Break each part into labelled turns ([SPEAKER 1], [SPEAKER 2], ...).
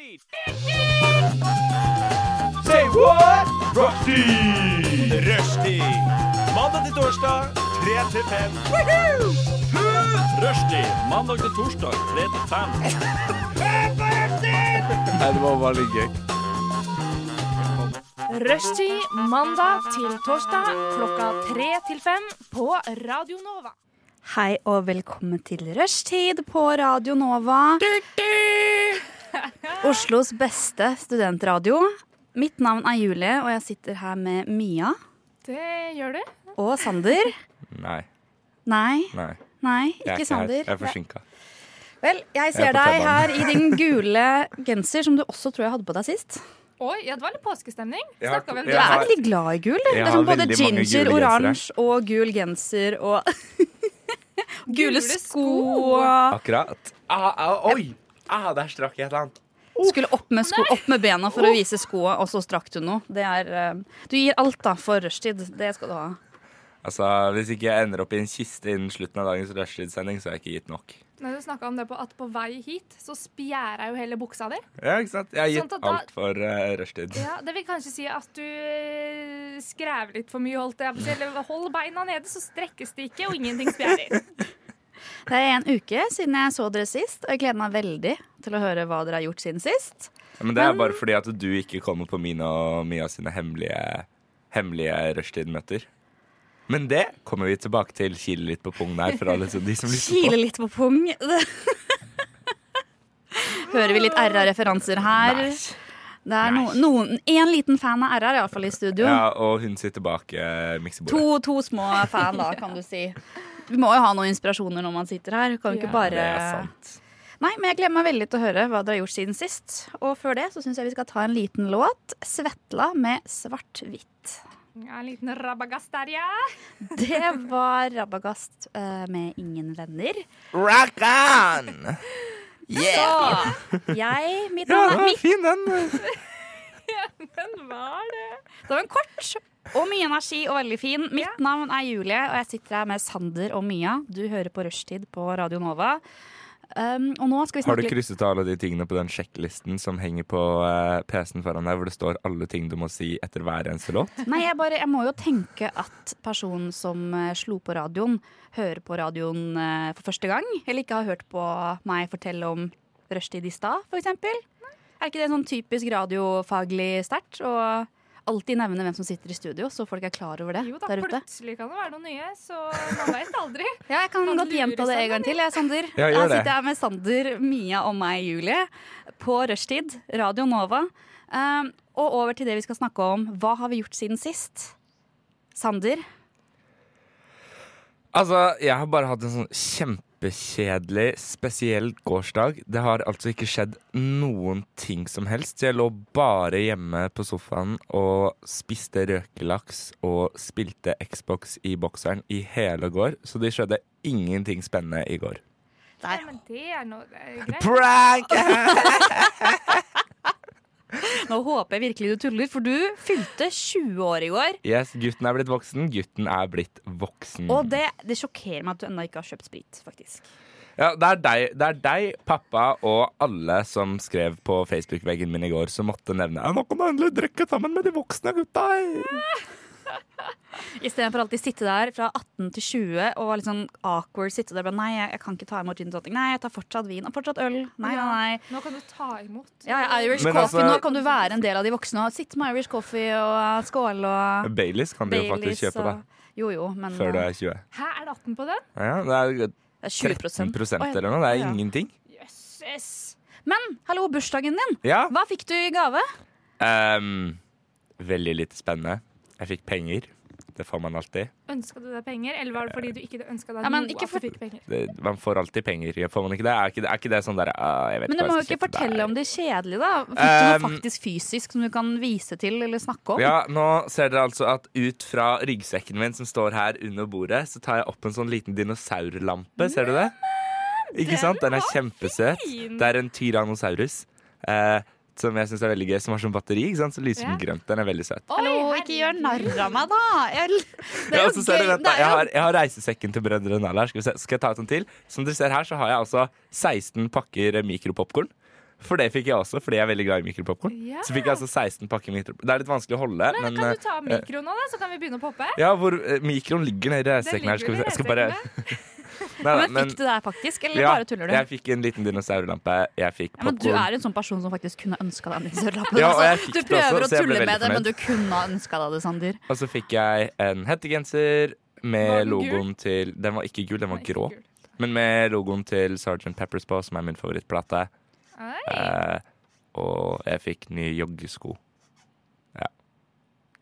[SPEAKER 1] life. Say what? Rushdie! Rushdie. Mandag til torsdag, 3 til 5. Rushdie. Mandag til torsdag, 3 til 5.
[SPEAKER 2] Det var veldig gøy.
[SPEAKER 3] Rushtid mandag til torsdag klokka tre til fem på Radio Nova.
[SPEAKER 4] Hei og velkommen til Rushtid på Radio Nova. Oslos beste studentradio. Mitt navn er Julie, og jeg sitter her med Mia
[SPEAKER 3] Det gjør du.
[SPEAKER 4] og Sander.
[SPEAKER 2] Nei,
[SPEAKER 4] Nei,
[SPEAKER 2] nei.
[SPEAKER 4] nei,
[SPEAKER 2] Jeg er
[SPEAKER 4] ikke
[SPEAKER 2] her.
[SPEAKER 4] Sander.
[SPEAKER 2] Jeg er forsinka.
[SPEAKER 4] Vel, jeg
[SPEAKER 2] Jeg er
[SPEAKER 4] ser
[SPEAKER 2] på
[SPEAKER 4] deg
[SPEAKER 2] T-banen.
[SPEAKER 4] her i din gule genser, som du også tror jeg hadde på deg sist.
[SPEAKER 3] Oi, ja, det var litt påskestemning.
[SPEAKER 2] Jeg har-
[SPEAKER 3] Snakket vi om
[SPEAKER 2] jeg
[SPEAKER 4] Du
[SPEAKER 3] det?
[SPEAKER 4] er
[SPEAKER 2] har-
[SPEAKER 4] veldig glad i gul. du.
[SPEAKER 2] Jeg
[SPEAKER 4] Det er sånn
[SPEAKER 2] har
[SPEAKER 4] både
[SPEAKER 2] veldig mange
[SPEAKER 4] ginger,
[SPEAKER 2] gule gensere.
[SPEAKER 4] oransje og gul genser og Gule
[SPEAKER 3] Gule
[SPEAKER 4] sko
[SPEAKER 3] sko.
[SPEAKER 4] og
[SPEAKER 2] Akkurat. Ah, ah, oi! Ah, der strakk jeg et eller annet.
[SPEAKER 4] Skulle opp med, sko, opp med bena for å vise skoa, og så strakk du noe. Det er, eh, du gir alt da for rushtid. Det skal du ha.
[SPEAKER 2] Altså, Hvis ikke jeg ender opp i en kiste innen slutten av dagens rushtidssending, så har jeg ikke gitt nok.
[SPEAKER 3] Når du snakka om det på at på vei hit, så spjæra jo hele buksa di.
[SPEAKER 2] Ja, ikke sant? Jeg har
[SPEAKER 3] Sånn
[SPEAKER 2] gitt
[SPEAKER 3] at da-
[SPEAKER 2] alt for eh, rushtid.
[SPEAKER 3] Ja, Det vil kanskje si at du eh, skrev litt for mye, holdt jeg på å si. Eller Hold beina nede, så strekkes de ikke, og ingenting spjærer.
[SPEAKER 4] Det er en uke siden jeg så dere sist, og jeg gleder meg veldig til å høre hva dere har gjort siden sist.
[SPEAKER 2] Men det er bare fordi at du ikke kommer på mine og Mia sine hemmelige, hemmelige rushtid-møter. Men det kommer vi tilbake til. Kile litt på pungen her for alle som, de som lytter på.
[SPEAKER 4] Kile litt på pung. Hører vi litt RR-referanser her?
[SPEAKER 2] Nei.
[SPEAKER 4] Det er no, noen, en liten fan av RR, iallfall i studio.
[SPEAKER 2] Ja, og hun sitter bak eh, miksebordet.
[SPEAKER 4] To, to små fan, da, kan du si. Vi må jo ha noen inspirasjoner når man sitter her. Kan vi
[SPEAKER 3] Ja.
[SPEAKER 4] ikke bare
[SPEAKER 2] Det er sant.
[SPEAKER 4] Nei, men jeg gleder meg veldig til å høre hva dere har gjort siden sist. Og før det så syns jeg vi skal ta en liten låt. 'Svetla' med svart-hvitt.
[SPEAKER 3] Ja, en liten rabagast der, ja.
[SPEAKER 4] Det var Rabagast eh, med 'Ingen venner'.
[SPEAKER 2] Rock on! Yeah!
[SPEAKER 4] Så jeg Mitt
[SPEAKER 2] Ja,
[SPEAKER 4] navn er
[SPEAKER 2] den var
[SPEAKER 4] Mikk.
[SPEAKER 2] fin, den.
[SPEAKER 3] Men hva er det?
[SPEAKER 4] Det var en kort og mye energi og veldig fin. Mitt navn er Julie, og jeg sitter her med Sander og Mia. Du hører på Rushtid på Radio Nova. Um, og nå skal vi
[SPEAKER 2] Har du
[SPEAKER 4] snakke litt
[SPEAKER 2] krysset av alle de tingene på den sjekklisten som henger på eh, PC-en foran deg, hvor det står alle ting du må si etter hver eneste låt?
[SPEAKER 4] Nei, jeg, bare, jeg må jo tenke at personen som eh, slo på radioen, hører på radioen eh, for første gang. Eller ikke har hørt på meg fortelle om rushtid i stad, f.eks. Er ikke det sånn typisk radiofaglig sterkt? å alltid nevne hvem som sitter i studio, så folk er klar over det
[SPEAKER 3] Jo da,
[SPEAKER 4] der ute.
[SPEAKER 3] plutselig kan det være noen nye, så man veit aldri.
[SPEAKER 4] Ja, jeg kan
[SPEAKER 3] Kan
[SPEAKER 4] godt
[SPEAKER 3] lure
[SPEAKER 4] gjenta det en gang til, jeg, Sander.
[SPEAKER 2] Ja, gjør
[SPEAKER 4] Her
[SPEAKER 2] det.
[SPEAKER 4] sitter jeg med Sander, Mia og meg, Julie, på rushtid, Radio Nova. Um, og over til det vi skal snakke om. Hva har vi gjort siden sist? Sander?
[SPEAKER 2] Altså, jeg har bare hatt en sånn kjempekjedelig, spesiell gårsdag. Det har altså ikke skjedd noen ting som helst. Jeg lå bare hjemme på sofaen og spiste røkelaks og spilte Xbox i bokseren i hele går, så det skjedde ingenting spennende i går.
[SPEAKER 3] Ja, men det er noe det er greit.
[SPEAKER 2] Prank!
[SPEAKER 4] Nå håper jeg virkelig du tuller, for du fylte 20 år i går.
[SPEAKER 2] Yes, gutten er blitt voksen. Gutten er blitt voksen.
[SPEAKER 4] Og det, det sjokkerer meg at du ennå ikke har kjøpt sprit, faktisk.
[SPEAKER 2] Ja, det, er deg, det er deg, pappa og alle som skrev på Facebook-veggen min i går, som måtte nevne «Ja, Nå kan du endelig drikke sammen med de voksne gutta!
[SPEAKER 4] Istedenfor alltid sitte der fra 18 til 20 og litt sånn awkward sitte der. bare, Nei, jeg, jeg kan ikke ta imot gin og tonic. Nei, jeg tar fortsatt vin og fortsatt øl. Nei, nei, nei.
[SPEAKER 3] Nå kan du ta imot.
[SPEAKER 4] Ja, ja, Irish
[SPEAKER 2] Men
[SPEAKER 4] coffee,
[SPEAKER 2] altså-
[SPEAKER 4] Nå kan du være en del av de voksne og sitte med Irish coffee og skåle og
[SPEAKER 2] Baileys kan du jo faktisk kjøpe, da.
[SPEAKER 4] og Jo, jo, men
[SPEAKER 2] Før du er 20.
[SPEAKER 3] Hæ, er det 18 på den?
[SPEAKER 2] Ja, det er
[SPEAKER 4] det er
[SPEAKER 2] 13
[SPEAKER 4] 20 Oi.
[SPEAKER 2] eller noe. Det er
[SPEAKER 4] Ja.
[SPEAKER 2] ingenting.
[SPEAKER 3] Jøsses!
[SPEAKER 4] Men hallo, bursdagen din!
[SPEAKER 2] Ja.
[SPEAKER 4] Hva fikk du i gave?
[SPEAKER 2] ehm, veldig lite spennende. Jeg fikk penger. Det får man alltid.
[SPEAKER 3] Ønska du deg penger, eller var det fordi du ikke ønska deg
[SPEAKER 4] Ja, men
[SPEAKER 3] noe
[SPEAKER 4] ikke
[SPEAKER 3] at
[SPEAKER 4] for-
[SPEAKER 3] du fikk penger?
[SPEAKER 2] Det, man får alltid penger. Får man ikke det? Er ikke det, er ikke det sånn derre jeg vet
[SPEAKER 4] Men du
[SPEAKER 2] hva
[SPEAKER 4] må jo
[SPEAKER 2] jeg skal
[SPEAKER 4] ikke
[SPEAKER 2] kjøpe
[SPEAKER 4] fortelle
[SPEAKER 2] der».
[SPEAKER 4] om det kjedelige, da. Fikk du noe
[SPEAKER 2] Um,
[SPEAKER 4] faktisk fysisk som du kan vise til eller snakke om?
[SPEAKER 2] Ja, nå ser dere altså at ut fra ryggsekken min som står her under bordet, så tar jeg opp en sånn liten dinosaurlampe. Ser du det? Ikke sant? Den er kjempesøt.
[SPEAKER 3] fin!
[SPEAKER 2] Det er en tyrannosaurus. Eh, som jeg syns er veldig gøy, som har sånn batteri. ikke sant? Så lyser den grønt. Den er veldig søt.
[SPEAKER 4] Hallo,
[SPEAKER 3] Oi,
[SPEAKER 4] ikke gjør
[SPEAKER 3] herregud.
[SPEAKER 4] narr av meg, da! Jeg, det er
[SPEAKER 2] Ja, og
[SPEAKER 4] jo
[SPEAKER 2] så ser
[SPEAKER 4] gøy.
[SPEAKER 2] dere, vent
[SPEAKER 4] Det
[SPEAKER 2] da,
[SPEAKER 4] er
[SPEAKER 2] jeg,
[SPEAKER 4] jo
[SPEAKER 2] har, jeg har reisesekken til brødrene Nalla. Skal, vi se- skal jeg ta ut en til? Som dere ser her, så har jeg altså 16 pakker mikropopkorn. For det fikk jeg også, fordi jeg er veldig glad i mikropopkorn.
[SPEAKER 3] Ja.
[SPEAKER 2] Så fikk jeg altså 16 pakker mikropopkorn. Det er litt vanskelig å holde, men,
[SPEAKER 3] Kan du
[SPEAKER 2] eh,
[SPEAKER 3] ta mikroen nå, da, så kan vi begynne å poppe?
[SPEAKER 2] ja, hvor eh, mikroen ligger nede i reisesekken her. Skal vi se. Jeg skal bare Nei,
[SPEAKER 4] Ja,
[SPEAKER 2] nei,
[SPEAKER 4] men, fikk du det her faktisk, eller
[SPEAKER 2] ja,
[SPEAKER 4] bare tuller du?
[SPEAKER 2] Jeg fikk en liten dinosaurlampe. Jeg fikk
[SPEAKER 4] ja, men du
[SPEAKER 2] popkorn.
[SPEAKER 4] er en sånn person som faktisk kunne ønska deg en dinosaurlappe.
[SPEAKER 2] Ja, og jeg
[SPEAKER 4] altså.
[SPEAKER 2] fikk
[SPEAKER 4] Du prøver
[SPEAKER 2] det også, så
[SPEAKER 4] å
[SPEAKER 2] jeg ble
[SPEAKER 4] tulle
[SPEAKER 2] veldig
[SPEAKER 4] med det,
[SPEAKER 2] fornøyd.
[SPEAKER 4] men du kunne ha ønska deg det, Sander.
[SPEAKER 2] Og så fikk jeg en hettegenser
[SPEAKER 3] Var
[SPEAKER 2] med
[SPEAKER 3] den
[SPEAKER 2] logoen til Den var ikke gul, den var grå. Men med logoen til Sgt. Peppers på, som er min favorittplate. Eh, og jeg fikk nye joggesko.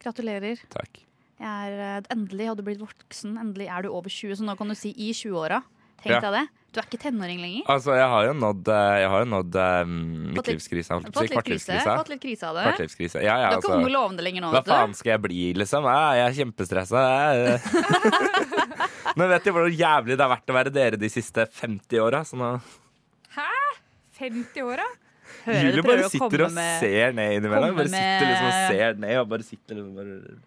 [SPEAKER 4] Gratulerer.
[SPEAKER 2] Takk.
[SPEAKER 4] Jeg er, eh, endelig hadde du blitt voksen. Endelig er du over 20, så nå kan du si i 20-åra.
[SPEAKER 2] Ja.
[SPEAKER 4] Tenk deg det. Du er ikke tenåring lenger.
[SPEAKER 2] Altså, jeg har jo nådd, eh, jeg har jo nådd eh, midtlivskrisa. holdt jeg på å
[SPEAKER 4] Fått
[SPEAKER 2] si.
[SPEAKER 4] litt krise,
[SPEAKER 2] Kvartlivskrisa.
[SPEAKER 4] fått litt krise av det.
[SPEAKER 2] Kvartlivskrisa. Ja, ja,
[SPEAKER 4] Du er ikke ung og
[SPEAKER 2] altså.
[SPEAKER 4] lovende lenger nå,
[SPEAKER 2] Hva
[SPEAKER 4] vet du.
[SPEAKER 2] faen skal jeg bli, liksom? Eh, Jeg er kjempestressa. eh. Men vet du hvor jævlig det har vært å være dere de siste 50 åra? Så nå
[SPEAKER 3] Hæ? 50-åra?
[SPEAKER 4] Hører du
[SPEAKER 2] Julie
[SPEAKER 4] prøver
[SPEAKER 2] bare
[SPEAKER 4] å
[SPEAKER 2] sitter
[SPEAKER 4] komme
[SPEAKER 2] og
[SPEAKER 4] med-
[SPEAKER 2] ser ned innimellom.
[SPEAKER 4] komme
[SPEAKER 2] Bare sitter liksom og
[SPEAKER 4] med-
[SPEAKER 2] ser ned og bare sitter liksom bare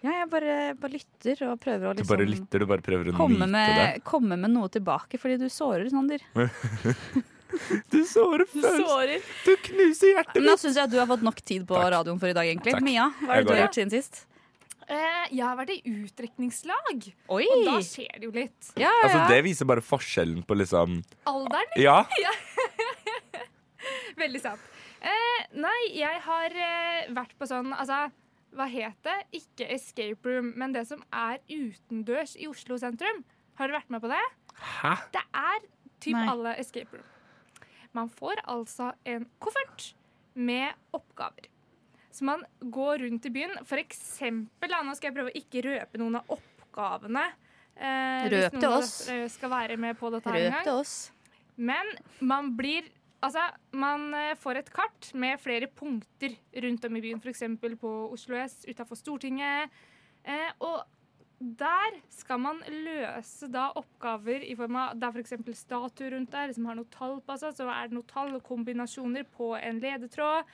[SPEAKER 4] Ja, jeg bare, bare lytter og prøver å
[SPEAKER 2] Du
[SPEAKER 4] liksom
[SPEAKER 2] bare lytter, du bare prøver å
[SPEAKER 4] komme,
[SPEAKER 2] nyte
[SPEAKER 4] med, komme med noe tilbake, fordi du sårer, Sander.
[SPEAKER 2] det. Du sårer følelsen. Du knuser hjertet
[SPEAKER 4] Men da syns jeg at du har fått nok tid på
[SPEAKER 2] Takk.
[SPEAKER 4] radioen for i dag, egentlig.
[SPEAKER 2] Takk.
[SPEAKER 4] Mia, hva er
[SPEAKER 2] Jeg
[SPEAKER 4] det du
[SPEAKER 2] går,
[SPEAKER 4] har
[SPEAKER 2] ja.
[SPEAKER 4] gjort siden sist?
[SPEAKER 3] Eh, jeg har vært i utdrekningslag,
[SPEAKER 4] Oi!
[SPEAKER 3] og da skjer det jo litt.
[SPEAKER 4] Ja, ja,
[SPEAKER 2] Altså,
[SPEAKER 4] ja.
[SPEAKER 2] det viser bare forskjellen på liksom
[SPEAKER 3] Alderen
[SPEAKER 2] Ja,
[SPEAKER 3] Veldig sant. Eh, nei, jeg har eh, vært på sånn Altså, hva het det? Ikke escape room, men det som er utendørs i Oslo sentrum. Har dere vært med på det?
[SPEAKER 2] hæ?
[SPEAKER 3] Det er typ
[SPEAKER 4] Nei.
[SPEAKER 3] alle escape room. Man får altså en koffert med oppgaver. Så man går rundt i byen, for eksempel da, Nå skal jeg prøve å ikke røpe noen av oppgavene. Eh, hvis
[SPEAKER 4] Røp
[SPEAKER 3] noen
[SPEAKER 4] til
[SPEAKER 3] av
[SPEAKER 4] oss.
[SPEAKER 3] dere Skal være med på dette her en
[SPEAKER 4] Røp
[SPEAKER 3] gang.
[SPEAKER 4] til oss.
[SPEAKER 3] Men man blir Altså, man eh, får et kart med flere punkter rundt om i byen, f.eks. på Oslo S, utafor Stortinget. Eh, og der skal man løse da oppgaver i form av Det er f.eks. statue rundt der som har noe tall på seg, så er det noen tall og kombinasjoner på en ledetråd.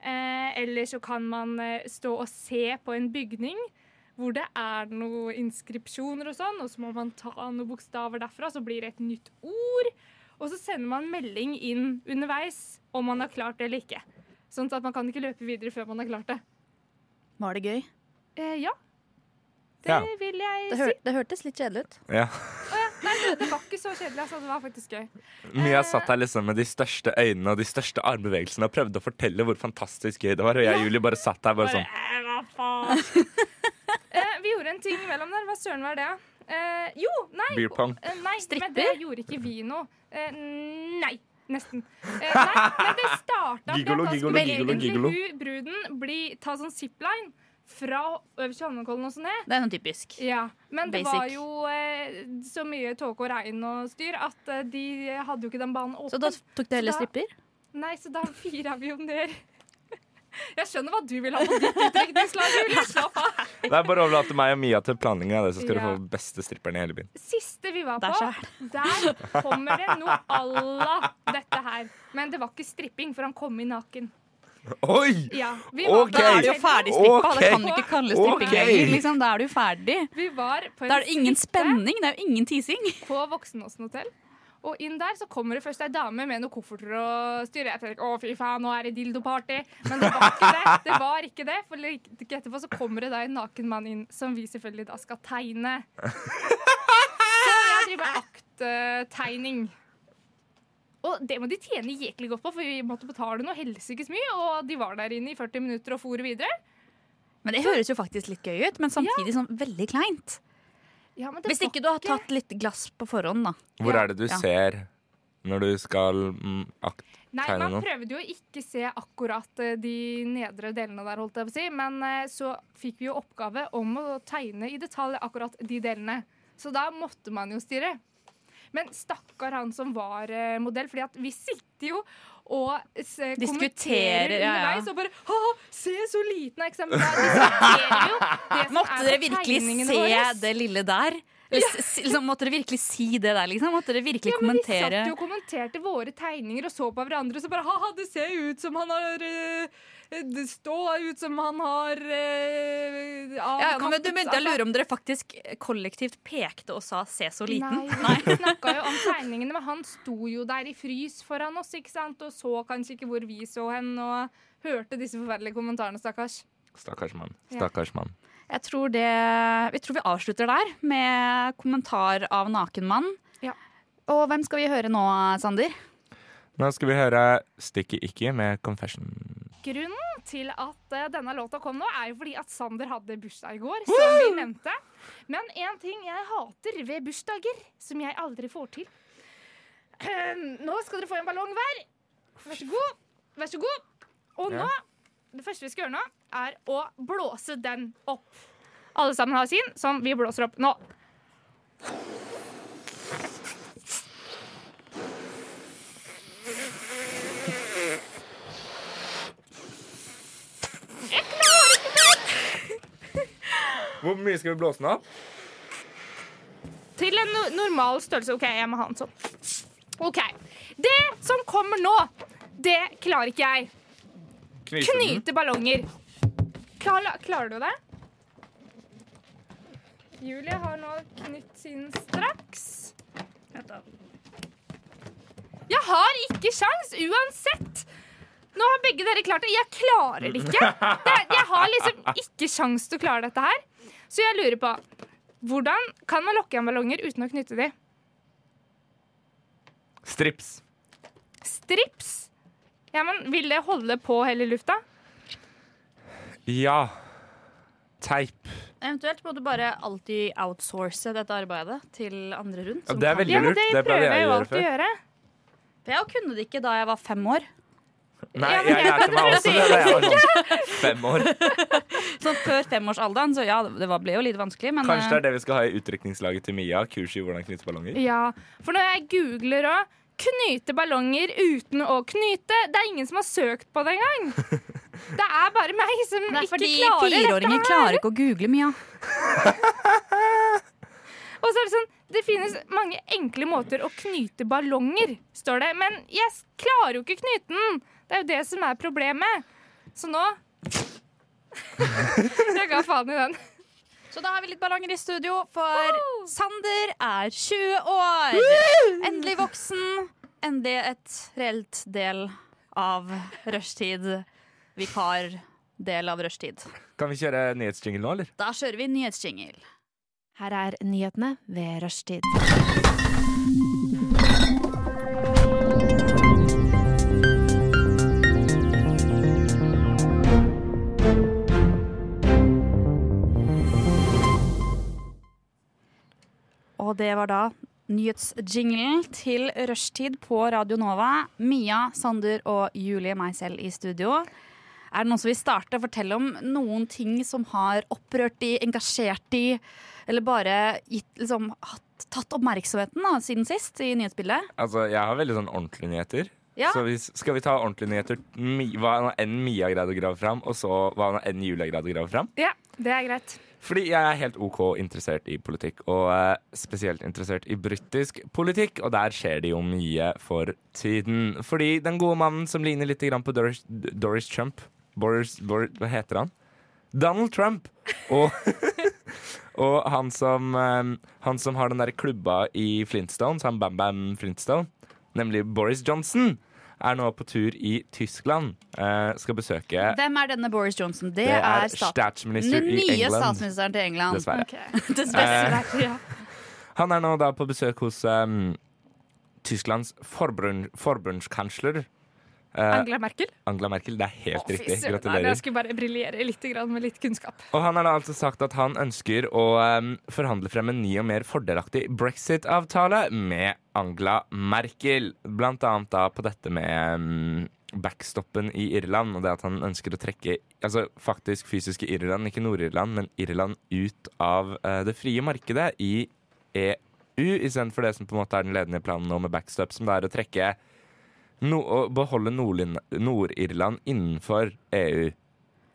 [SPEAKER 3] Eh, eller så kan man eh, stå og se på en bygning hvor det er noen inskripsjoner og sånn, og så må man ta noen bokstaver derfra, så blir det et nytt ord. Og så sender man melding inn underveis om man har klart det eller ikke. Sånn at man kan ikke løpe videre før man har klart det.
[SPEAKER 4] Var det gøy?
[SPEAKER 3] Eh, ja. Det
[SPEAKER 2] Ja.
[SPEAKER 3] vil jeg
[SPEAKER 4] Det,
[SPEAKER 3] si.
[SPEAKER 4] hør, det hørtes litt kjedelig ut.
[SPEAKER 2] Ja.
[SPEAKER 3] Det var ikke så kjedelig, altså. Det var faktisk gøy.
[SPEAKER 2] Mia satt her liksom med de største øynene og de største armbevegelsene og prøvde å fortelle hvor fantastisk gøy det var, og jeg og Julie bare satt her bare sånn.
[SPEAKER 3] Bare, «Eh, hva faen? eh, vi gjorde en ting imellom der. Hva søren var det? Eh, jo, nei.
[SPEAKER 2] Beer pong.
[SPEAKER 3] Eh, nei
[SPEAKER 4] Stripper?
[SPEAKER 3] Men det gjorde ikke vi noe. Eh, nei. Nesten. Eh, nei, men det starta med
[SPEAKER 2] Gigolo,
[SPEAKER 3] at han
[SPEAKER 2] gigolo,
[SPEAKER 3] skulle
[SPEAKER 2] gigolo,
[SPEAKER 3] egentlig
[SPEAKER 2] gigolo.
[SPEAKER 3] hun, bruden, bli, ta sånn zipline fra øverst i Holmenkollen og sånn så ned.
[SPEAKER 4] Det er noe typisk.
[SPEAKER 3] Ja, men det
[SPEAKER 4] Basic.
[SPEAKER 3] var jo eh, så mye tåke og regn og styr at eh, de hadde jo ikke den banen åpen.
[SPEAKER 4] Så da tok du heller
[SPEAKER 3] Så da-
[SPEAKER 4] stripper?
[SPEAKER 3] Nei, så da fira vi jo ned. Jeg skjønner hva du vil ha på ditt utdrikningslag, Julie. Slapp av.
[SPEAKER 2] Det er bare å overlate meg og Mia til planleggingen av det, så skal
[SPEAKER 3] Ja.
[SPEAKER 2] du få beste stripperen i hele byen.
[SPEAKER 3] Siste vi var
[SPEAKER 4] Der
[SPEAKER 3] på,
[SPEAKER 4] så
[SPEAKER 3] der kommer det noe à la dette her. Men det var ikke stripping, for han kom inn naken.
[SPEAKER 2] Oi!
[SPEAKER 3] Ja, vi var,
[SPEAKER 2] Ok.
[SPEAKER 4] Da er det jo
[SPEAKER 3] på-
[SPEAKER 4] ferdig strippa.
[SPEAKER 2] Ok.
[SPEAKER 4] Det kan du ikke kalle stripping
[SPEAKER 2] Ok.
[SPEAKER 4] lenger. Liksom. Da er du jo ferdig.
[SPEAKER 3] Vi var på en
[SPEAKER 4] Da er det ingen
[SPEAKER 3] strippe
[SPEAKER 4] spenning, det er jo ingen teasing.
[SPEAKER 3] på Voksenåsen hotell. Og inn der så kommer det først ei dame med noen kofferter og styrer. Jeg tenker, å fy faen, nå er det dildoparty. Men det var ikke det. det, var ikke det for like etterpå så kommer det da en naken mann inn, som vi selvfølgelig da skal tegne. Så jeg driver med akttegning. Og det må de tjene jæklig godt på, for vi måtte betale noe helsikes mye. Og de var der inne i 40 minutter og for videre.
[SPEAKER 4] Men Det høres jo faktisk litt gøy ut, men samtidig sånn veldig kleint.
[SPEAKER 3] Ja, men det
[SPEAKER 4] Hvis
[SPEAKER 3] var
[SPEAKER 4] ikke du har tatt litt glass på forhånd, da.
[SPEAKER 2] Hvor
[SPEAKER 3] Ja.
[SPEAKER 2] er det du
[SPEAKER 4] Ja.
[SPEAKER 2] ser når du skal mm, akt...
[SPEAKER 3] Nei,
[SPEAKER 2] tegne
[SPEAKER 3] man
[SPEAKER 2] noe.
[SPEAKER 3] prøvde jo å ikke se akkurat eh, de nedre delene der, holdt jeg på å si. Men eh, så fikk vi jo oppgave om å tegne i detalj akkurat de delene. Så da måtte man jo styre. Men stakkar han som var eh, modell, fordi at vi sitter jo og s- eh, kommenterer
[SPEAKER 4] Diskuterer, ja, ja.
[SPEAKER 3] underveis og bare Å, se så liten er eksempelet! Vi diskuterer jo det som
[SPEAKER 4] Måtte
[SPEAKER 3] Altså, er
[SPEAKER 4] dere
[SPEAKER 3] på
[SPEAKER 4] virkelig
[SPEAKER 3] tegningene
[SPEAKER 4] se
[SPEAKER 3] våres.
[SPEAKER 4] det lille der? Eller, s- liksom, måtte dere virkelig si det der, liksom? Måtte dere virkelig
[SPEAKER 3] Ja, men Vi
[SPEAKER 4] kommentere?
[SPEAKER 3] satt jo og kommenterte våre tegninger og så på hverandre og så bare ha-ha, det ser jo ut som han har eh, det stå ut som han har eh,
[SPEAKER 4] Ja,
[SPEAKER 3] avkappet-
[SPEAKER 4] nå men du begynte jeg å
[SPEAKER 3] altså-
[SPEAKER 4] lure om dere faktisk eh, kollektivt pekte og sa 'se så liten'.
[SPEAKER 3] Nei, vi snakka jo om tegningene, men han sto jo der i frys foran oss ikke sant? og så kanskje ikke hvor vi så hen, og hørte disse forferdelige kommentarene, stakkars.
[SPEAKER 2] Stakkars mann.
[SPEAKER 3] Ja.
[SPEAKER 2] Stakkars mann.
[SPEAKER 4] Jeg tror det Vi tror vi avslutter der med kommentar av nakenmann.
[SPEAKER 3] Ja.
[SPEAKER 4] Og hvem skal vi høre nå, Sander?
[SPEAKER 2] Nå skal vi høre Stikket ikke med Confession.
[SPEAKER 3] Grunnen til at eh, denne låta kom nå, er jo fordi at Sander hadde bursdag i går, som vi nevnte. Men én ting jeg hater ved bursdager, som jeg aldri får til Ehm, Nå skal dere få en ballong hver. Vær så god. Vær så god. Og nå Det første vi skal gjøre nå, er å blåse den opp. Alle sammen har sin, som vi blåser opp nå.
[SPEAKER 2] Hvor mye skal vi blåse den opp?
[SPEAKER 3] Til en no normal størrelse. OK, jeg må ha en sånn. OK. Det som kommer nå, det klarer ikke jeg.
[SPEAKER 2] Knyte den.
[SPEAKER 3] Knyte ballonger. Klar, klarer du det? Julie har nå knytt sin straks. Jeg har ikke sjans uansett! Nå har begge dere klart det. Jeg klarer det ikke. Det, jeg har liksom ikke sjans til å klare dette her. Så jeg lurer på Hvordan kan man lokke igjen ballonger uten å knytte de?
[SPEAKER 2] Strips.
[SPEAKER 3] Strips? Ja, men Vil det holde på hele lufta?
[SPEAKER 2] Ja. Teip.
[SPEAKER 4] Eventuelt må du bare alltid outsource dette arbeidet til andre rundt.
[SPEAKER 2] Ja,
[SPEAKER 4] som
[SPEAKER 2] det er
[SPEAKER 4] kan-
[SPEAKER 2] veldig
[SPEAKER 3] Ja, men
[SPEAKER 2] lurt.
[SPEAKER 3] det,
[SPEAKER 2] Det pleide
[SPEAKER 3] prøver
[SPEAKER 2] jeg
[SPEAKER 3] jeg
[SPEAKER 2] å
[SPEAKER 3] jo
[SPEAKER 2] gjøre
[SPEAKER 3] alltid å
[SPEAKER 2] før.
[SPEAKER 3] gjøre.
[SPEAKER 4] Jeg kunne det ikke da jeg var fem år.
[SPEAKER 2] Nei,
[SPEAKER 3] Ja, men
[SPEAKER 2] jeg
[SPEAKER 3] jeg
[SPEAKER 2] lærte meg også det da jeg var sånn fem år.
[SPEAKER 4] Så før femårsalderen, så ja, det var- ble jo litt vanskelig, men eh,
[SPEAKER 2] Kanskje det er det vi skal ha i utrykningslaget til Mia. Kurs i hvordan knytte ballonger.
[SPEAKER 3] Ja, for når jeg googler òg Knyte ballonger uten å knyte. Det er ingen som har søkt på det engang. Det er bare meg som
[SPEAKER 4] det er
[SPEAKER 3] ikke
[SPEAKER 4] fordi
[SPEAKER 3] klarer dette
[SPEAKER 4] fireåringer
[SPEAKER 3] her.
[SPEAKER 4] klarer ikke å google mye.
[SPEAKER 3] Og så er det sånn, det finnes mange enkle måter å knyte ballonger, står det. Men jeg s- klarer jo ikke knyte den. Det er jo det som er problemet. Så nå Jeg ga faen i den.
[SPEAKER 4] Så da har vi litt ballonger i studio, for
[SPEAKER 3] Woo!
[SPEAKER 4] Sander er 20 år. Endelig voksen. Endelig et reelt del av rushtid. Vikardel av rushtid.
[SPEAKER 2] Kan vi kjøre nyhetsjingle nå, eller?
[SPEAKER 4] Da kjører vi nyhetsjingle.
[SPEAKER 5] Her er nyhetene ved rushtid.
[SPEAKER 4] Og det var da nyhetsjinglen til rushtid på Radio Nova. Mia, Sander og Julie, meg selv i studio. Er det noen som vil starte og fortelle om noen ting som har opprørt de, engasjert de, eller bare gitt, liksom, hatt, tatt oppmerksomheten da, siden sist i nyhetsbildet?
[SPEAKER 2] Altså, jeg har veldig sånn ordentlige nyheter.
[SPEAKER 4] Ja.
[SPEAKER 2] Så hvis, skal vi ta ordentlige nyheter, mi, hva nå enn Mia greide å grave fram, og så hva nå enn Julia greide å grave fram?
[SPEAKER 3] Ja, det er greit.
[SPEAKER 2] Fordi jeg er helt OK interessert i politikk, og eh, spesielt interessert i britisk politikk. Og der skjer det jo mye for tiden. Fordi den gode mannen som ligner litt grann på Doris, Doris Trump Boris, Boris, Hva heter han? Donald Trump! Og, og han, som, eh, han som har den der klubba i Flintstones, han Bam Bam Flintstone, nemlig Boris Johnson, er nå på tur i Tyskland. Eh, skal besøke
[SPEAKER 4] Hvem er denne Boris Johnson? Det,
[SPEAKER 2] Det er
[SPEAKER 4] er stat
[SPEAKER 2] statsminister
[SPEAKER 4] den
[SPEAKER 2] i
[SPEAKER 4] nye
[SPEAKER 2] England,
[SPEAKER 4] statsministeren til England.
[SPEAKER 2] dessverre. Eh,
[SPEAKER 4] Dessverre.
[SPEAKER 2] Han er nå da på besøk hos em, Tysklands forbund, forbundskansler eh,
[SPEAKER 3] Angela Merkel?
[SPEAKER 2] Angela Merkel. Det er helt
[SPEAKER 3] Å, fy
[SPEAKER 2] riktig.
[SPEAKER 3] søren, nei, Jeg
[SPEAKER 2] Gratulerer.
[SPEAKER 3] skulle bare briljere litt grann med litt kunnskap.
[SPEAKER 2] Og han har da altså sagt at han ønsker å em, forhandle frem en ny og mer fordelaktig brexit-avtale med Angela Merkel. Blant annet da på dette med em, backstoppen i Irland, og det at han ønsker å trekke altså faktisk fysiske Irland, ikke Nord-Irland, men Irland ut av eh, det frie markedet i E EU, istedenfor det som på en måte er den ledende planen nå med backstop, som det er å trekke no å beholde Nordlin- Nord-Irland innenfor E EU.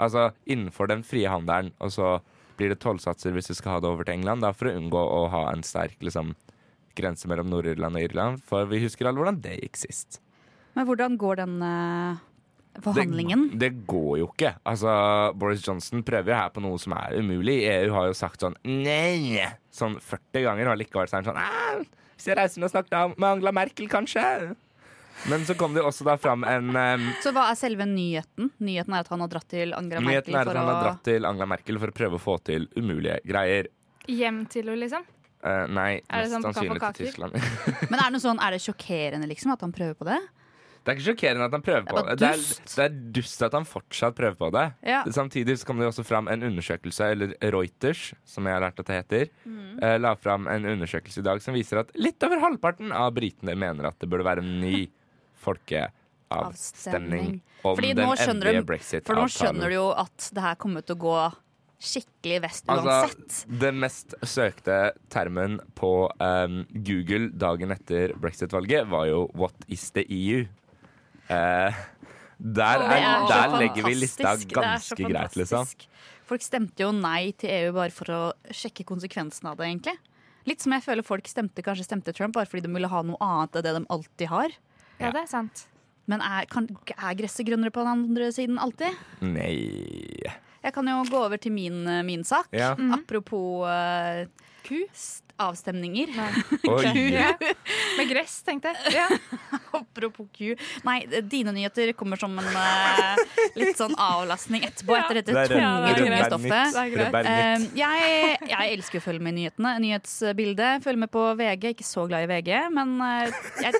[SPEAKER 2] Altså innenfor den frie handelen, og så blir det tollsatser hvis du skal ha det over til England, da, for å unngå å ha en sterk liksom, grense mellom Nord-Irland og Irland, for vi husker alle hvordan det gikk sist.
[SPEAKER 4] Men hvordan går den eh, forhandlingen.
[SPEAKER 2] Det, det går jo ikke. Altså, Boris Johnson prøver jo her på noe som er umulig. EU har jo sagt sånn nei sånn 40 ganger, og likevel så er han sånn «Ah, Hvis jeg reiser ned og snakker da med Angela Merkel, kanskje? Men så kom det jo også da fram en um,
[SPEAKER 4] Så hva er selve nyheten? Nyheten er at han har dratt til Angela Merkel
[SPEAKER 2] Nyheten er at
[SPEAKER 4] for å
[SPEAKER 2] han har dratt til Angela Merkel for å prøve å få til umulige greier.
[SPEAKER 3] Hjem til henne, liksom.
[SPEAKER 2] Eh, nei,
[SPEAKER 3] Er det
[SPEAKER 2] mest
[SPEAKER 3] sånn på
[SPEAKER 2] sannsynlig
[SPEAKER 3] kaffe og
[SPEAKER 2] til Tyskland.
[SPEAKER 4] Men er det, noe sånn, er det sjokkerende liksom at han prøver på det?
[SPEAKER 2] Det er ikke sjokkerende at han prøver på
[SPEAKER 4] bare
[SPEAKER 2] det. Det er,
[SPEAKER 4] dust.
[SPEAKER 2] det er dust at han fortsatt prøver på det.
[SPEAKER 4] Ja.
[SPEAKER 2] Samtidig så kom det jo også fram en undersøkelse, eller Reuters, som jeg har lært at det heter,
[SPEAKER 4] Mm.
[SPEAKER 2] eh, la fram en undersøkelse i dag som viser at litt over halvparten av britene mener at det burde være en ny folkeavstemning
[SPEAKER 4] Avstemning.
[SPEAKER 2] om
[SPEAKER 4] Fordi
[SPEAKER 2] den
[SPEAKER 4] nå skjønner
[SPEAKER 2] endelige
[SPEAKER 4] du-
[SPEAKER 2] brexit-avtalen.
[SPEAKER 4] For nå skjønner du jo at det her kommer til å gå skikkelig vest uansett.
[SPEAKER 2] Altså, det mest søkte termen på em, Google dagen etter brexit-valget var jo 'What is the E EU?' Eh, der,
[SPEAKER 4] Og
[SPEAKER 2] er,
[SPEAKER 4] det er så
[SPEAKER 2] der legger vi lista
[SPEAKER 4] fantastisk. Det er så
[SPEAKER 2] ganske greit, liksom.
[SPEAKER 4] fantastisk. Folk stemte jo nei til EU bare for å sjekke konsekvensen av det, egentlig. Litt som jeg føler folk stemte, kanskje stemte Trump bare fordi de ville ha noe annet enn det de alltid har.
[SPEAKER 3] Ja, det er sant.
[SPEAKER 4] Men er, kan, er gresset grønnere på den andre siden alltid?
[SPEAKER 2] Nei
[SPEAKER 4] Jeg kan jo gå over til min, eh, min sak.
[SPEAKER 2] Ja.
[SPEAKER 4] Apropos eh, st- avstemninger.
[SPEAKER 2] Oi.
[SPEAKER 3] Ja. Med gress, tenkte jeg. Ja.
[SPEAKER 4] Apropos Q. Nei, eh, dine nyheter kommer som en eh, litt sånn avlastning etterpå,
[SPEAKER 3] Ja.
[SPEAKER 4] etter dette
[SPEAKER 2] Det er
[SPEAKER 4] tunge,
[SPEAKER 3] det er
[SPEAKER 4] tunge
[SPEAKER 3] greit.
[SPEAKER 4] stoffet.
[SPEAKER 3] Det er greit.
[SPEAKER 2] Rebellnytt.
[SPEAKER 4] Eh, jeg, jeg elsker å følge med i nyhetene. Nyhetsbildet. Følger med på VG. Ikke så glad i VG, men eh, jeg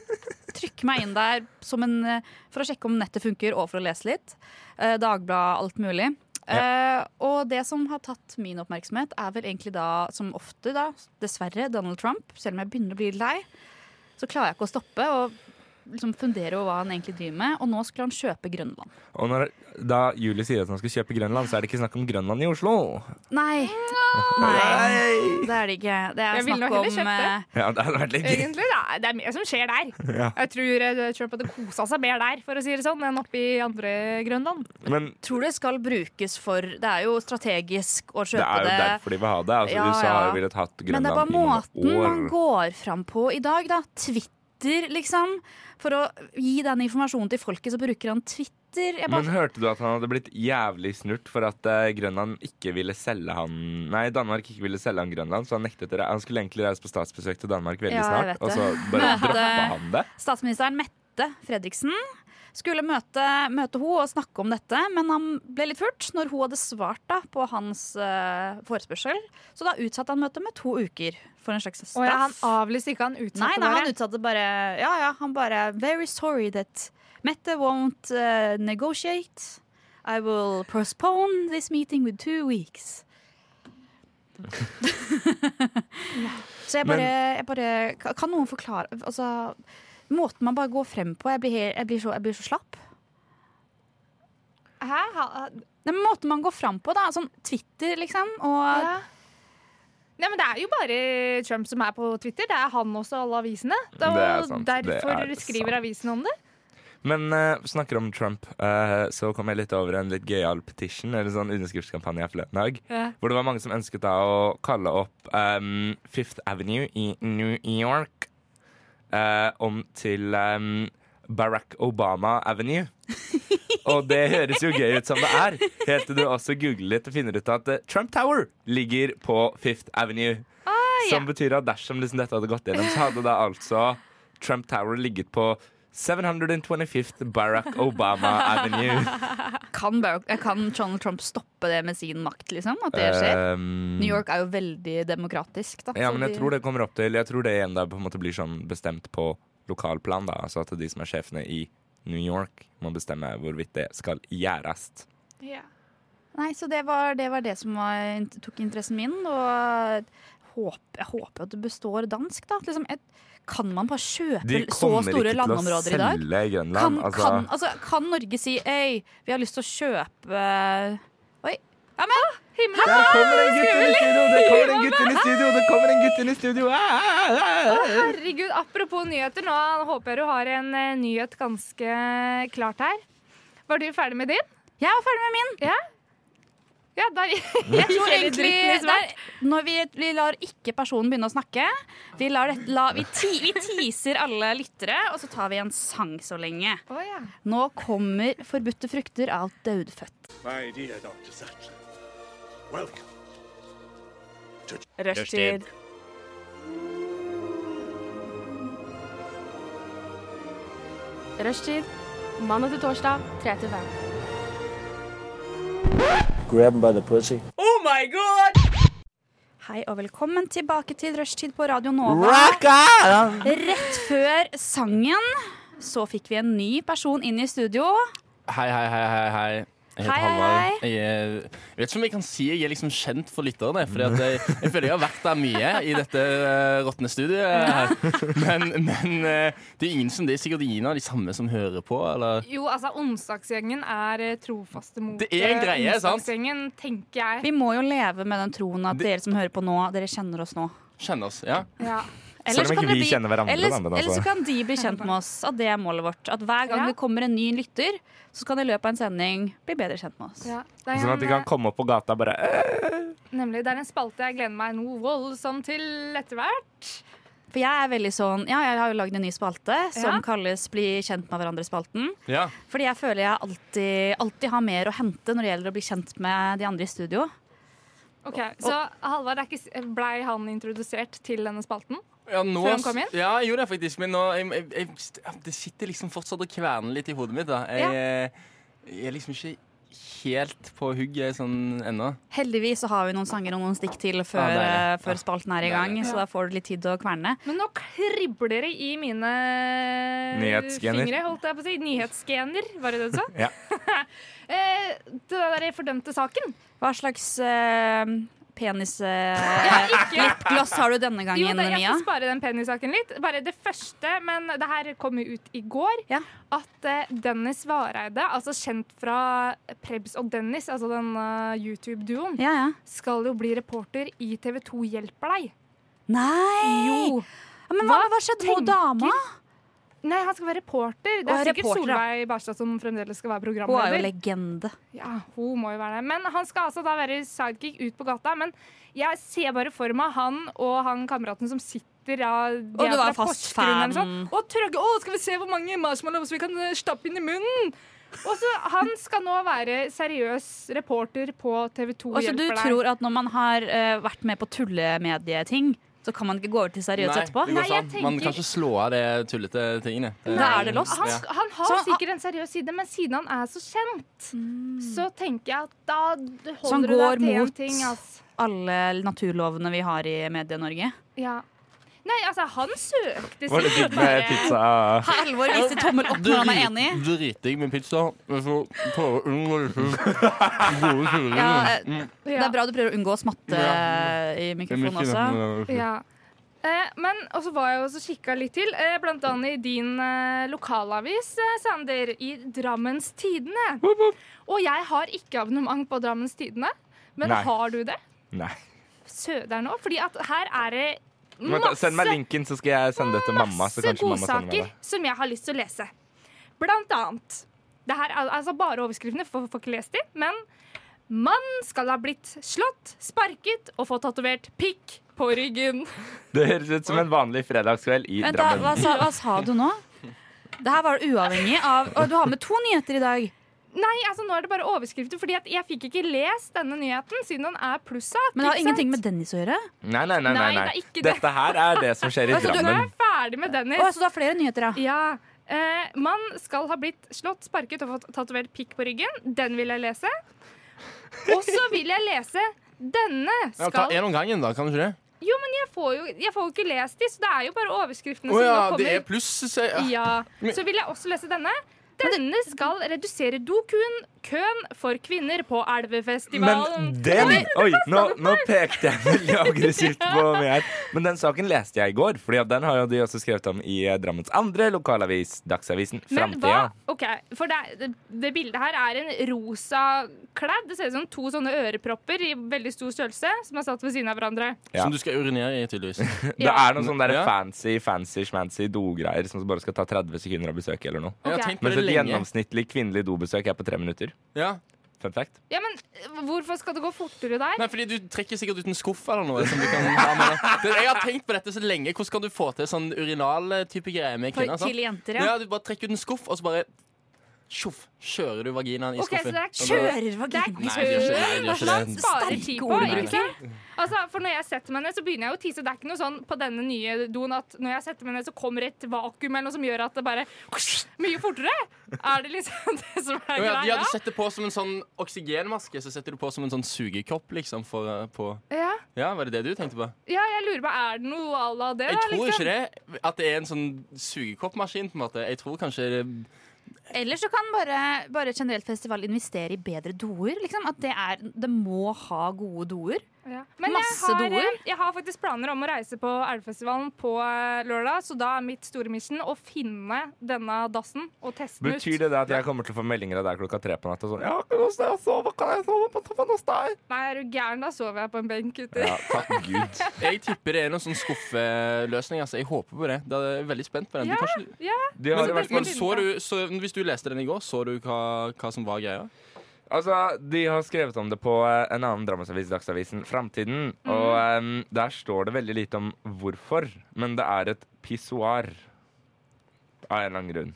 [SPEAKER 4] trykker meg inn der som en, eh, for å sjekke om nettet funker, og for å lese litt. Eh, Dagbladet, alt mulig. Eh, og det som har tatt min oppmerksomhet, er vel egentlig da, som ofte, da, dessverre, Donald Trump. Selv om jeg begynner å bli lei, så klarer jeg ikke å stoppe. og Liksom fundere over hva han egentlig driver med. Og nå skulle han kjøpe Grønland.
[SPEAKER 2] Og når, da Julie sier at han skal kjøpe Grønland, så er det ikke snakk om Grønland i Oslo.
[SPEAKER 4] Nei. Nei. Det er det ikke. Det er
[SPEAKER 3] Jeg ville
[SPEAKER 4] snakk
[SPEAKER 3] nok heller
[SPEAKER 4] om
[SPEAKER 3] kjøpt det.
[SPEAKER 4] eh,
[SPEAKER 2] Ja, det hadde vært litt gøy.
[SPEAKER 3] Egentlig, da. Det er mye som skjer der.
[SPEAKER 2] Ja.
[SPEAKER 3] Jeg tror eh, Trump hadde kosa seg mer der, for å si det sånn, enn oppe i andre Grønland.
[SPEAKER 2] Men
[SPEAKER 4] tror det skal brukes for Det er jo strategisk å
[SPEAKER 2] det
[SPEAKER 4] kjøpe
[SPEAKER 2] er jo
[SPEAKER 4] det.
[SPEAKER 2] derfor de vil ha det. Altså,
[SPEAKER 4] Ja,
[SPEAKER 2] USA har
[SPEAKER 4] ja.
[SPEAKER 2] jo villet hatt
[SPEAKER 4] Men det er
[SPEAKER 2] Grønland
[SPEAKER 4] bare
[SPEAKER 2] i
[SPEAKER 4] måten
[SPEAKER 2] noen
[SPEAKER 4] man
[SPEAKER 2] år.
[SPEAKER 4] går fram på i dag, da. Twitter, liksom. For å gi den informasjonen til folket, så bruker han Twitter. Jeg
[SPEAKER 2] Men
[SPEAKER 4] bare,
[SPEAKER 2] hørte du at han hadde blitt jævlig snurt for at eh, Grønland ikke ville selge han Nei, Danmark ikke ville selge han Grønland, så han nektet det. Han skulle egentlig reise på statsbesøk til Danmark veldig
[SPEAKER 4] Ja, jeg
[SPEAKER 2] snart,
[SPEAKER 4] vet
[SPEAKER 2] og
[SPEAKER 4] det.
[SPEAKER 2] så bare
[SPEAKER 4] Møte-
[SPEAKER 2] droppa han det.
[SPEAKER 4] statsministeren Mette Fredriksen skulle møte, møte hun og snakke om dette, men han ble litt furt når hun hadde svart da, på hans eh, forespørsel. Så da utsatte han møtet med to uker for en slags straff.
[SPEAKER 3] Og ja, han avlyste ikke, han utsatte
[SPEAKER 4] Nei, nei, han
[SPEAKER 3] bare.
[SPEAKER 4] utsatte bare Ja, ja, han bare Very sorry that Mette won't eh, negotiate. I will postpone this meeting with two weeks. Så jeg bare, jeg bare ka- Kan noen forklare Altså, måten man bare går frem på Jeg blir, he- jeg blir, så, jeg blir så slapp.
[SPEAKER 3] Hæ? Ha-
[SPEAKER 4] Den måten man går frem på, da. Sånn Twitter, liksom. Og
[SPEAKER 3] Ja. Nei, men Det er jo bare Trump som er på Twitter. Det er han også, alle avisene. Da,
[SPEAKER 2] Det er sant, det
[SPEAKER 3] derfor
[SPEAKER 2] er
[SPEAKER 3] skriver
[SPEAKER 2] sant.
[SPEAKER 3] avisene om det.
[SPEAKER 2] Men eh, snakker om Trump, eh, så kom jeg litt over en litt gøyal petition, eller sånn underskriftskampanje her forleden dag. Hvor det var mange som ønsket da å kalle opp ehm, Fifth Avenue i New York eh, om til ehm, Barack Obama Avenue. Og det høres jo gøy ut som det er, helt til du også googler litt og finner ut at eh, Trump Tower ligger på Fifth Avenue.
[SPEAKER 4] Ah,
[SPEAKER 2] Som betyr at dersom liksom dette hadde gått gjennom, så hadde da altså Trump Tower ligget på 725th Barack Obama Avenue.
[SPEAKER 4] kan, Bar- kan Donald Trump stoppe det med sin makt, liksom? At det skjer?
[SPEAKER 2] Ehm,
[SPEAKER 4] New York er jo veldig demokratisk. Da,
[SPEAKER 2] Ja,
[SPEAKER 4] så
[SPEAKER 2] men jeg
[SPEAKER 4] de-
[SPEAKER 2] tror det kommer opp til Jeg tror det igjen da på en måte blir sånn bestemt på lokalplan, da. Altså at de som er sjefene i New York må bestemme hvorvidt det skal gjøres.
[SPEAKER 4] Nei, så det var det, var det som var, tok interessen min. Og håp, jeg håper at det består dansk, da. Liksom, et, kan man bare kjøpe så store landområder i dag?
[SPEAKER 2] selge Grønland.
[SPEAKER 4] Kan,
[SPEAKER 2] altså,
[SPEAKER 4] kan, altså, kan Norge si Øy, vi har lyst til å kjøpe Oi. Ja, men
[SPEAKER 3] Himmelen.
[SPEAKER 2] Der kommer en gutt inn i studio! Det kommer en gutt inn i studio! Det kommer en gutt inn i studio! Ah, ah, ah.
[SPEAKER 3] Herregud, apropos nyheter, nå håper jeg du har en eh, nyhet ganske klart her. Var du ferdig med din?
[SPEAKER 4] jeg var ferdig med min!
[SPEAKER 3] Ja? Ja, der, jeg tror
[SPEAKER 4] Hele
[SPEAKER 3] egentlig
[SPEAKER 4] dritten i
[SPEAKER 3] det
[SPEAKER 4] svart.
[SPEAKER 3] er-
[SPEAKER 4] Når vi, vi lar ikke personen begynne å snakke. Vi, lar det, la, vi, ti, vi teaser alle lyttere, og så tar vi en sang så lenge.
[SPEAKER 3] Å, ja.
[SPEAKER 4] Nå kommer 'Forbudte frukter' av Dødfødt.
[SPEAKER 6] My
[SPEAKER 1] er
[SPEAKER 6] dear Dr. Sattler, welcome.
[SPEAKER 4] Rushtid.
[SPEAKER 7] Rushtid. Mandag til torsdag, 3 til 5.
[SPEAKER 8] grab him by the pussy.
[SPEAKER 4] Hei og velkommen tilbake til Rushtid på Radio Nova. Rett før sangen så fikk vi en ny person inn i studio.
[SPEAKER 9] Hei, hei, hei, hei, hei. Jeg heter
[SPEAKER 4] Hei, hei,
[SPEAKER 9] Halvard. Jeg, er- jeg vet ikke om jeg kan si jeg er liksom kjent for lytterne. Fordi at jeg, jeg føler jeg har vært der mye i dette uh, råtne studiet. her. Men, men eh, det, er ingen som, det er sikkert ingen av de samme som hører på. Eller?
[SPEAKER 3] Jo, altså, Onsdagsgjengen er eh, trofaste mot
[SPEAKER 9] Det er en
[SPEAKER 3] eh,
[SPEAKER 9] greie, sant?
[SPEAKER 3] Onsdagsgjengen, tenker jeg.
[SPEAKER 4] Vi må jo leve med den troen at dere som hører på nå, dere kjenner oss nå.
[SPEAKER 9] Kjenner oss. Ja.
[SPEAKER 3] Ja.
[SPEAKER 4] Eller så
[SPEAKER 2] Selv om
[SPEAKER 4] kan
[SPEAKER 2] ikke
[SPEAKER 4] det
[SPEAKER 2] vi kjenner hverandre,
[SPEAKER 4] eller,
[SPEAKER 2] da, men
[SPEAKER 4] eller
[SPEAKER 2] altså.
[SPEAKER 4] så kan de bli kjent med oss. At det er målet vårt. At hver gang
[SPEAKER 3] Ja.
[SPEAKER 4] det kommer en ny lytter, så skal de i løpet av en sending bli bedre kjent med oss.
[SPEAKER 3] Ja. Det, er
[SPEAKER 2] Sånn at de kan
[SPEAKER 3] en,
[SPEAKER 2] komme opp på gata og bare «Øh».
[SPEAKER 3] eh, nemlig, det er en spalte jeg gleder meg noe voldsomt til etter hvert.
[SPEAKER 4] For jeg er veldig sånn Ja, jeg har jo lagd en ny spalte som
[SPEAKER 3] Ja.
[SPEAKER 4] kalles Bli kjent med hverandre-spalten.
[SPEAKER 9] ja.
[SPEAKER 4] Fordi jeg føler jeg alltid, alltid har mer å hente når det gjelder å bli kjent med de andre i studio.
[SPEAKER 3] Ok, Så Halvard, er ikke s- blei han introdusert til denne spalten?
[SPEAKER 9] Ja, nå,
[SPEAKER 3] Før han kom inn?
[SPEAKER 9] Ja, jeg gjorde det faktisk. Men nå, jeg, jeg, jeg, det sitter liksom fortsatt og kverner litt i hodet mitt. Da. Jeg, eh, jeg er liksom ikke helt på hugget sånn ennå.
[SPEAKER 4] Heldigvis så har vi noen sanger og noen stikk til før, eh,
[SPEAKER 9] Ja, det er det.
[SPEAKER 4] før spalten er i gang,
[SPEAKER 9] Deilig.
[SPEAKER 4] så da får du litt tid til å kverne.
[SPEAKER 3] Men nå kribler det i mine
[SPEAKER 2] Nyhetsgener.
[SPEAKER 3] fingre, holdt jeg på å si. Nyhetsgener, var det det du sa?
[SPEAKER 2] Ja.
[SPEAKER 3] eh, det der fordømte saken.
[SPEAKER 4] Hva slags uh, penis
[SPEAKER 3] Ja,
[SPEAKER 4] uh,
[SPEAKER 3] ikke
[SPEAKER 4] Glass har du denne
[SPEAKER 3] Jo,
[SPEAKER 4] gangen,
[SPEAKER 3] da, jeg
[SPEAKER 4] Mia?
[SPEAKER 3] skal spare den penissaken litt. Bare det første, men det her kom jo ut i går.
[SPEAKER 4] Ja.
[SPEAKER 3] At eh, Dennis Vareide, altså kjent fra Prebz og Dennis, altså den eh, YouTube-duoen,
[SPEAKER 4] Ja, ja.
[SPEAKER 3] skal jo bli reporter i TV 2 Hjelper deg.
[SPEAKER 4] Nei!
[SPEAKER 3] Jo.
[SPEAKER 4] Ja, Men hva,
[SPEAKER 3] Hva
[SPEAKER 4] hva skjedde med hun
[SPEAKER 3] tenker-
[SPEAKER 4] dama?
[SPEAKER 3] Nei, han skal være reporter. Det
[SPEAKER 4] Å,
[SPEAKER 3] er sikkert
[SPEAKER 4] reporter, ja.
[SPEAKER 3] Solveig Barstad som fremdeles skal være
[SPEAKER 4] Hun er jo
[SPEAKER 3] programleder.
[SPEAKER 4] legende.
[SPEAKER 3] Ja, hun må jo være det. Men han skal altså da være sidekick ut på gata. Men jeg ser bare for meg han og han kameraten som sitter ja, de
[SPEAKER 4] Og du
[SPEAKER 3] er
[SPEAKER 4] var
[SPEAKER 3] fra
[SPEAKER 4] fast
[SPEAKER 3] Porsgrunn
[SPEAKER 4] fan.
[SPEAKER 3] eller noe sånt. Og trøgge, å, skal vi se hvor mange marshmallows vi kan eh, stappe inn i munnen? Og så Han skal nå være seriøs reporter på TV 2
[SPEAKER 4] Og så du tror at når man har eh, vært med på tullemedieting, så kan man ikke gå over til seriøst etterpå?
[SPEAKER 9] det
[SPEAKER 3] Nei, jeg
[SPEAKER 9] går sånn. Man
[SPEAKER 3] tenker-
[SPEAKER 9] kan ikke slå av det tullete tingene.
[SPEAKER 4] Da er det lost.
[SPEAKER 3] Han,
[SPEAKER 9] Ja.
[SPEAKER 3] han har
[SPEAKER 4] Så han- Mm.
[SPEAKER 3] sikkert en seriøs side, men siden han er så kjent, så tenker jeg at da
[SPEAKER 4] Så han
[SPEAKER 3] holder du
[SPEAKER 4] går
[SPEAKER 3] deg til
[SPEAKER 4] mot-
[SPEAKER 3] én ting. ass.
[SPEAKER 4] Alle naturlovene vi har i Medie-Norge.
[SPEAKER 3] Ja. Nei, altså, han søkte
[SPEAKER 2] Var det digg med pizza?
[SPEAKER 4] Halvor viser tommel opp når han er enig.
[SPEAKER 9] Driting med pizza. Men så prøver jeg å unngå disse gode turene.
[SPEAKER 4] Ja, eh, det
[SPEAKER 3] Ja.
[SPEAKER 4] er bra du prøver å unngå å smatte
[SPEAKER 9] Ja.
[SPEAKER 4] i
[SPEAKER 9] Det er mye
[SPEAKER 4] mikrofonen sånn også.
[SPEAKER 9] kjent.
[SPEAKER 3] Ja. Eh, men og så var jeg også kikka litt til, eh, blant annet i din eh, lokalavis, eh, Sander, i Drammens Tidende. Og jeg har ikke abonnement på Drammens Tidende, men
[SPEAKER 2] Nei.
[SPEAKER 3] har du det?
[SPEAKER 2] Nei.
[SPEAKER 3] Søder nå, fordi at her er det
[SPEAKER 2] Vent da,
[SPEAKER 3] masse
[SPEAKER 2] Send meg linken, så skal jeg sende det til mamma. Så
[SPEAKER 3] masse
[SPEAKER 2] kanskje mamma sender meg
[SPEAKER 3] godsaker
[SPEAKER 2] det.
[SPEAKER 3] som jeg har lyst til å lese. Blant annet det her er altså bare overskriftene, for får ikke lest de. Men mann skal ha blitt slått, sparket og få tatovert pikk på ryggen.
[SPEAKER 2] Det høres ut som en vanlig fredagskveld i
[SPEAKER 4] Vent, da, hva
[SPEAKER 2] Drammen.
[SPEAKER 4] sa, hva sa du nå? Det her var uavhengig av Å, du har med to nyheter i dag.
[SPEAKER 3] Nei, altså nå er det bare overskrifter, fordi at jeg fikk ikke lest denne nyheten siden den er plussak.
[SPEAKER 4] Men det har
[SPEAKER 3] ikke
[SPEAKER 4] ingenting
[SPEAKER 3] sant?
[SPEAKER 4] med Dennis å gjøre.
[SPEAKER 2] Nei, nei, nei. nei,
[SPEAKER 3] Nei,
[SPEAKER 2] nei.
[SPEAKER 3] det er ikke det.
[SPEAKER 2] Dette her er det som skjer i
[SPEAKER 4] Altså, du-
[SPEAKER 3] Nå er jeg
[SPEAKER 2] Drammen.
[SPEAKER 3] ferdig med
[SPEAKER 4] Å,
[SPEAKER 3] Dennis.
[SPEAKER 4] så du har flere nyheter, ja.
[SPEAKER 3] Ja. Eh, mann skal ha blitt slått, sparket og fått tatovert pikk på ryggen. Den vil jeg lese. Og så vil jeg lese denne
[SPEAKER 9] Ja, ta
[SPEAKER 3] skal
[SPEAKER 9] en om gangen, da. Kan du ikke det?
[SPEAKER 3] Jo, men jeg får jo, jeg får jo ikke lest de, så det er jo bare overskriftene
[SPEAKER 9] Å ja,
[SPEAKER 3] som nå
[SPEAKER 9] det er
[SPEAKER 3] kommer.
[SPEAKER 9] pluss. sier jeg.
[SPEAKER 3] Ja. Så vil jeg også lese denne. Denne skal redusere dokuen, køen for kvinner på elvefestivalen.
[SPEAKER 2] Men den Oi, nå, nå pekte jeg veldig aggressivt på meg her. Men den saken leste jeg i går, Fordi at den har jo de også skrevet om i eh, Drammens andre lokalavis, Dagsavisen
[SPEAKER 3] Men
[SPEAKER 2] Framtida.
[SPEAKER 3] hva, ok, for det, er- det, det bildet her er en rosa kledd. Det ser ut som to sånne ørepropper i veldig stor størrelse som er satt ved siden av hverandre.
[SPEAKER 2] Ja.
[SPEAKER 9] Som du skal urinere i, tydeligvis.
[SPEAKER 2] Det er noen sånne der
[SPEAKER 9] Ja.
[SPEAKER 2] fancy, fancy, schmancy dogreier som bare skal ta 30 sekunder å besøke eller noe.
[SPEAKER 9] Jeg har tenkt på
[SPEAKER 2] Mens et
[SPEAKER 9] det lenge.
[SPEAKER 2] gjennomsnittlig kvinnelig dobesøk er på tre minutter.
[SPEAKER 9] Ja.
[SPEAKER 2] Fun fact.
[SPEAKER 3] Ja, men eh, hvorfor skal det gå fortere der?
[SPEAKER 9] Nei, fordi du trekker sikkert ut en skuff eller noe som du kan ha med deg. Det- Jeg har tenkt på dette så lenge. Hvordan kan du få til sånn urinal-type greier med
[SPEAKER 4] For,
[SPEAKER 9] kvinner? sant?
[SPEAKER 4] til jenter, ja.
[SPEAKER 9] Ja, du bare trekker ut en skuff, og så bare Tjoff, kjører du vaginaen i
[SPEAKER 3] Ok, så
[SPEAKER 9] skuffen.
[SPEAKER 3] det er
[SPEAKER 9] Og da-
[SPEAKER 4] Kjører
[SPEAKER 3] Det er
[SPEAKER 4] vaginaen.
[SPEAKER 9] Nei, det gjør ikke- nei, det gjør
[SPEAKER 3] kø!
[SPEAKER 9] ikke
[SPEAKER 3] Man
[SPEAKER 9] det.
[SPEAKER 3] sparer
[SPEAKER 4] Sterke
[SPEAKER 3] tid på,
[SPEAKER 4] ord,
[SPEAKER 3] ikke sant? Altså, for når jeg setter meg ned, så begynner jeg å tise. Det er ikke noe sånn på denne nye doen at når jeg setter meg ned, så kommer et vakuum eller noe som gjør at det bare Mye fortere! Er det liksom det som er
[SPEAKER 9] Å ja, ja,
[SPEAKER 3] greia?
[SPEAKER 9] du setter på som en sånn oksygenmaske, så setter du på som en sånn sugekopp, liksom, for eh, på
[SPEAKER 3] Ja,
[SPEAKER 9] Ja, var det det du tenkte på?
[SPEAKER 3] ja, jeg lurer på, er det noe à la det?
[SPEAKER 9] Jeg
[SPEAKER 3] da,
[SPEAKER 9] tror
[SPEAKER 3] liksom?
[SPEAKER 9] ikke det. At det er en sånn sugekoppmaskin, på en måte. Jeg tror kanskje det-
[SPEAKER 4] Eller så kan bare, bare generelt festival investere i bedre doer. Liksom. At det, er, det må ha gode doer.
[SPEAKER 3] Ja. Men
[SPEAKER 4] Masse
[SPEAKER 3] jeg har, eh,
[SPEAKER 4] doer.
[SPEAKER 3] Jeg har faktisk planer om å reise på Elvefestivalen på eh, lørdag, så da er mitt store mission å finne denne dassen og teste den ut.
[SPEAKER 2] Betyr det det at jeg kommer til å få meldinger av deg klokka tre på natta? Sånn, ja, hvordan skal jeg sove? Kan jeg sove på toppen hos deg?
[SPEAKER 3] Nei, er du gæren? Da sover jeg på en benk uti.
[SPEAKER 2] Ja, takk Gud.
[SPEAKER 9] Jeg tipper det er noen sånn skuffeløsning. Altså. Jeg håper på det. Da er jeg veldig spent på den.
[SPEAKER 3] Ja,
[SPEAKER 9] du kanskje,
[SPEAKER 2] De har i
[SPEAKER 9] Men,
[SPEAKER 2] hvert
[SPEAKER 9] men
[SPEAKER 2] fall,
[SPEAKER 9] så du, så, hvis du leste den i går, så du hva, hva som var greia?
[SPEAKER 2] altså, de har skrevet om det på eh, en annen drammensavis, Dagsavisen, Framtiden.
[SPEAKER 4] Mhm.
[SPEAKER 2] Og em, der står det veldig lite om hvorfor, men det er et pissoar. Av en eller annen grunn.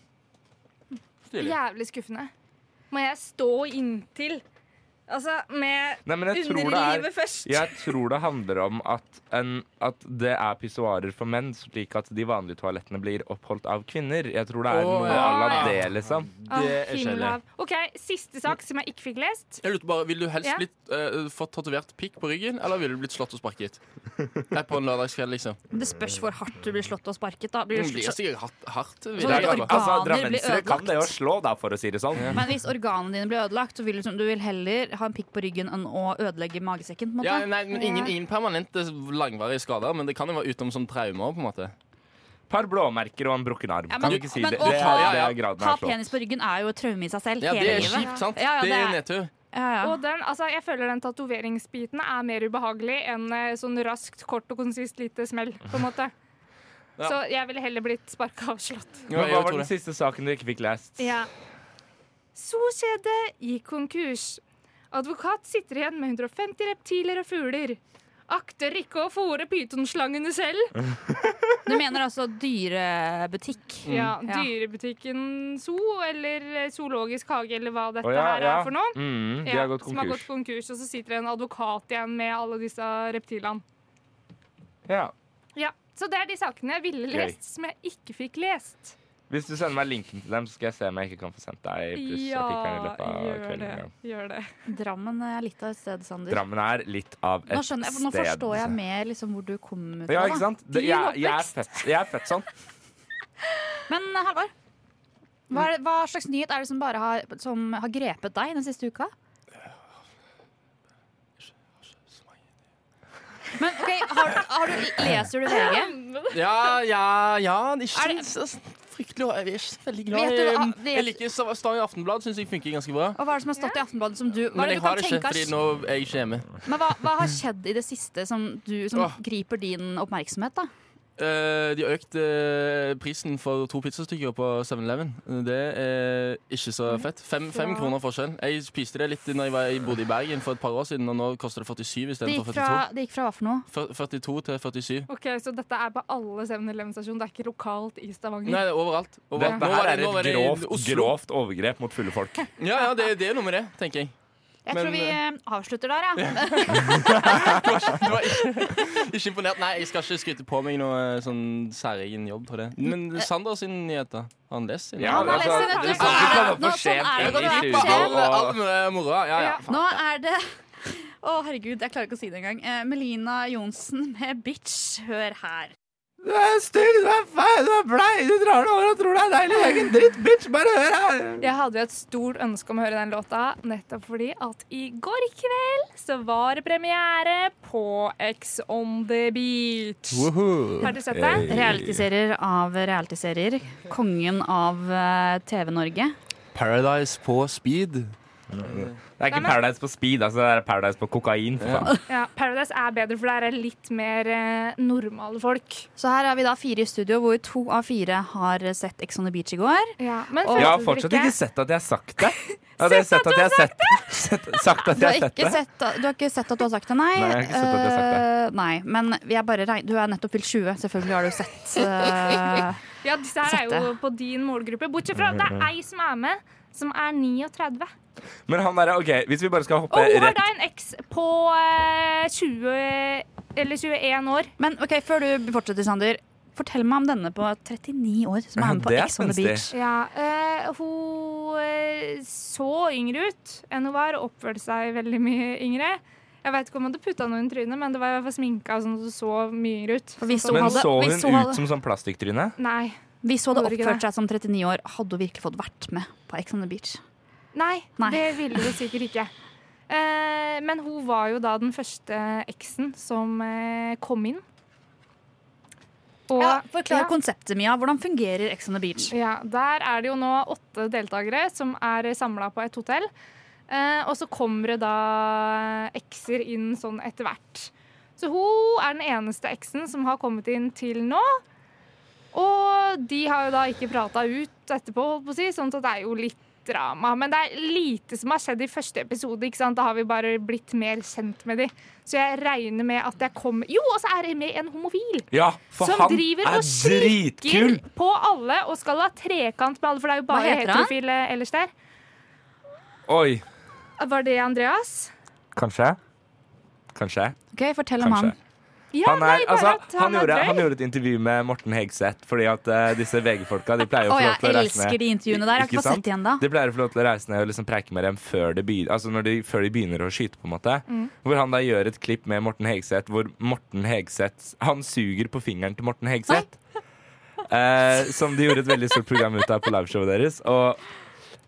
[SPEAKER 9] Stilig.
[SPEAKER 3] Jævlig skuffende. Må jeg stå inntil Altså, med
[SPEAKER 2] Nei, men jeg tror det er
[SPEAKER 3] underlivet først.
[SPEAKER 2] Jeg tror det handler om at, en, at det er pissoarer for menn, slik at de vanlige toalettene blir oppholdt av kvinner. Jeg tror det er
[SPEAKER 9] Å,
[SPEAKER 2] noe à
[SPEAKER 9] ja.
[SPEAKER 2] la det, liksom.
[SPEAKER 3] Åh,
[SPEAKER 9] Det er
[SPEAKER 3] himmel og
[SPEAKER 9] kjedelig.
[SPEAKER 3] hav. OK, siste sak som jeg ikke fikk lest.
[SPEAKER 9] Jeg lurte bare, Vil du helst
[SPEAKER 3] Ja.
[SPEAKER 9] blitt, eh, fått tatovert pikk på ryggen, eller ville du blitt slått og sparket? Nei, på en lørdagskveld, liksom.
[SPEAKER 4] Det spørs hvor hardt du blir slått og sparket. Da. Blir
[SPEAKER 9] Hun
[SPEAKER 4] du
[SPEAKER 9] blir
[SPEAKER 4] slått,
[SPEAKER 9] sikkert hardt. hardt vil
[SPEAKER 4] Så
[SPEAKER 9] jeg
[SPEAKER 4] det er
[SPEAKER 9] bare-
[SPEAKER 4] organ-
[SPEAKER 2] Altså,
[SPEAKER 4] Organer blir
[SPEAKER 2] Drammensere kan
[SPEAKER 4] ødelagt.
[SPEAKER 2] det jo slå, da, for å si det sånn.
[SPEAKER 4] men hvis organene dine blir ødelagt, så vil du, som- du vil heller ha en pikk på ryggen enn å ødelegge magesekken. På en måte.
[SPEAKER 9] ja, nei, men ingen, ingen permanente langvarige skader, men det kan jo være utenom som traumer. på en måte
[SPEAKER 2] par blåmerker og en brukken arm.
[SPEAKER 4] Ja, men-
[SPEAKER 2] kan du ikke si
[SPEAKER 4] men
[SPEAKER 2] det?
[SPEAKER 4] å
[SPEAKER 2] Det
[SPEAKER 9] ha-
[SPEAKER 2] er, det er graden
[SPEAKER 4] ha
[SPEAKER 2] av slått.
[SPEAKER 4] penis på ryggen er jo et traume i seg selv.
[SPEAKER 9] Ja,
[SPEAKER 4] hele
[SPEAKER 9] Det er
[SPEAKER 4] livet.
[SPEAKER 9] kjipt, sant?
[SPEAKER 4] Ja, ja,
[SPEAKER 9] det er
[SPEAKER 4] det
[SPEAKER 9] nedtur.
[SPEAKER 4] Ja, ja.
[SPEAKER 3] Og den, altså, jeg føler den tatoveringsbiten er mer ubehagelig enn eh, sånn raskt, kort og konsist lite smell, på en måte.
[SPEAKER 9] Ja.
[SPEAKER 3] Så jeg ville heller blitt sparka og slått.
[SPEAKER 9] Ja,
[SPEAKER 2] Men
[SPEAKER 9] jeg
[SPEAKER 2] hva
[SPEAKER 9] tror
[SPEAKER 2] var den
[SPEAKER 9] det.
[SPEAKER 2] siste saken du ikke fikk lest?
[SPEAKER 3] Sokjedet gikk konkurs. Advokat sitter igjen med 150 reptiler og fugler. Akter ikke å fôre pytonslangene selv.
[SPEAKER 2] Mm.
[SPEAKER 4] Du mener altså dyrebutikk?
[SPEAKER 3] Ja,
[SPEAKER 4] Ja.
[SPEAKER 3] Dyrebutikken Zoo eller eh, zoologisk hage eller hva dette
[SPEAKER 2] Å, ja,
[SPEAKER 3] her
[SPEAKER 2] ja.
[SPEAKER 3] er for noe.
[SPEAKER 2] Mm, de
[SPEAKER 3] Ja,
[SPEAKER 2] har gått
[SPEAKER 3] som har gått
[SPEAKER 2] konkurs.
[SPEAKER 3] konkurs, og så sitter det en advokat igjen med alle disse reptilene.
[SPEAKER 2] Ja.
[SPEAKER 3] Ja, Så det er de sakene jeg ville
[SPEAKER 2] Gøy.
[SPEAKER 3] lest, som jeg ikke fikk lest.
[SPEAKER 2] Hvis du sender meg linken til dem, så skal jeg se om jeg ikke kan få sendt deg plussartikkelen i løpet av
[SPEAKER 3] gjør det.
[SPEAKER 2] kvelden. ja.
[SPEAKER 3] Gjør det.
[SPEAKER 4] Drammen er litt av et sted, Sander.
[SPEAKER 2] Drammen er litt av et
[SPEAKER 4] Nå, skjønner jeg, nå
[SPEAKER 2] sted.
[SPEAKER 4] forstår jeg mer liksom, hvor du kommer fra.
[SPEAKER 2] Ja,
[SPEAKER 4] da.
[SPEAKER 2] ikke sant? Det,
[SPEAKER 4] Din
[SPEAKER 2] jeg, jeg, er
[SPEAKER 4] oppvekst.
[SPEAKER 2] født, jeg er født sånn.
[SPEAKER 4] Men Halvor, hva, er, hva slags nyhet er det som bare har, som har grepet deg den siste uka? Men ok, har, har du, Leser du VG?
[SPEAKER 9] Ja, ja, ja. Det
[SPEAKER 4] Er
[SPEAKER 9] er ikke
[SPEAKER 4] det-
[SPEAKER 9] så fryktelig Jeg er ikke så
[SPEAKER 4] Vet
[SPEAKER 9] veldig glad
[SPEAKER 4] du
[SPEAKER 9] i
[SPEAKER 4] hva-
[SPEAKER 9] um,
[SPEAKER 4] det-
[SPEAKER 9] Jeg liker Stav- Stavanger Aftenblad, syns jeg funker ganske bra.
[SPEAKER 4] Og hva er det som har stått i Aftenbladet som du hva
[SPEAKER 9] Men
[SPEAKER 4] er det
[SPEAKER 9] jeg
[SPEAKER 4] du kan
[SPEAKER 9] har det
[SPEAKER 4] tenke
[SPEAKER 9] ikke, fordi
[SPEAKER 4] av-
[SPEAKER 9] nå er jeg ikke hjemme.
[SPEAKER 4] Men hva, hva har skjedd i det siste som, du, som
[SPEAKER 9] Åh.
[SPEAKER 4] griper din oppmerksomhet? da?
[SPEAKER 9] Eh, de har økt eh, prisen for to pizzastykker på 7-Eleven. Det er ikke så
[SPEAKER 4] Mm.
[SPEAKER 9] fett. Fem, fem kroner forskjell. Jeg spiste det litt når jeg, var, jeg bodde i Bergen for et par år siden, og nå koster det 47
[SPEAKER 4] Det
[SPEAKER 9] istedenfor
[SPEAKER 4] gikk fra,
[SPEAKER 9] 42.
[SPEAKER 4] det gikk fra hva for noe?
[SPEAKER 9] Fyr- 42 til 47.
[SPEAKER 3] Ok, Så dette er på alle 7-Eleven-stasjoner, det er ikke lokalt i
[SPEAKER 9] Nei,
[SPEAKER 3] Stavanger?
[SPEAKER 9] det er overalt.
[SPEAKER 2] Dette
[SPEAKER 9] overalt. Nå var
[SPEAKER 2] her er
[SPEAKER 9] det- nå var
[SPEAKER 2] et
[SPEAKER 9] det i
[SPEAKER 2] grovt,
[SPEAKER 9] Oslo.
[SPEAKER 2] grovt overgrep mot fulle folk.
[SPEAKER 9] Ja, ja, det, det er noe med det, tenker jeg.
[SPEAKER 4] Jeg
[SPEAKER 9] Men,
[SPEAKER 4] tror vi eh, avslutter der, ja.
[SPEAKER 9] Det var ikke, ikke imponert. Nei, jeg skal ikke skryte på meg noe eh, sånn særegen jobb, tror jeg. Men Sander sin nyhet, da? Har han lest sin?
[SPEAKER 2] Ja,
[SPEAKER 4] Han har
[SPEAKER 2] altså,
[SPEAKER 4] lest det,
[SPEAKER 2] du
[SPEAKER 4] du
[SPEAKER 2] skal ikke
[SPEAKER 4] kan-
[SPEAKER 2] komme
[SPEAKER 4] Eh. Nå,
[SPEAKER 2] for
[SPEAKER 4] sånn
[SPEAKER 2] sent
[SPEAKER 4] er det
[SPEAKER 2] inn
[SPEAKER 4] når
[SPEAKER 2] i
[SPEAKER 4] du er
[SPEAKER 2] studio.
[SPEAKER 4] på
[SPEAKER 9] Alle,
[SPEAKER 2] og-
[SPEAKER 9] alle med moroa. Ja, ja.
[SPEAKER 3] Ja.
[SPEAKER 4] Nå er det Å, herregud, jeg klarer ikke å si det engang. Eh, Melina Johnsen med 'Bitch'. Hør her.
[SPEAKER 2] Du er stygg, du er feil, du er blei, du drar deg over og tror det er deilig. Det er ikke en dritt, bitch. Bare hør her.
[SPEAKER 3] Jeg hadde jo et stort ønske om å høre den låta, nettopp fordi at i går kveld så var det premiere på X on the beach. Har dere sett det?
[SPEAKER 4] Realityserier av realityserier. Kongen av eh, TV-Norge.
[SPEAKER 9] Paradise på speed.
[SPEAKER 2] Det er ikke Paradise på speed, altså. Det er Paradise på kokain, for faen.
[SPEAKER 3] Ja, Paradise er bedre, for der er litt mer eh, normale folk.
[SPEAKER 4] Så her har vi da fire i studio, hvor to av fire har sett Ex on the Beach i går.
[SPEAKER 3] men
[SPEAKER 4] Og-
[SPEAKER 2] Jeg har
[SPEAKER 3] følte dere
[SPEAKER 2] fortsatt ikke sett at jeg har sagt det. Ja, det har jeg sett at jeg har sett sett, sagt at
[SPEAKER 4] Du har,
[SPEAKER 2] jeg har sett
[SPEAKER 4] ikke
[SPEAKER 2] det.
[SPEAKER 4] sett, du har ikke sett at du har sagt det, nei?
[SPEAKER 2] Nei, jeg har ikke sett at jeg har sagt
[SPEAKER 4] Eh, nei, men jeg bare regn- du er nettopp fylt 20, selvfølgelig har du sett eh,
[SPEAKER 3] Ja, disse her er jo
[SPEAKER 4] Sette.
[SPEAKER 3] på din målgruppe. Bortsett fra det er ei som er med, som er 39.
[SPEAKER 2] Men han derre, OK, hvis vi bare skal hoppe
[SPEAKER 3] Og hun har
[SPEAKER 2] rett
[SPEAKER 3] da en eks på eh, 20 eller 21 år.
[SPEAKER 4] Men ok, før du fortsetter, Sander. Fortell meg om denne på 39 år som
[SPEAKER 2] Ja,
[SPEAKER 4] er med på
[SPEAKER 2] det er
[SPEAKER 4] Ex on the
[SPEAKER 2] spenstig.
[SPEAKER 4] Beach.
[SPEAKER 3] Ja, eh, Hun eh, så yngre ut enn hun var, og oppførte seg veldig mye yngre. Jeg vet ikke om hun hadde putta noe i trynet, men det var i hvert fall sminka sånn at hun så mye yngre ut.
[SPEAKER 4] For hvis hun
[SPEAKER 2] Men
[SPEAKER 4] hadde,
[SPEAKER 2] så
[SPEAKER 4] hvis hun
[SPEAKER 2] hun
[SPEAKER 4] hadde-
[SPEAKER 2] ut som sånn plastikktryne?
[SPEAKER 3] Nei.
[SPEAKER 4] Hvis hun hadde
[SPEAKER 3] Gjorde ikke det.
[SPEAKER 4] oppført seg som 39 år, hadde hun virkelig fått vært med på Ex on the Beach?
[SPEAKER 3] Nei,
[SPEAKER 4] Nei.
[SPEAKER 3] det ville hun sikkert ikke. Eh, men hun var jo da den første eksen som eh, kom inn. Og-
[SPEAKER 4] Ja, Forklar
[SPEAKER 3] Ja.
[SPEAKER 4] eh, konseptet, Mia. Hvordan fungerer Ex on the Beach?
[SPEAKER 3] Ja, Der er det jo nå åtte deltakere som er samla på et hotell. Eh, og så kommer det da ekser inn sånn etter hvert. Så hun er den eneste eksen som har kommet inn til nå. Og de har jo da ikke prata ut etterpå, holdt på å si, sånn at det er jo litt drama. Men det er lite som har skjedd i første episode, ikke sant? da har vi bare blitt mer kjent med de. Så jeg regner med at jeg kommer Jo, og så er det med en homofil!
[SPEAKER 2] Ja, for
[SPEAKER 3] Som
[SPEAKER 2] han
[SPEAKER 3] driver
[SPEAKER 2] er
[SPEAKER 3] og slikker
[SPEAKER 2] dritkul!
[SPEAKER 3] på alle og skal ha trekant med alle, for det er jo bare
[SPEAKER 4] heter han?
[SPEAKER 3] heterofile ellers der.
[SPEAKER 2] Oi.
[SPEAKER 3] Var det Andreas?
[SPEAKER 2] Kanskje? Kanskje?
[SPEAKER 4] Ok, Fortell om
[SPEAKER 2] Kanskje.
[SPEAKER 4] han.
[SPEAKER 3] Ja,
[SPEAKER 2] Han, er,
[SPEAKER 3] nei, bare
[SPEAKER 2] altså,
[SPEAKER 3] at
[SPEAKER 2] han,
[SPEAKER 3] er
[SPEAKER 2] gjorde,
[SPEAKER 3] drøy.
[SPEAKER 2] han gjorde et intervju med Morten Hegseth, fordi at eh, disse VG-folka de pleier å
[SPEAKER 4] Å,
[SPEAKER 2] få lov til
[SPEAKER 4] jeg
[SPEAKER 2] å reise
[SPEAKER 4] elsker
[SPEAKER 2] ned.
[SPEAKER 4] de intervjuene der. Jeg har
[SPEAKER 2] Ikke
[SPEAKER 4] ikke fått
[SPEAKER 2] sant?
[SPEAKER 4] sett igjen da.
[SPEAKER 2] De pleier å få lov til å reise ned og liksom preike med dem før de, begynner, altså når de, før de begynner å skyte. på en måte
[SPEAKER 4] Mm.
[SPEAKER 2] Hvor han da gjør et klipp med Morten Hegseth hvor Morten Hegseth Han suger på fingeren til Morten Hegseth. Eh, som de gjorde et veldig stort program ut av på liveshowet deres. Og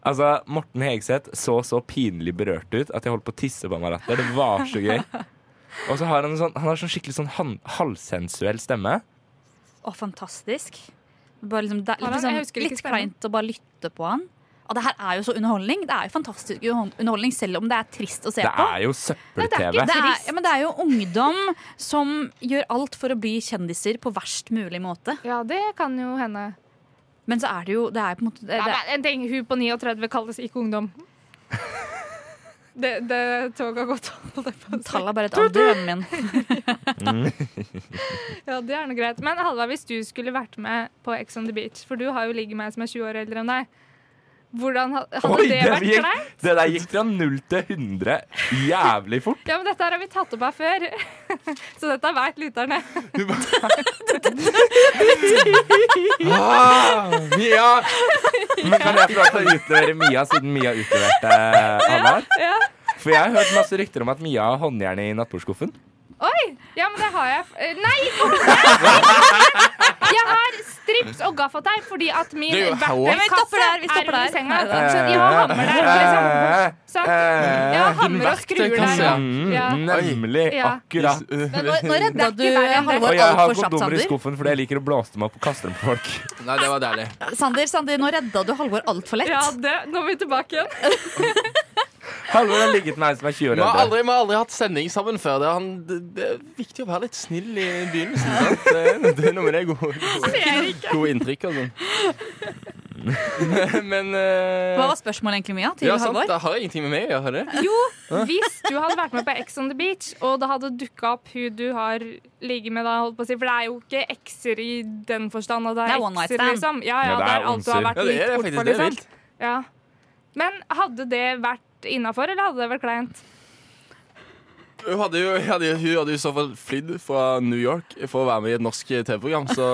[SPEAKER 2] altså, Morten Hegseth så så pinlig berørt ut at jeg holdt på å tisse på meg av latter. Det var så gøy. Og så har han en sånn, han har sånn skikkelig sånn han, halvsensuell stemme.
[SPEAKER 4] Å, fantastisk. Bare liksom, det,
[SPEAKER 3] Har han?
[SPEAKER 4] litt sånn-
[SPEAKER 3] Jeg husker ikke
[SPEAKER 4] litt
[SPEAKER 3] stemmen.
[SPEAKER 4] kleint å bare lytte på han. Og det her er jo så underholdning. Det er jo fantastisk underholdning, selv om det er trist å se
[SPEAKER 2] Det
[SPEAKER 4] på.
[SPEAKER 2] er jo søppel-TV.
[SPEAKER 4] Det er, ja, men det er jo ungdom som gjør alt for å bli kjendiser på verst mulig måte.
[SPEAKER 3] Ja, det kan jo hende.
[SPEAKER 4] Men så er det jo det er på en måte, det,
[SPEAKER 3] Ja,
[SPEAKER 4] det,
[SPEAKER 3] men en ting, Hun på 39 kalles ikke ungdom. Det, det toget har gått. holdt jeg på å si.
[SPEAKER 4] Tallet er bare et alder, vennen min.
[SPEAKER 3] Ja, det er noe greit. Men Halva, hvis du skulle vært med på Ex on the Beach, for du har jo ligget med en som er 20 år eldre enn deg, hvordan ha- hadde det
[SPEAKER 2] den
[SPEAKER 3] vært
[SPEAKER 2] gikk-
[SPEAKER 3] for deg?
[SPEAKER 2] Det der gikk fra null til 100 jævlig fort.
[SPEAKER 3] Ja, men Dette her har vi tatt opp her før, så dette veit lytterne.
[SPEAKER 2] Ah, Mia! Men kan jeg få lov til å utlevere Mia, siden Mia utleverte Halvard?
[SPEAKER 3] Ja.
[SPEAKER 2] For jeg har hørt masse rykter om at Mia har håndjern i nattbordskuffen.
[SPEAKER 3] Oi! Ja, men det har jeg. f- eh, Nei! Jeg har strips og gaffateip fordi at min
[SPEAKER 9] Det er jo hår.
[SPEAKER 3] verktøykasse
[SPEAKER 4] Nei, vi stopper der, vi
[SPEAKER 3] er
[SPEAKER 4] stopper
[SPEAKER 3] under
[SPEAKER 4] der.
[SPEAKER 3] senga.
[SPEAKER 4] Nei,
[SPEAKER 3] Så jeg har hammer der.
[SPEAKER 9] Eh,
[SPEAKER 3] Liksom.
[SPEAKER 2] Eh,
[SPEAKER 3] Sant? Jeg har hammer og skruer der.
[SPEAKER 9] verktøykasse,
[SPEAKER 3] Ja.
[SPEAKER 9] ja.
[SPEAKER 2] Mm,
[SPEAKER 3] Ja.
[SPEAKER 2] nemlig.
[SPEAKER 3] Ja.
[SPEAKER 2] Akkurat.
[SPEAKER 4] Nå, nå redda du
[SPEAKER 3] Det er ikke verre enn det.
[SPEAKER 2] Og
[SPEAKER 4] Halvor
[SPEAKER 2] jeg har
[SPEAKER 4] altfor kjapt,
[SPEAKER 2] kondomer i
[SPEAKER 4] Sander.
[SPEAKER 2] skuffen fordi jeg liker å blåse dem opp og kaste dem på folk.
[SPEAKER 9] Nei, det var deilig.
[SPEAKER 4] Sander, Sander, nå redda du Halvor altfor lett.
[SPEAKER 3] ja, det. Nå er vi tilbake igjen.
[SPEAKER 2] Halvor har ligget med ei som er 20 år
[SPEAKER 9] Vi har
[SPEAKER 2] eldre.
[SPEAKER 9] aldri, vi har aldri hatt sending sammen før. Det er, han, det, det er viktig å være litt snill i begynnelsen. Sant? Det, det er noe med det gode, gode, gode inntrykk og sånn. Men eh,
[SPEAKER 4] Hva var spørsmålet egentlig, Mia? Til
[SPEAKER 9] ja, sant,
[SPEAKER 4] Halvor?
[SPEAKER 9] det har ingenting med meg å gjøre. det.
[SPEAKER 3] Jo, hvis du hadde vært med på Ex on the Beach, og det hadde dukka opp hun du har ligget med, da, holdt på å si, for det er jo ikke ekser i den forstand at det
[SPEAKER 4] Det
[SPEAKER 3] er
[SPEAKER 4] er one night
[SPEAKER 3] ekser,
[SPEAKER 4] stand.
[SPEAKER 3] liksom. Ja, ja,
[SPEAKER 2] Ja, det
[SPEAKER 3] det
[SPEAKER 2] er
[SPEAKER 3] er alt du har
[SPEAKER 2] onser.
[SPEAKER 9] Ja,
[SPEAKER 3] vært
[SPEAKER 9] det er
[SPEAKER 3] litt bort
[SPEAKER 9] faktisk
[SPEAKER 3] for,
[SPEAKER 9] det er
[SPEAKER 3] liksom.
[SPEAKER 9] vilt.
[SPEAKER 3] Ja. Men hadde det vært innafor, eller hadde det vært kleint?
[SPEAKER 9] Hun hadde jo, hun hadde, jo- hun hadde jo i så fall flydd fra New York for å være med i et norsk TV-program, så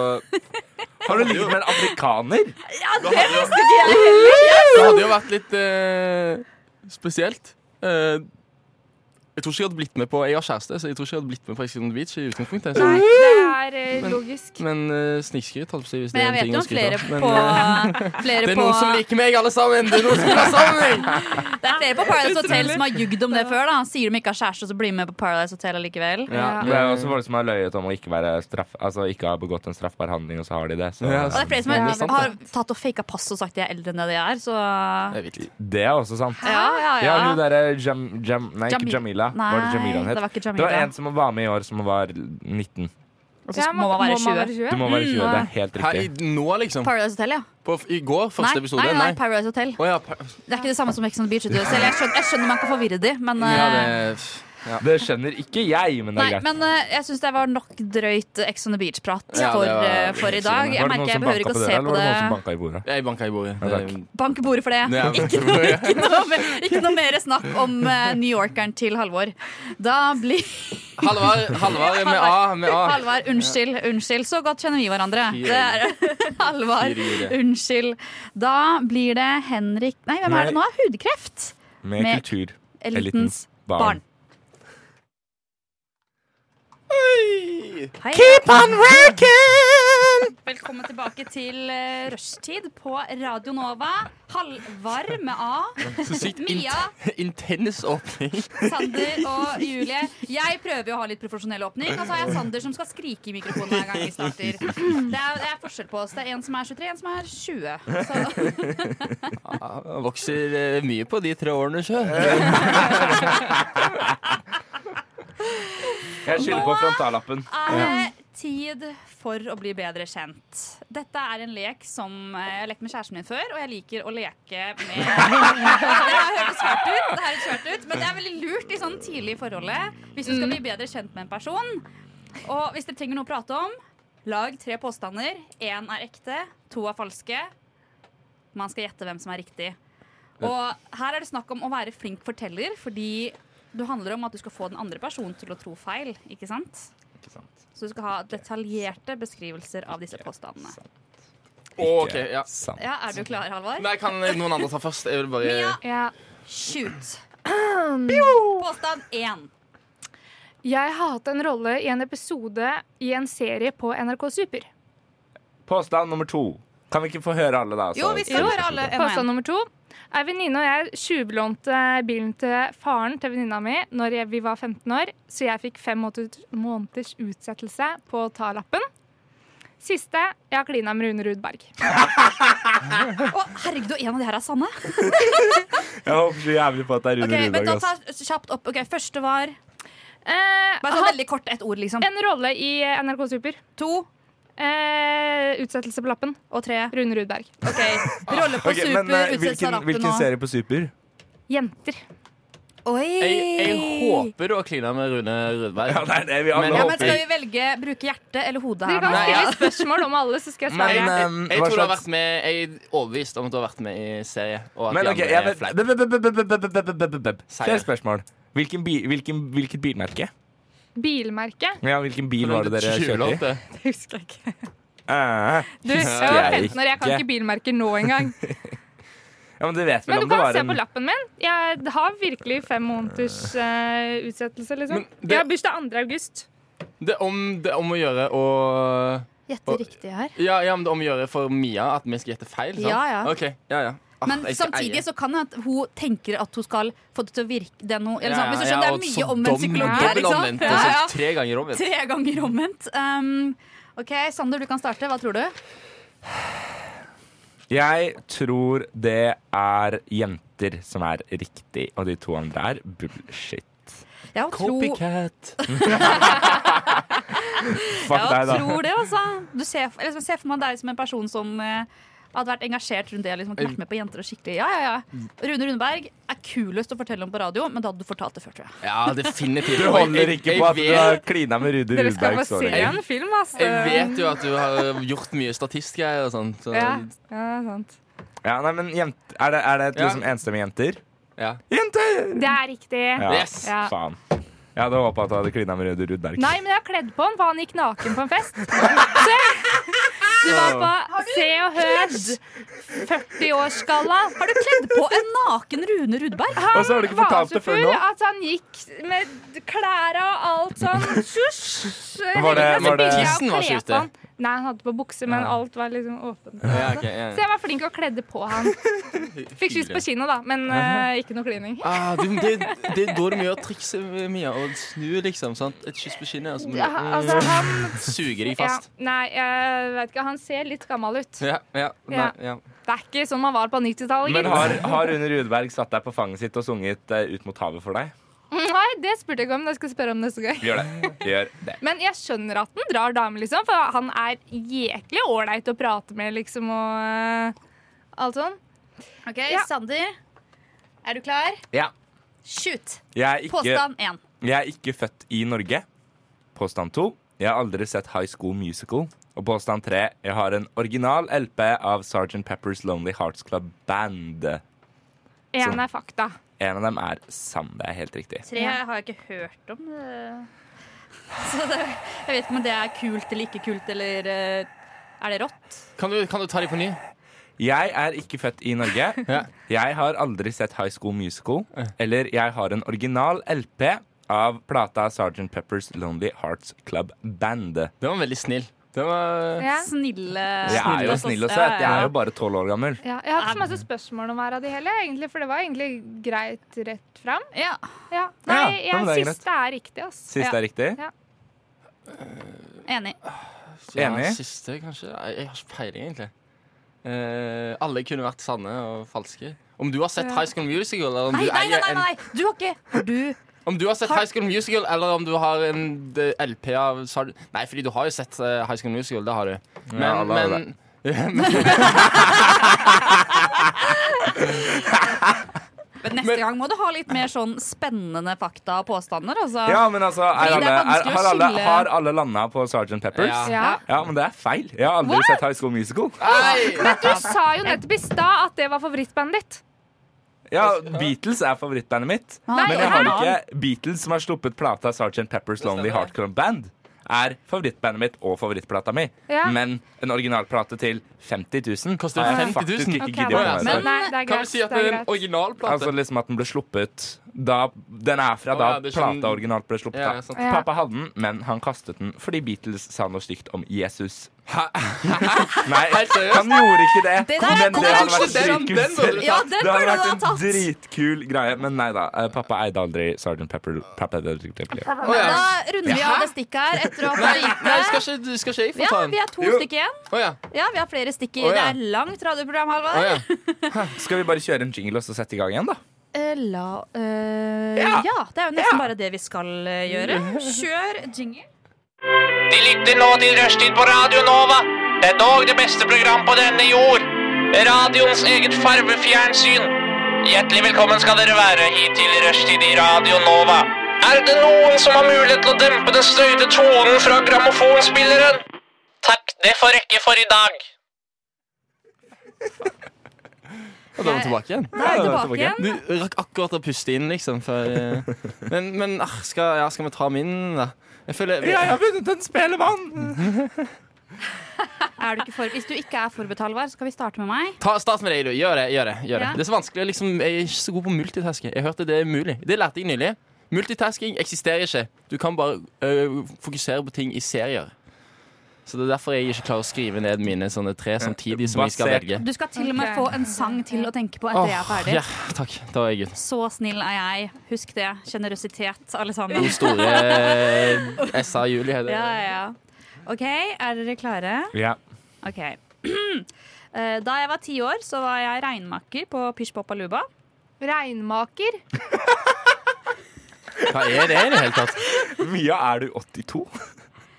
[SPEAKER 2] Har du ligget med en afrikaner?
[SPEAKER 9] det hadde, jo, det hadde jo vært litt eh, spesielt. Eh, jeg tror ikke jeg hadde blitt med på Jeg har kjæreste, så jeg tror ikke jeg hadde blitt med på Ex on the Beach i utgangspunktet.
[SPEAKER 3] Nei, det er eh,
[SPEAKER 9] Men-
[SPEAKER 3] logisk.
[SPEAKER 9] Men uh, snikskryt, holdt jeg på å si, hvis det
[SPEAKER 4] Men
[SPEAKER 9] er
[SPEAKER 4] jeg vet jo
[SPEAKER 9] en ting å
[SPEAKER 4] om
[SPEAKER 9] skryte
[SPEAKER 4] flere
[SPEAKER 9] av. Men,
[SPEAKER 4] på,
[SPEAKER 9] eh,
[SPEAKER 4] flere
[SPEAKER 9] det er
[SPEAKER 4] på
[SPEAKER 9] noen som liker meg, alle sammen! Det er noen som vil ha sammen meg!
[SPEAKER 4] Det er flere på Paradise Hotel som har jugd om det før. da Sier de ikke har kjæreste, så blir de med på Paradise Hotel allikevel.
[SPEAKER 3] Ja.
[SPEAKER 2] Det er jo også folk som har løyet om å ikke, være straff, altså, ikke ha begått en straffbar handling, og så har de det. Så.
[SPEAKER 9] Ja,
[SPEAKER 4] Og det er flere som
[SPEAKER 3] Ja,
[SPEAKER 4] har,
[SPEAKER 3] det er sant,
[SPEAKER 4] har tatt og faka pass og sagt de er eldre enn det de er, så
[SPEAKER 9] Det er viktig.
[SPEAKER 2] Det er også sant.
[SPEAKER 4] Ja, ja,
[SPEAKER 2] Ja, hun derre Jam, Jam... Nei, ikke
[SPEAKER 4] Jamil-
[SPEAKER 2] Jamila.
[SPEAKER 4] Nei,
[SPEAKER 2] var det Jamila hun het?
[SPEAKER 4] det var ikke
[SPEAKER 2] Det var
[SPEAKER 4] Jamila.
[SPEAKER 2] en som var med i år, som var 19.
[SPEAKER 4] Og så må man være 20.
[SPEAKER 2] Du må være 20,
[SPEAKER 4] Mm,
[SPEAKER 2] det er helt
[SPEAKER 9] Her, i,
[SPEAKER 2] riktig.
[SPEAKER 9] nå, liksom?
[SPEAKER 4] Paradise Hotel, ja.
[SPEAKER 9] På, I går? Første
[SPEAKER 4] nei,
[SPEAKER 9] episode?
[SPEAKER 4] nei, nei, Paradise Hotel.
[SPEAKER 9] Å ja, pa-
[SPEAKER 4] Det er ikke det samme som Ex on the Beach. vet du. Selv jeg skjønner, jeg skjønner man kan forvirre de, men
[SPEAKER 9] ja,
[SPEAKER 4] eh,
[SPEAKER 9] det, ja.
[SPEAKER 2] Det skjønner ikke jeg, men det
[SPEAKER 4] Nei,
[SPEAKER 2] er greit.
[SPEAKER 4] men eh, jeg syns det var nok drøyt Ex on the Beach-prat
[SPEAKER 9] Ja, det
[SPEAKER 4] for,
[SPEAKER 9] var-
[SPEAKER 4] eh, for i dag. Jeg merker
[SPEAKER 2] Var det noen
[SPEAKER 4] jeg
[SPEAKER 2] som
[SPEAKER 4] behøver ikke
[SPEAKER 2] banka på
[SPEAKER 4] å
[SPEAKER 2] døra,
[SPEAKER 4] se
[SPEAKER 2] eller
[SPEAKER 4] på
[SPEAKER 2] var det
[SPEAKER 4] det.
[SPEAKER 2] noen som banka i bordet?
[SPEAKER 9] Jeg banka i bordet.
[SPEAKER 2] Ja, takk.
[SPEAKER 9] Det-
[SPEAKER 4] Bank i bordet for det.
[SPEAKER 9] det er-
[SPEAKER 4] Ikke Ikke noe, mer, ikke noe mer snakk om eh, New Yorkeren til Halvor. Da blir
[SPEAKER 9] Halvard, Halvard med A. Med
[SPEAKER 2] Ah.
[SPEAKER 9] A.
[SPEAKER 4] Halvard, unnskyld, unnskyld. Så godt kjenner vi hverandre.
[SPEAKER 9] Fy
[SPEAKER 4] Det er Halvard,
[SPEAKER 9] Fy rire.
[SPEAKER 4] unnskyld. Da blir det Henrik Nei, hvem er det nå? Hudkreft.
[SPEAKER 2] Med
[SPEAKER 4] Med
[SPEAKER 2] kultur.
[SPEAKER 4] Elitens
[SPEAKER 2] Elitens
[SPEAKER 4] barn.
[SPEAKER 2] barn.
[SPEAKER 4] Hei.
[SPEAKER 2] on working!
[SPEAKER 4] Velkommen tilbake til eh, rushtid på Radio Nova. Halvard med A,
[SPEAKER 9] Så sykt in
[SPEAKER 4] Mia,
[SPEAKER 9] intens åpning.
[SPEAKER 4] Sander og Julie. Jeg prøver jo å ha litt profesjonell åpning, og så har jeg Sander som skal skrike i mikrofonen hver gang vi starter. Det er, det er forskjell på oss. Det er en som er 23, en som er 20. Så
[SPEAKER 9] Ja, jeg vokser eh, mye på de tre årene sjøl.
[SPEAKER 2] Eh, Jeg skylder på frontallappen.
[SPEAKER 4] er det tid for å bli bedre kjent. Dette er en lek som eh, jeg har lekt med kjæresten min før, og jeg liker å leke med Det her høres svært ut, det her høres svært ut, men det er veldig lurt i sånn tidlig i forholdet hvis du skal bli bedre kjent med en person. Og hvis dere trenger noe å prate om, lag tre påstander. Én er ekte, to er falske. Man skal gjette hvem som er riktig. Og her er det snakk om å være flink forteller, fordi det handler om at du skal få den andre personen til å tro feil, ikke sant? Så du skal ha detaljerte beskrivelser av disse påstandene.
[SPEAKER 9] Ok, ja.
[SPEAKER 2] Sant.
[SPEAKER 4] Ja, Er du klar, Halvor?
[SPEAKER 9] Nei, kan eh, noen andre ta først? Jeg vil bare
[SPEAKER 4] Mia,
[SPEAKER 3] Ja.
[SPEAKER 4] shoot! Påstand én.
[SPEAKER 3] Jeg hadde en rolle i en episode i en serie på NRK Super.
[SPEAKER 2] Påstand nummer to. Kan vi ikke få høre alle, da?
[SPEAKER 4] Jo, vi skal høre alle. en og
[SPEAKER 3] Påstand
[SPEAKER 4] en.
[SPEAKER 3] nummer to. Ei venninne og jeg tjuvlånte bilen til faren til venninna mi når jeg, vi var 15 år, så jeg fikk fem måte- måneders utsettelse på å ta lappen. Siste jeg har klina med Rune Rudberg.
[SPEAKER 4] Å, herregud, og en av de her er sanne?
[SPEAKER 2] Jeg håper så jævlig på at det er
[SPEAKER 4] Ok, men
[SPEAKER 2] Rune
[SPEAKER 4] da
[SPEAKER 2] Rudberg. ass.
[SPEAKER 4] tar jeg kjapt opp. Ok, Første var
[SPEAKER 3] Eh,
[SPEAKER 4] Bare sånn veldig kort, ett ord, liksom.
[SPEAKER 3] en rolle i NRK Super.
[SPEAKER 4] To
[SPEAKER 3] Eh, utsettelse på lappen.
[SPEAKER 4] og tre.
[SPEAKER 3] Rune Rudberg.
[SPEAKER 4] Ok, Rolle på
[SPEAKER 2] Ok,
[SPEAKER 4] super,
[SPEAKER 2] men
[SPEAKER 4] utsettelse av
[SPEAKER 2] eh, hvilken,
[SPEAKER 4] rappen
[SPEAKER 2] hvilken
[SPEAKER 4] og
[SPEAKER 2] serie på Super?
[SPEAKER 3] Jenter.
[SPEAKER 4] Oi!
[SPEAKER 9] Jeg, jeg håper du har klina med Rune Rudberg.
[SPEAKER 2] Ja, det er det vi
[SPEAKER 9] alle
[SPEAKER 2] alle
[SPEAKER 9] Men-
[SPEAKER 4] ja, men
[SPEAKER 2] håper.
[SPEAKER 4] Skal vi velge bruke hjertet eller hodet
[SPEAKER 3] Dere
[SPEAKER 4] her
[SPEAKER 3] kan
[SPEAKER 4] nå?
[SPEAKER 9] Nei, ja.
[SPEAKER 3] stille spørsmål om alle, så skal jeg
[SPEAKER 2] Men,
[SPEAKER 3] svare.
[SPEAKER 2] eh,
[SPEAKER 9] Jeg, jeg
[SPEAKER 2] hva
[SPEAKER 9] tror du har
[SPEAKER 2] slags-
[SPEAKER 9] vært med Jeg er overbevist om at du har vært med i serie. Og at
[SPEAKER 2] Men
[SPEAKER 9] de
[SPEAKER 2] ok,
[SPEAKER 9] andre
[SPEAKER 2] jeg
[SPEAKER 9] er
[SPEAKER 2] vet
[SPEAKER 9] flaut.
[SPEAKER 2] Bøp, bøp, bøp, bøp, bøp, bøp, bøp, bøp, bøp.
[SPEAKER 9] Seier.
[SPEAKER 2] Flere spørsmål. Hvilken bi, hvilken, hvilket bilmerke?
[SPEAKER 3] Bilmerke.
[SPEAKER 2] Ja, hvilken bil var det dere kjørte i?
[SPEAKER 9] Tjuvlånte.
[SPEAKER 4] Husker jeg ikke.
[SPEAKER 2] Eh,
[SPEAKER 3] Du, jeg var
[SPEAKER 2] Husker jeg
[SPEAKER 3] 15 år, jeg kan
[SPEAKER 2] ikke.
[SPEAKER 3] ikke bilmerker nå engang.
[SPEAKER 2] Ja, men du vet vel
[SPEAKER 3] Men du
[SPEAKER 2] om det
[SPEAKER 3] kan
[SPEAKER 2] var
[SPEAKER 3] se på
[SPEAKER 2] en
[SPEAKER 3] lappen min. Jeg har virkelig fem måneders eh, utsettelse, liksom.
[SPEAKER 9] Men det-
[SPEAKER 3] Jeg har bursdag 2. august.
[SPEAKER 9] Det er om, det er om å gjøre å
[SPEAKER 7] Gjette riktig her.
[SPEAKER 9] ja, ja, men det er om å gjøre for Mia at vi skal gjette feil. Sant?
[SPEAKER 4] Ja, ja.
[SPEAKER 9] Ok, ja, ja. Ah,
[SPEAKER 4] Men
[SPEAKER 9] jeg skal
[SPEAKER 4] samtidig
[SPEAKER 9] eie.
[SPEAKER 4] så kan det at hun tenker at hun skal få det til å virke det er noe, eller
[SPEAKER 9] Ja,
[SPEAKER 4] sånn. Hvis du
[SPEAKER 9] ja,
[SPEAKER 4] skjønner,
[SPEAKER 9] og
[SPEAKER 4] det er
[SPEAKER 9] så
[SPEAKER 4] mye omvendt
[SPEAKER 9] dom-
[SPEAKER 4] psykologi her,
[SPEAKER 9] dobbel
[SPEAKER 4] ikke sant?
[SPEAKER 9] omvendt,
[SPEAKER 4] liksom. Ja,
[SPEAKER 9] altså,
[SPEAKER 4] ja.
[SPEAKER 9] Tre ganger omvendt.
[SPEAKER 4] Tre ganger omvendt. Um, OK, Sander, du kan starte. Hva tror du?
[SPEAKER 2] Jeg tror det er jenter som er riktig, og de to andre er bullshit.
[SPEAKER 4] Jeg tror,
[SPEAKER 9] Copycat.
[SPEAKER 2] Fuck deg, da.
[SPEAKER 4] jeg tror det, altså. Du ser, eller liksom, ser for meg deg som en person som eh, hadde vært engasjert rundt det. Liksom, at du vært med på jenter og skikkelig Ja, ja, ja. Rune Rundberg er kulest å fortelle om på radio, men da hadde du fortalt det før, tror jeg.
[SPEAKER 9] Ja, definitivt.
[SPEAKER 2] Du
[SPEAKER 9] Og jeg-
[SPEAKER 2] holder ikke
[SPEAKER 9] jeg-
[SPEAKER 2] på at du
[SPEAKER 9] jeg vet-
[SPEAKER 2] har klina med Rune
[SPEAKER 3] Dere skal
[SPEAKER 2] Rudberg.
[SPEAKER 3] få se
[SPEAKER 2] sorry.
[SPEAKER 3] en film, altså. ass.
[SPEAKER 9] Jeg vet jo at du har gjort mye statistgreier og sånt. Så,
[SPEAKER 3] Ja, ja, sant.
[SPEAKER 2] Ja, nei, men jent, er, det, er det et
[SPEAKER 9] Ja.
[SPEAKER 2] liksom enstemmig jenter?
[SPEAKER 9] ja.
[SPEAKER 2] Jenter!
[SPEAKER 3] Det er riktig.
[SPEAKER 2] Ja,
[SPEAKER 9] Yes.
[SPEAKER 3] Ja.
[SPEAKER 2] faen. Jeg hadde håpa at du hadde klina med Rune Rudberg.
[SPEAKER 3] Nei, men jeg har kledd på han, for han gikk naken på en fest. Så du var på Se og Hør 40-årsgalla.
[SPEAKER 4] Har du kledd på en naken Rune Rudberg?
[SPEAKER 2] Og så har du ikke
[SPEAKER 3] var
[SPEAKER 2] fortalt
[SPEAKER 3] så
[SPEAKER 2] det før
[SPEAKER 3] full
[SPEAKER 2] nå?
[SPEAKER 3] At han gikk med klærne og alt sånn. Sjusj!
[SPEAKER 2] Var det- var det-
[SPEAKER 9] Tissen var ikke ute?
[SPEAKER 3] Nei, han hadde på bukse, men
[SPEAKER 2] Ja.
[SPEAKER 3] alt var liksom åpent.
[SPEAKER 9] Ja, ok, ja.
[SPEAKER 3] Så jeg var flink og kledde på han. Fikk kyss på kinnet, da, men eh, ikke noe klining.
[SPEAKER 9] Ah, du, det, det er da du må gjøre trikset, Mia. Og snu, liksom. sant? Et kyss på kinnet, og så må
[SPEAKER 3] Ja,
[SPEAKER 2] Mm.
[SPEAKER 9] du
[SPEAKER 3] altså, han
[SPEAKER 9] suge deg
[SPEAKER 3] ja,
[SPEAKER 9] fast.
[SPEAKER 3] Nei, jeg vet ikke. Han ser litt gammel ut.
[SPEAKER 9] Ja, ja, nei, ja.
[SPEAKER 3] Det er ikke sånn man var på 90-tallet.
[SPEAKER 2] Men
[SPEAKER 3] gitt.
[SPEAKER 2] har, har Rune Rudberg satt deg på fanget sitt og sunget eh, 'Ut mot havet' for deg?
[SPEAKER 3] Nei, det spurte jeg ikke om. Det skal jeg spørre om neste gang.
[SPEAKER 2] Gjør det. Gjør det.
[SPEAKER 3] Men jeg skjønner at han drar damer, liksom, for han er jæklig ålreit å prate med, liksom, og eh, alt sånn.
[SPEAKER 4] Ok,
[SPEAKER 3] Ja.
[SPEAKER 4] Sander. Er du klar?
[SPEAKER 2] Ja.
[SPEAKER 4] Shoot!
[SPEAKER 2] Jeg er ikke,
[SPEAKER 4] Påstand én.
[SPEAKER 2] jeg er ikke født i Norge. Påstand to. Jeg har aldri sett High School Musical. Og påstand tre. Jeg har en original LP av Sgt. Peppers Lonely Hearts Club Band.
[SPEAKER 3] Én
[SPEAKER 2] Sånn.
[SPEAKER 3] er fakta.
[SPEAKER 2] En av dem er sann. Det er helt riktig.
[SPEAKER 4] Tre har jeg ikke hørt om. eh. Så det, jeg vet ikke om det er kult eller ikke kult, eller eh, er det rått?
[SPEAKER 9] Kan du, kan du ta dem på ny?
[SPEAKER 2] Jeg er ikke født i Norge.
[SPEAKER 9] Ja.
[SPEAKER 2] Jeg har aldri sett High School Musical. Eller jeg har en original LP av plata Sgt. Peppers Lonely Hearts Club Band.
[SPEAKER 9] Den var veldig snill. Den var
[SPEAKER 3] Ja.
[SPEAKER 4] Snille
[SPEAKER 2] Jeg er jo
[SPEAKER 4] oss.
[SPEAKER 2] snill og
[SPEAKER 4] Ja,
[SPEAKER 2] søt. Jeg
[SPEAKER 4] ja.
[SPEAKER 2] er jo bare tolv år gammel.
[SPEAKER 3] Ja, jeg hadde ikke så masse spørsmål om hver av de heller, egentlig, for det var egentlig greit rett fram.
[SPEAKER 4] Ja.
[SPEAKER 3] Ja. Nei,
[SPEAKER 2] Ja, ja, men
[SPEAKER 3] jeg
[SPEAKER 2] det er
[SPEAKER 3] syns det er riktig, ass.
[SPEAKER 2] Siste
[SPEAKER 4] Ja.
[SPEAKER 2] er riktig.
[SPEAKER 4] Enig.
[SPEAKER 9] ja,
[SPEAKER 2] Enig.
[SPEAKER 9] siste, kanskje. Jeg, jeg har ikke peiling, egentlig. Eh, alle kunne vært sanne og falske. Om du har sett High School Musical, eller om
[SPEAKER 4] Nei,
[SPEAKER 9] du
[SPEAKER 4] nei, nei,
[SPEAKER 9] eier
[SPEAKER 4] nei,
[SPEAKER 9] en
[SPEAKER 4] nei. du har ikke Har du
[SPEAKER 9] Om du har sett High School Musical, eller om du har en d- LP av Sar- Nei, fordi du har jo sett eh, High School Musical, det har du. Men,
[SPEAKER 2] Ja, alle har
[SPEAKER 9] men,
[SPEAKER 4] Men neste gang må du ha litt mer sånn spennende fakta og påstander, altså.
[SPEAKER 2] Ja, men altså er
[SPEAKER 4] Fordi det
[SPEAKER 2] alle,
[SPEAKER 4] er
[SPEAKER 2] er,
[SPEAKER 4] vanskelig å
[SPEAKER 2] har, alle,
[SPEAKER 4] skille-
[SPEAKER 2] har alle landa på Sgt. Peppers?
[SPEAKER 9] Ja.
[SPEAKER 3] Ja.
[SPEAKER 2] Ja, men det er feil. Jeg har aldri sett High School Musical.
[SPEAKER 9] Nei!
[SPEAKER 3] Men du sa jo nettopp i stad at det var favorittbandet ditt.
[SPEAKER 2] Ja, Beatles er favorittbandet mitt.
[SPEAKER 4] Nei,
[SPEAKER 2] Men jeg har
[SPEAKER 4] hæ?
[SPEAKER 2] ikke Beatles, som har sluppet plata Sgt. Peppers Lonely Heart Club Band, er favorittbandet mitt og favorittplata mi.
[SPEAKER 3] Ja.
[SPEAKER 2] Men en originalplate til 50 000
[SPEAKER 9] Koster
[SPEAKER 2] har jeg
[SPEAKER 9] 50 000?
[SPEAKER 2] faktisk ikke
[SPEAKER 3] Ok,
[SPEAKER 2] giddet å
[SPEAKER 3] da.
[SPEAKER 2] få med meg.
[SPEAKER 9] Men-
[SPEAKER 3] nei, det er greit.
[SPEAKER 9] Kan vi si at det er en
[SPEAKER 3] greit.
[SPEAKER 9] originalplate?
[SPEAKER 2] Altså liksom at den ble sluppet da Den er fra
[SPEAKER 9] Å,
[SPEAKER 2] da
[SPEAKER 9] ja, det er sånn-
[SPEAKER 2] plata originalt ble sluppet.
[SPEAKER 9] Ja,
[SPEAKER 2] da.
[SPEAKER 9] sant.
[SPEAKER 3] Ja.
[SPEAKER 2] Pappa hadde den, men han kastet den fordi Beatles sa noe stygt om Jesus. Nei,
[SPEAKER 9] Helt seriøst?
[SPEAKER 2] han gjorde ikke det.
[SPEAKER 4] Det der er
[SPEAKER 2] men det hadde
[SPEAKER 9] konkurranse,
[SPEAKER 2] vært
[SPEAKER 9] den- liksom.
[SPEAKER 2] dritkul.
[SPEAKER 9] den burde du
[SPEAKER 4] Ja, tatt. den
[SPEAKER 2] Det
[SPEAKER 4] burde
[SPEAKER 2] hadde
[SPEAKER 4] du
[SPEAKER 2] vært
[SPEAKER 4] ha
[SPEAKER 2] en
[SPEAKER 4] tatt.
[SPEAKER 2] dritkul greie. Men nei da. eh, Pappa eide aldri Sergeant Pepper. Pepper
[SPEAKER 9] Å, ja.
[SPEAKER 4] Da runder vi av det stikket her etter å ha
[SPEAKER 9] Nei,
[SPEAKER 4] fått
[SPEAKER 9] nei
[SPEAKER 4] vite.
[SPEAKER 9] skal, ikke, skal ikke jeg få
[SPEAKER 4] Ja,
[SPEAKER 9] ta
[SPEAKER 4] vi
[SPEAKER 9] den?
[SPEAKER 4] har to
[SPEAKER 9] Jo.
[SPEAKER 4] stykker igjen.
[SPEAKER 9] Å ja.
[SPEAKER 4] Ja, vi har flere stykker.
[SPEAKER 9] Å, ja.
[SPEAKER 4] Det er langt radioprogram, Halvard.
[SPEAKER 9] Å, ja.
[SPEAKER 2] Skal vi bare kjøre en jingle og så sette i gang igjen, da?
[SPEAKER 4] Eh, La eh, ja. det er jo nesten bare det vi skal eh, gjøre. Kjør jingle.
[SPEAKER 8] De lytter nå til Rushtid på Radio Nova. Det er dog det beste program på denne jord. Radioens eget farvefjernsyn. Hjertelig velkommen skal dere være hit til Rushtid i Radio Nova. Er det noen som har mulighet til å dempe den støyte tonen fra grammofonspilleren? Takk, det får rekke for i dag.
[SPEAKER 9] Og da er vi tilbake igjen.
[SPEAKER 4] Da er vi
[SPEAKER 2] Ja,
[SPEAKER 4] tilbake
[SPEAKER 2] tilbake.
[SPEAKER 4] igjen.
[SPEAKER 9] Du rakk akkurat å puste inn, liksom. Før, eh, men men ah, skal, ja, skal vi ta min, da? Jeg føler
[SPEAKER 2] har vunnet en spelemann!
[SPEAKER 4] Er du ikke for, hvis du ikke er forberedt, Halvard, så skal vi starte med meg.
[SPEAKER 9] Ta, start med deg, du. Gjør det. gjør Det gjør det.
[SPEAKER 4] Ja.
[SPEAKER 9] Det er så vanskelig. Liksom, jeg er ikke så god på multitasking. Jeg hørte det er mulig. Det lærte jeg nylig. Multitasking eksisterer ikke. Du kan bare øh, fokusere på ting i serier. Så Det er derfor jeg ikke klarer å skrive ned mine sånne tre samtidig som jeg skal
[SPEAKER 2] Basert-
[SPEAKER 9] velge.
[SPEAKER 4] Du skal til og med
[SPEAKER 3] Ok.
[SPEAKER 4] få en sang til å tenke på etter jeg er ferdig.
[SPEAKER 9] ja, takk. Da var jeg gutt.
[SPEAKER 4] Så snill er jeg. Husk det. Sjenerøsitet, alle sammen.
[SPEAKER 9] Den store øh, SA Julie heter det.
[SPEAKER 4] Ja, ja, ja. OK, er dere klare?
[SPEAKER 2] Ja.
[SPEAKER 4] Ok. Eh, Da jeg var ti år, så var jeg regnmaker på Pysj Poppaluba.
[SPEAKER 3] Regnmaker.
[SPEAKER 9] Hva er det i det hele tatt?
[SPEAKER 2] Mia, er du 82?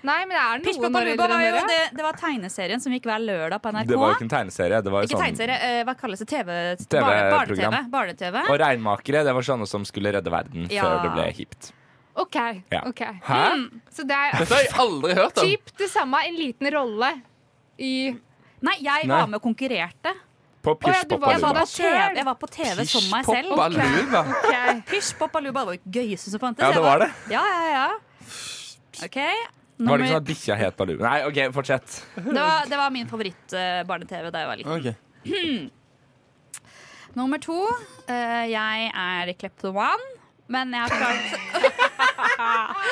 [SPEAKER 3] Nei, men det er
[SPEAKER 4] Pysj
[SPEAKER 3] noen år
[SPEAKER 4] Poppaluba
[SPEAKER 3] eldre
[SPEAKER 4] var
[SPEAKER 3] enn
[SPEAKER 4] jo
[SPEAKER 3] dere.
[SPEAKER 4] det, det var tegneserien som gikk hver lørdag på NRK.
[SPEAKER 2] Det var jo ikke en tegneserie. Det var jo
[SPEAKER 4] Ikke
[SPEAKER 2] sånn
[SPEAKER 4] tegneserie, eh, hva kalles det? TV?
[SPEAKER 2] TV
[SPEAKER 4] barne- Barne-TV?
[SPEAKER 2] program.
[SPEAKER 4] Barne-TV?
[SPEAKER 2] Og regnmakere, det var sånne som skulle redde verden
[SPEAKER 4] Ja.
[SPEAKER 2] før det ble hipt.
[SPEAKER 3] OK.
[SPEAKER 2] Ja.
[SPEAKER 3] ok.
[SPEAKER 9] Hæ?
[SPEAKER 3] Så det er
[SPEAKER 9] Dette har jeg aldri hørt om.
[SPEAKER 3] typ det samme, en liten rolle i
[SPEAKER 4] Nei, jeg
[SPEAKER 9] Nei.
[SPEAKER 4] var med og konkurrerte.
[SPEAKER 2] På
[SPEAKER 3] ja,
[SPEAKER 2] Pysj
[SPEAKER 3] du var-
[SPEAKER 2] Poppa
[SPEAKER 4] Jeg var,
[SPEAKER 2] Luba.
[SPEAKER 4] på TV,
[SPEAKER 3] Selv?
[SPEAKER 4] jeg var på TV som meg selv.
[SPEAKER 9] Poppa luva.
[SPEAKER 3] Ok.
[SPEAKER 4] Pysj Poppaluba det var jo det gøyeste som fantes.
[SPEAKER 2] Ja,
[SPEAKER 4] Jeg
[SPEAKER 2] det var det.
[SPEAKER 4] Ja, ja, ja. OK.
[SPEAKER 2] Var det
[SPEAKER 4] nummer-
[SPEAKER 2] ikke sånn at bikkja het Balu? Nei, OK, fortsett.
[SPEAKER 4] det, var, det var min favoritt-barne-TV da jeg var liten.
[SPEAKER 9] Ok.
[SPEAKER 4] Nummer to. eh, jeg er kleptoman, men jeg har klart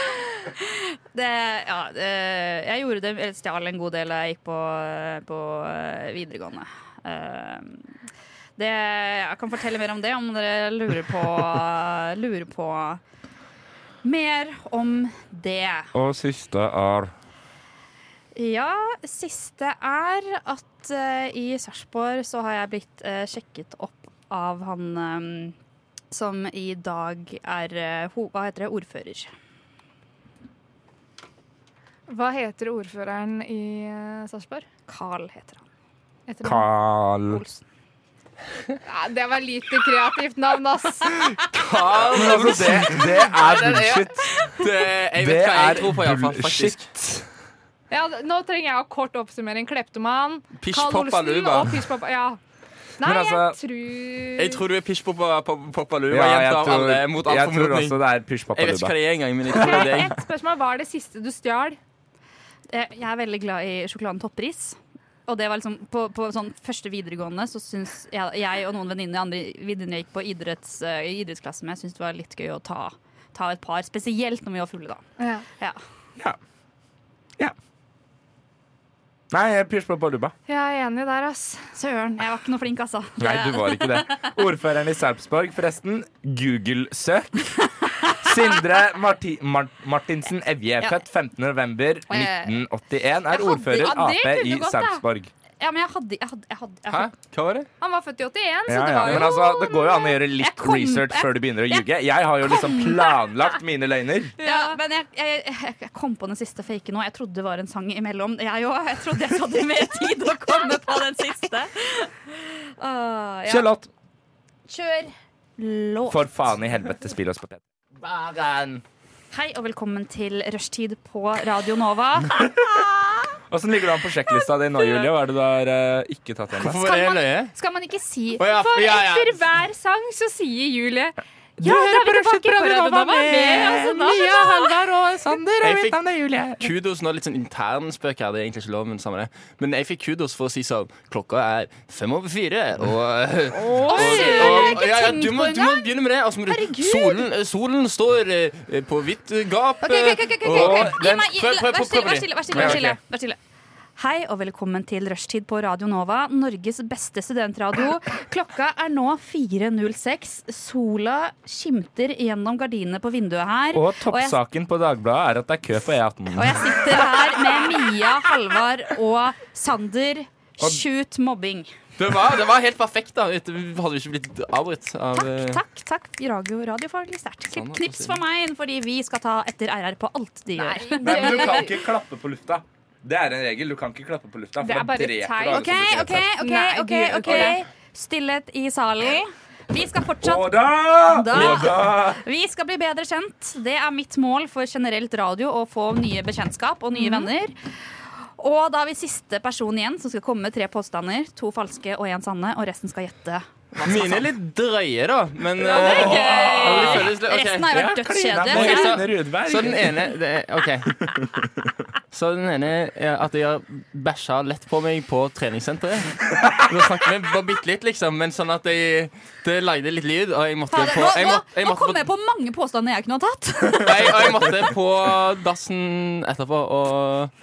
[SPEAKER 4] det, ja, eh, Jeg gjorde det eller stjal en god del da jeg gikk på, på eh, videregående. Eh, det, jeg kan fortelle mer om det om dere lurer på, lurer på mer om det.
[SPEAKER 2] Og siste er
[SPEAKER 4] Ja, siste er at eh, i Sarpsborg så har jeg blitt eh, sjekket opp av han um, som i dag er eh, ho hva heter det, ordfører.
[SPEAKER 3] Hva heter ordføreren i eh, Sarpsborg?
[SPEAKER 4] Carl heter han.
[SPEAKER 3] Etter navn?
[SPEAKER 2] Carl
[SPEAKER 3] Nei, det var lite kreativt navn, ass.
[SPEAKER 9] Carl
[SPEAKER 2] Men altså, det, det er bullshit.
[SPEAKER 9] Det, jeg
[SPEAKER 2] Det
[SPEAKER 9] vet hva
[SPEAKER 2] er
[SPEAKER 9] jeg tror på, iallfall. Faktisk.
[SPEAKER 2] bullshit.
[SPEAKER 3] Ja, d- nå trenger jeg en kort oppsummering. Kleptoman, Carl
[SPEAKER 9] Pishpoppa
[SPEAKER 3] Olsen
[SPEAKER 9] Luba.
[SPEAKER 3] og Pishpoppa. Ja. Nei,
[SPEAKER 2] Men altså,
[SPEAKER 3] jeg tror
[SPEAKER 9] Jeg tror du er eh, pishpoppa lua,
[SPEAKER 2] Ja, jeg
[SPEAKER 9] jenter.
[SPEAKER 2] tror,
[SPEAKER 9] Alle mot all
[SPEAKER 2] jeg tror
[SPEAKER 9] formodning.
[SPEAKER 2] også det er
[SPEAKER 9] Jeg vet ikke
[SPEAKER 2] pysjpappaluba.
[SPEAKER 9] hva det er engang, men jeg tror det
[SPEAKER 3] Ok,
[SPEAKER 9] er
[SPEAKER 3] Ett spørsmål. Hva er det siste du stjal?
[SPEAKER 4] Eh, Jeg er veldig glad i sjokoladen toppris. Og det var liksom, på, på sånn første videregående så syns jeg, jeg og noen venninner i andre venninner jeg gikk på idretts, eh, i idrettsklassen med, syntes det var litt gøy å ta, ta et par. Spesielt når vi var fulle, da.
[SPEAKER 3] Ja.
[SPEAKER 4] Ja.
[SPEAKER 2] Nei, pysjpappaluba.
[SPEAKER 3] Jeg er enig der, ass.
[SPEAKER 4] Søren, jeg var ikke noe flink, altså.
[SPEAKER 2] Nei, du var ikke det. Ordføreren i Sarpsborg, forresten. Google-søk. Sindre Marti Mar Martinsen Evje,
[SPEAKER 4] Ja.
[SPEAKER 2] født 15.11.1981,
[SPEAKER 3] hadde-
[SPEAKER 2] er ordfører
[SPEAKER 3] ja, det
[SPEAKER 2] Ap i
[SPEAKER 3] kunne gått, da.
[SPEAKER 2] Sarpsborg.
[SPEAKER 4] Ja, men jeg hadde, jeg hadde, jeg hadde, jeg
[SPEAKER 9] Hæ?
[SPEAKER 4] hadde.
[SPEAKER 9] Hva var det?
[SPEAKER 3] Han var født i 81, så
[SPEAKER 2] Ja,
[SPEAKER 3] det
[SPEAKER 2] ja.
[SPEAKER 3] var jo
[SPEAKER 2] Men altså, det går jo an å gjøre
[SPEAKER 4] Jeg
[SPEAKER 2] litt
[SPEAKER 4] kom-
[SPEAKER 2] research før du begynner å ljuge. Jeg har jo liksom planlagt mine løgner.
[SPEAKER 4] Ja, men jeg, jeg, jeg, jeg kom på den siste fake nå. Jeg trodde det var en sang imellom. Jeg òg. Jeg trodde jeg hadde mer tid å komme på den siste. Ah, ja.
[SPEAKER 2] Kjellott.
[SPEAKER 4] Kjør låt.
[SPEAKER 2] For faen i helvete, spill oss på P3.
[SPEAKER 4] Hei og velkommen til rushtid på Radio Nova.
[SPEAKER 2] Åssen ligger du an på sjekklista di nå, Julie? Hva er det du har eh, ikke tatt igjen?
[SPEAKER 9] Hvorfor var det løye?
[SPEAKER 3] Skal man ikke si
[SPEAKER 9] Å, ja,
[SPEAKER 3] For
[SPEAKER 9] ja, ja.
[SPEAKER 3] etter hver sang så sier Julie Ja, da er vi tilbake på Radio Nova med altså, da-
[SPEAKER 9] Jeg fikk kudos nå, litt sånn internspøk her, det er egentlig ikke lov, men samme det. Men jeg fikk kudos for å si sånn Klokka er fem over fire, og og- og- ja, ja, Du må du må begynne med det. og så må du- Solen, solen står eh, på vidt gap.
[SPEAKER 4] Ok, ok, ok, ok, ok, ok.
[SPEAKER 9] og
[SPEAKER 4] Gi
[SPEAKER 9] den-
[SPEAKER 4] meg, gi,
[SPEAKER 9] prøv- prøv-
[SPEAKER 4] vær
[SPEAKER 9] prøv-
[SPEAKER 4] stille,
[SPEAKER 9] prøv
[SPEAKER 4] vær
[SPEAKER 9] det.
[SPEAKER 4] stille, vær stille,
[SPEAKER 9] Ja,
[SPEAKER 4] vær
[SPEAKER 9] ok.
[SPEAKER 4] stille, vær stille. Hei og velkommen til Rushtid på Radio Nova, Norges beste studentradio. Klokka er nå 4.06. Sola skimter gjennom gardinene på vinduet her.
[SPEAKER 2] Og
[SPEAKER 4] jeg-
[SPEAKER 2] toppsaken på Dagbladet er at det er kø på
[SPEAKER 4] Og
[SPEAKER 2] E18.
[SPEAKER 4] jeg sitter her med Mia, Halvard og Sander. Shoot mobbing.
[SPEAKER 9] Det var, det var helt perfekt, da. Det hadde ikke blitt avbrutt av eh,
[SPEAKER 4] Takk, takk. Radio, radiofaglig sterkt.
[SPEAKER 9] Sånn,
[SPEAKER 4] Klipp- Knips for meg, fordi vi skal ta etter RR på alt de gjør.
[SPEAKER 2] Nei, men du kan ikke klappe på lufta. Det er en regel. Du kan ikke klappe på lufta. For
[SPEAKER 3] Det er
[SPEAKER 2] da
[SPEAKER 3] bare
[SPEAKER 2] dreper
[SPEAKER 3] tegn.
[SPEAKER 2] du alle
[SPEAKER 4] OK,
[SPEAKER 2] som
[SPEAKER 4] OK,
[SPEAKER 2] sitter
[SPEAKER 4] OK.
[SPEAKER 3] Nei,
[SPEAKER 4] ok,
[SPEAKER 3] du gjør
[SPEAKER 4] ok
[SPEAKER 3] ikke det.
[SPEAKER 4] Stillhet i salen. Vi skal
[SPEAKER 2] her.
[SPEAKER 4] fortsatt
[SPEAKER 2] Og da!
[SPEAKER 4] Sånn. Da-
[SPEAKER 2] Og da!
[SPEAKER 4] Vi skal bli bedre kjent. Det er mitt mål for generelt radio å få nye bekjentskap
[SPEAKER 3] Mhm.
[SPEAKER 4] og nye venner. Og da har vi siste person igjen som skal komme med tre påstander. To falske og én sanne, og resten skal gjette. altså.
[SPEAKER 9] Mine er litt drøye, da, men eh, det føles litt- ok.
[SPEAKER 4] Resten har jo vært dødskjedelige.
[SPEAKER 9] med
[SPEAKER 4] så jeg-
[SPEAKER 9] Kristian.
[SPEAKER 2] Kristine Rudberg.
[SPEAKER 9] Så den ene det er, OK. Så den ene er at jeg har bæsja lett på meg på treningssenteret. Nå snakker vi bare bitte litt, liksom, men sånn at jeg, det lagde litt lyd, og jeg måtte
[SPEAKER 4] Fader,
[SPEAKER 9] på
[SPEAKER 4] Nå,
[SPEAKER 9] jeg
[SPEAKER 4] nå,
[SPEAKER 9] måtte, jeg
[SPEAKER 4] nå
[SPEAKER 9] måtte,
[SPEAKER 4] kom jeg på mange påstander jeg kunne ha tatt.
[SPEAKER 9] på, jeg, og jeg måtte på dassen etterpå og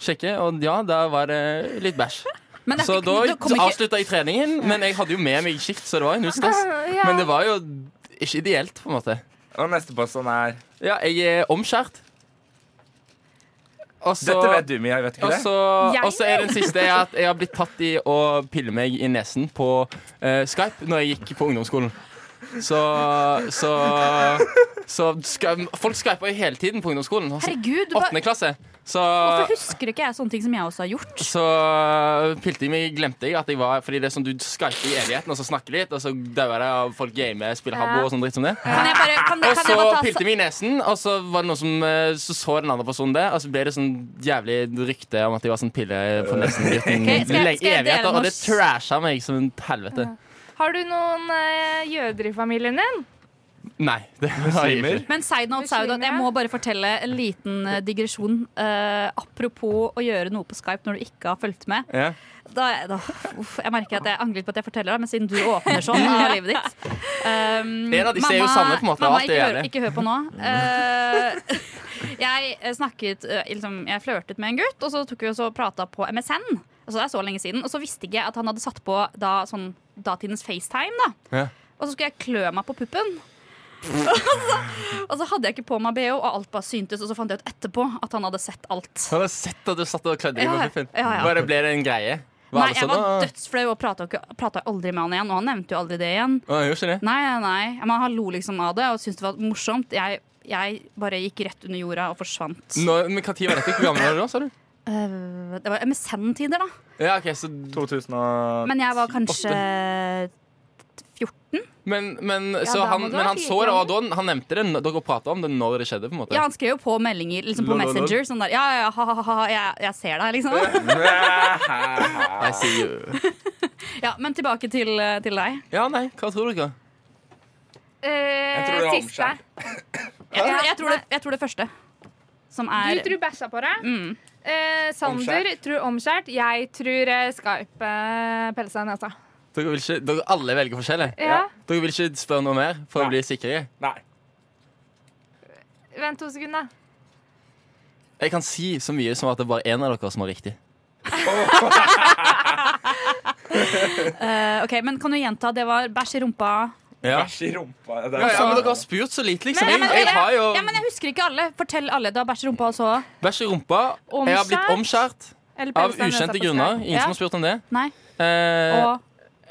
[SPEAKER 9] sjekke, og ja, der var det litt bæsj.
[SPEAKER 4] Men det er
[SPEAKER 9] Så
[SPEAKER 4] ikke-
[SPEAKER 9] da
[SPEAKER 4] det kom ikke-
[SPEAKER 9] avslutta jeg treningen, men jeg hadde jo med meg skift, så det var jo null stress. Men det var jo ikke ideelt, på en måte.
[SPEAKER 2] Og neste påstand er
[SPEAKER 9] Ja, jeg er omskjært. Og så-
[SPEAKER 2] Dette vet du, Mia. Vet ikke
[SPEAKER 9] Og
[SPEAKER 2] det?
[SPEAKER 9] så, og så er den siste er at jeg har blitt tatt i å pille meg i nesen på eh, Skype når jeg gikk på ungdomsskolen. Så, så, så ska- Folk skyper jo hele tiden på ungdomsskolen. Altså,
[SPEAKER 4] Herregud, du bare,
[SPEAKER 9] Åttende klasse. Så,
[SPEAKER 4] hvorfor husker ikke jeg sånne ting som jeg også har gjort?
[SPEAKER 9] så pilte jeg meg, glemte jeg at jeg var Fordi det er sånn du skyper i evigheten, og så snakker litt, og så dauer det av folk gamer, spiller habbo og sånn dritt som det.
[SPEAKER 4] Kan jeg bare, kan,
[SPEAKER 9] Og
[SPEAKER 4] kan jeg
[SPEAKER 9] så
[SPEAKER 4] bare ta
[SPEAKER 9] pilte vi i nesen, og så var det noen som eh, så, så den andre personen det. Og så ble det sånn jævlig rykte om at jeg var sånn pille på nesen-gutten
[SPEAKER 4] Ok, skal jeg- skal jeg
[SPEAKER 9] lenge-
[SPEAKER 4] dele
[SPEAKER 9] evigheter,
[SPEAKER 4] noe
[SPEAKER 9] og det
[SPEAKER 4] s-
[SPEAKER 9] trasha meg som en helvete.
[SPEAKER 3] Har du noen eh, jøder i familien din?
[SPEAKER 9] Nei, det har jeg ikke.
[SPEAKER 4] Men side note, side note, jeg må bare fortelle en liten eh, digresjon. eh, apropos å gjøre noe på Skype når du ikke har fulgt med.
[SPEAKER 9] Ja.
[SPEAKER 4] Da, da, uff, jeg merker at jeg angrer på at jeg forteller det, men siden du åpner sånn av livet ditt um,
[SPEAKER 9] En av disse er jo sanne, på en måte,
[SPEAKER 4] Mamma,
[SPEAKER 9] alt
[SPEAKER 4] ikke
[SPEAKER 9] det
[SPEAKER 4] hør,
[SPEAKER 9] gjerne.
[SPEAKER 4] ikke hør på nå. Eh, jeg eh, snakket eh, liksom, Jeg flørtet med en gutt, og så tok vi og så prata på MSN. Altså, det er så lenge siden. Og så visste ikke jeg at han hadde satt på da, sånn, datidens FaceTime. Da.
[SPEAKER 9] Ja.
[SPEAKER 4] Og så skulle jeg klø meg på puppen. og, så, og så hadde jeg ikke på meg BH, og alt bare syntes. Og så fant jeg ut etterpå at han hadde sett alt.
[SPEAKER 9] Jeg har sett at du satt og klødde deg
[SPEAKER 4] Ja,
[SPEAKER 9] på puppen.
[SPEAKER 4] ja, ja.
[SPEAKER 9] Bare ble det en greie. Var
[SPEAKER 4] Nei,
[SPEAKER 9] det
[SPEAKER 4] jeg
[SPEAKER 9] sånn,
[SPEAKER 4] var
[SPEAKER 9] da?
[SPEAKER 4] dødsflau og prata ikke- prata aldri med han igjen. Og han nevnte jo aldri det igjen.
[SPEAKER 9] Å, jeg gjør ikke det.
[SPEAKER 4] Nei, nei, nei. Men han lo liksom av det og syntes det var morsomt. Jeg, jeg bare gikk rett under jorda og forsvant.
[SPEAKER 9] Nå, men hva tid var dette? Hvor gammel var du da, sa du?
[SPEAKER 4] Eh, det var MSN-tider, da.
[SPEAKER 9] Ja, ok, så
[SPEAKER 2] 2000
[SPEAKER 4] Men jeg var kanskje
[SPEAKER 9] Men, men,
[SPEAKER 4] Ja,
[SPEAKER 9] så
[SPEAKER 4] da
[SPEAKER 9] han,
[SPEAKER 4] må du
[SPEAKER 9] men
[SPEAKER 4] ha
[SPEAKER 9] han
[SPEAKER 4] fire
[SPEAKER 9] så det, og da, han nevnte det. n- Dere prata om det når det skjedde, på en måte.
[SPEAKER 4] Ja, han skrev jo på meldinger liksom på
[SPEAKER 9] Lol, lol, lol.
[SPEAKER 4] Messenger. Sånn der, ja, ja, ja, ha, ha, ha, ha, jeg, jeg ser deg, liksom.
[SPEAKER 9] Nei, sier jo-
[SPEAKER 4] Ja, men tilbake til, eh, til deg.
[SPEAKER 9] Ja, nei, hva tror dere?
[SPEAKER 3] Jeg
[SPEAKER 2] tror det var
[SPEAKER 3] Eh, Siste.
[SPEAKER 2] omskjær.
[SPEAKER 4] Jeg tror, jeg tror, det, jeg tror det første. Som
[SPEAKER 3] Du
[SPEAKER 4] er
[SPEAKER 3] tror bæsja på deg.
[SPEAKER 4] Mm.
[SPEAKER 3] Eh, Sander
[SPEAKER 2] Omskjært.
[SPEAKER 3] tror omskjært. Jeg tror eh, Skype eh, pelle seg i nesa.
[SPEAKER 9] Dere, vil ikke, dere alle velger forskjellig.
[SPEAKER 3] Ja.
[SPEAKER 9] Dere vil ikke spørre noe mer for
[SPEAKER 2] Nei.
[SPEAKER 9] å bli sikre?
[SPEAKER 2] Nei.
[SPEAKER 3] Vent to sekunder.
[SPEAKER 9] Jeg kan si så mye som at det er bare én av dere som har riktig.
[SPEAKER 4] eh, OK, men kan du gjenta? Det var bæsj i rumpa.
[SPEAKER 9] Ja.
[SPEAKER 2] Bæsj i rumpa. Det er
[SPEAKER 9] Ja, ja,
[SPEAKER 2] sånn.
[SPEAKER 9] men dere har spurt så lite, liksom.
[SPEAKER 4] Men-
[SPEAKER 9] Jeg, jeg har jo
[SPEAKER 4] Ja, men jeg husker ikke alle. Fortell alle. Det var bæsj i rumpa også.
[SPEAKER 9] bæsj i rumpa. Jeg har blitt omskjært
[SPEAKER 3] Eller pelle
[SPEAKER 9] av
[SPEAKER 3] seg i nesa
[SPEAKER 9] ukjente
[SPEAKER 3] på
[SPEAKER 9] grunner.
[SPEAKER 3] Skype.
[SPEAKER 9] Ingen som har spurt om det.
[SPEAKER 4] Nei.
[SPEAKER 9] Eh,
[SPEAKER 4] Og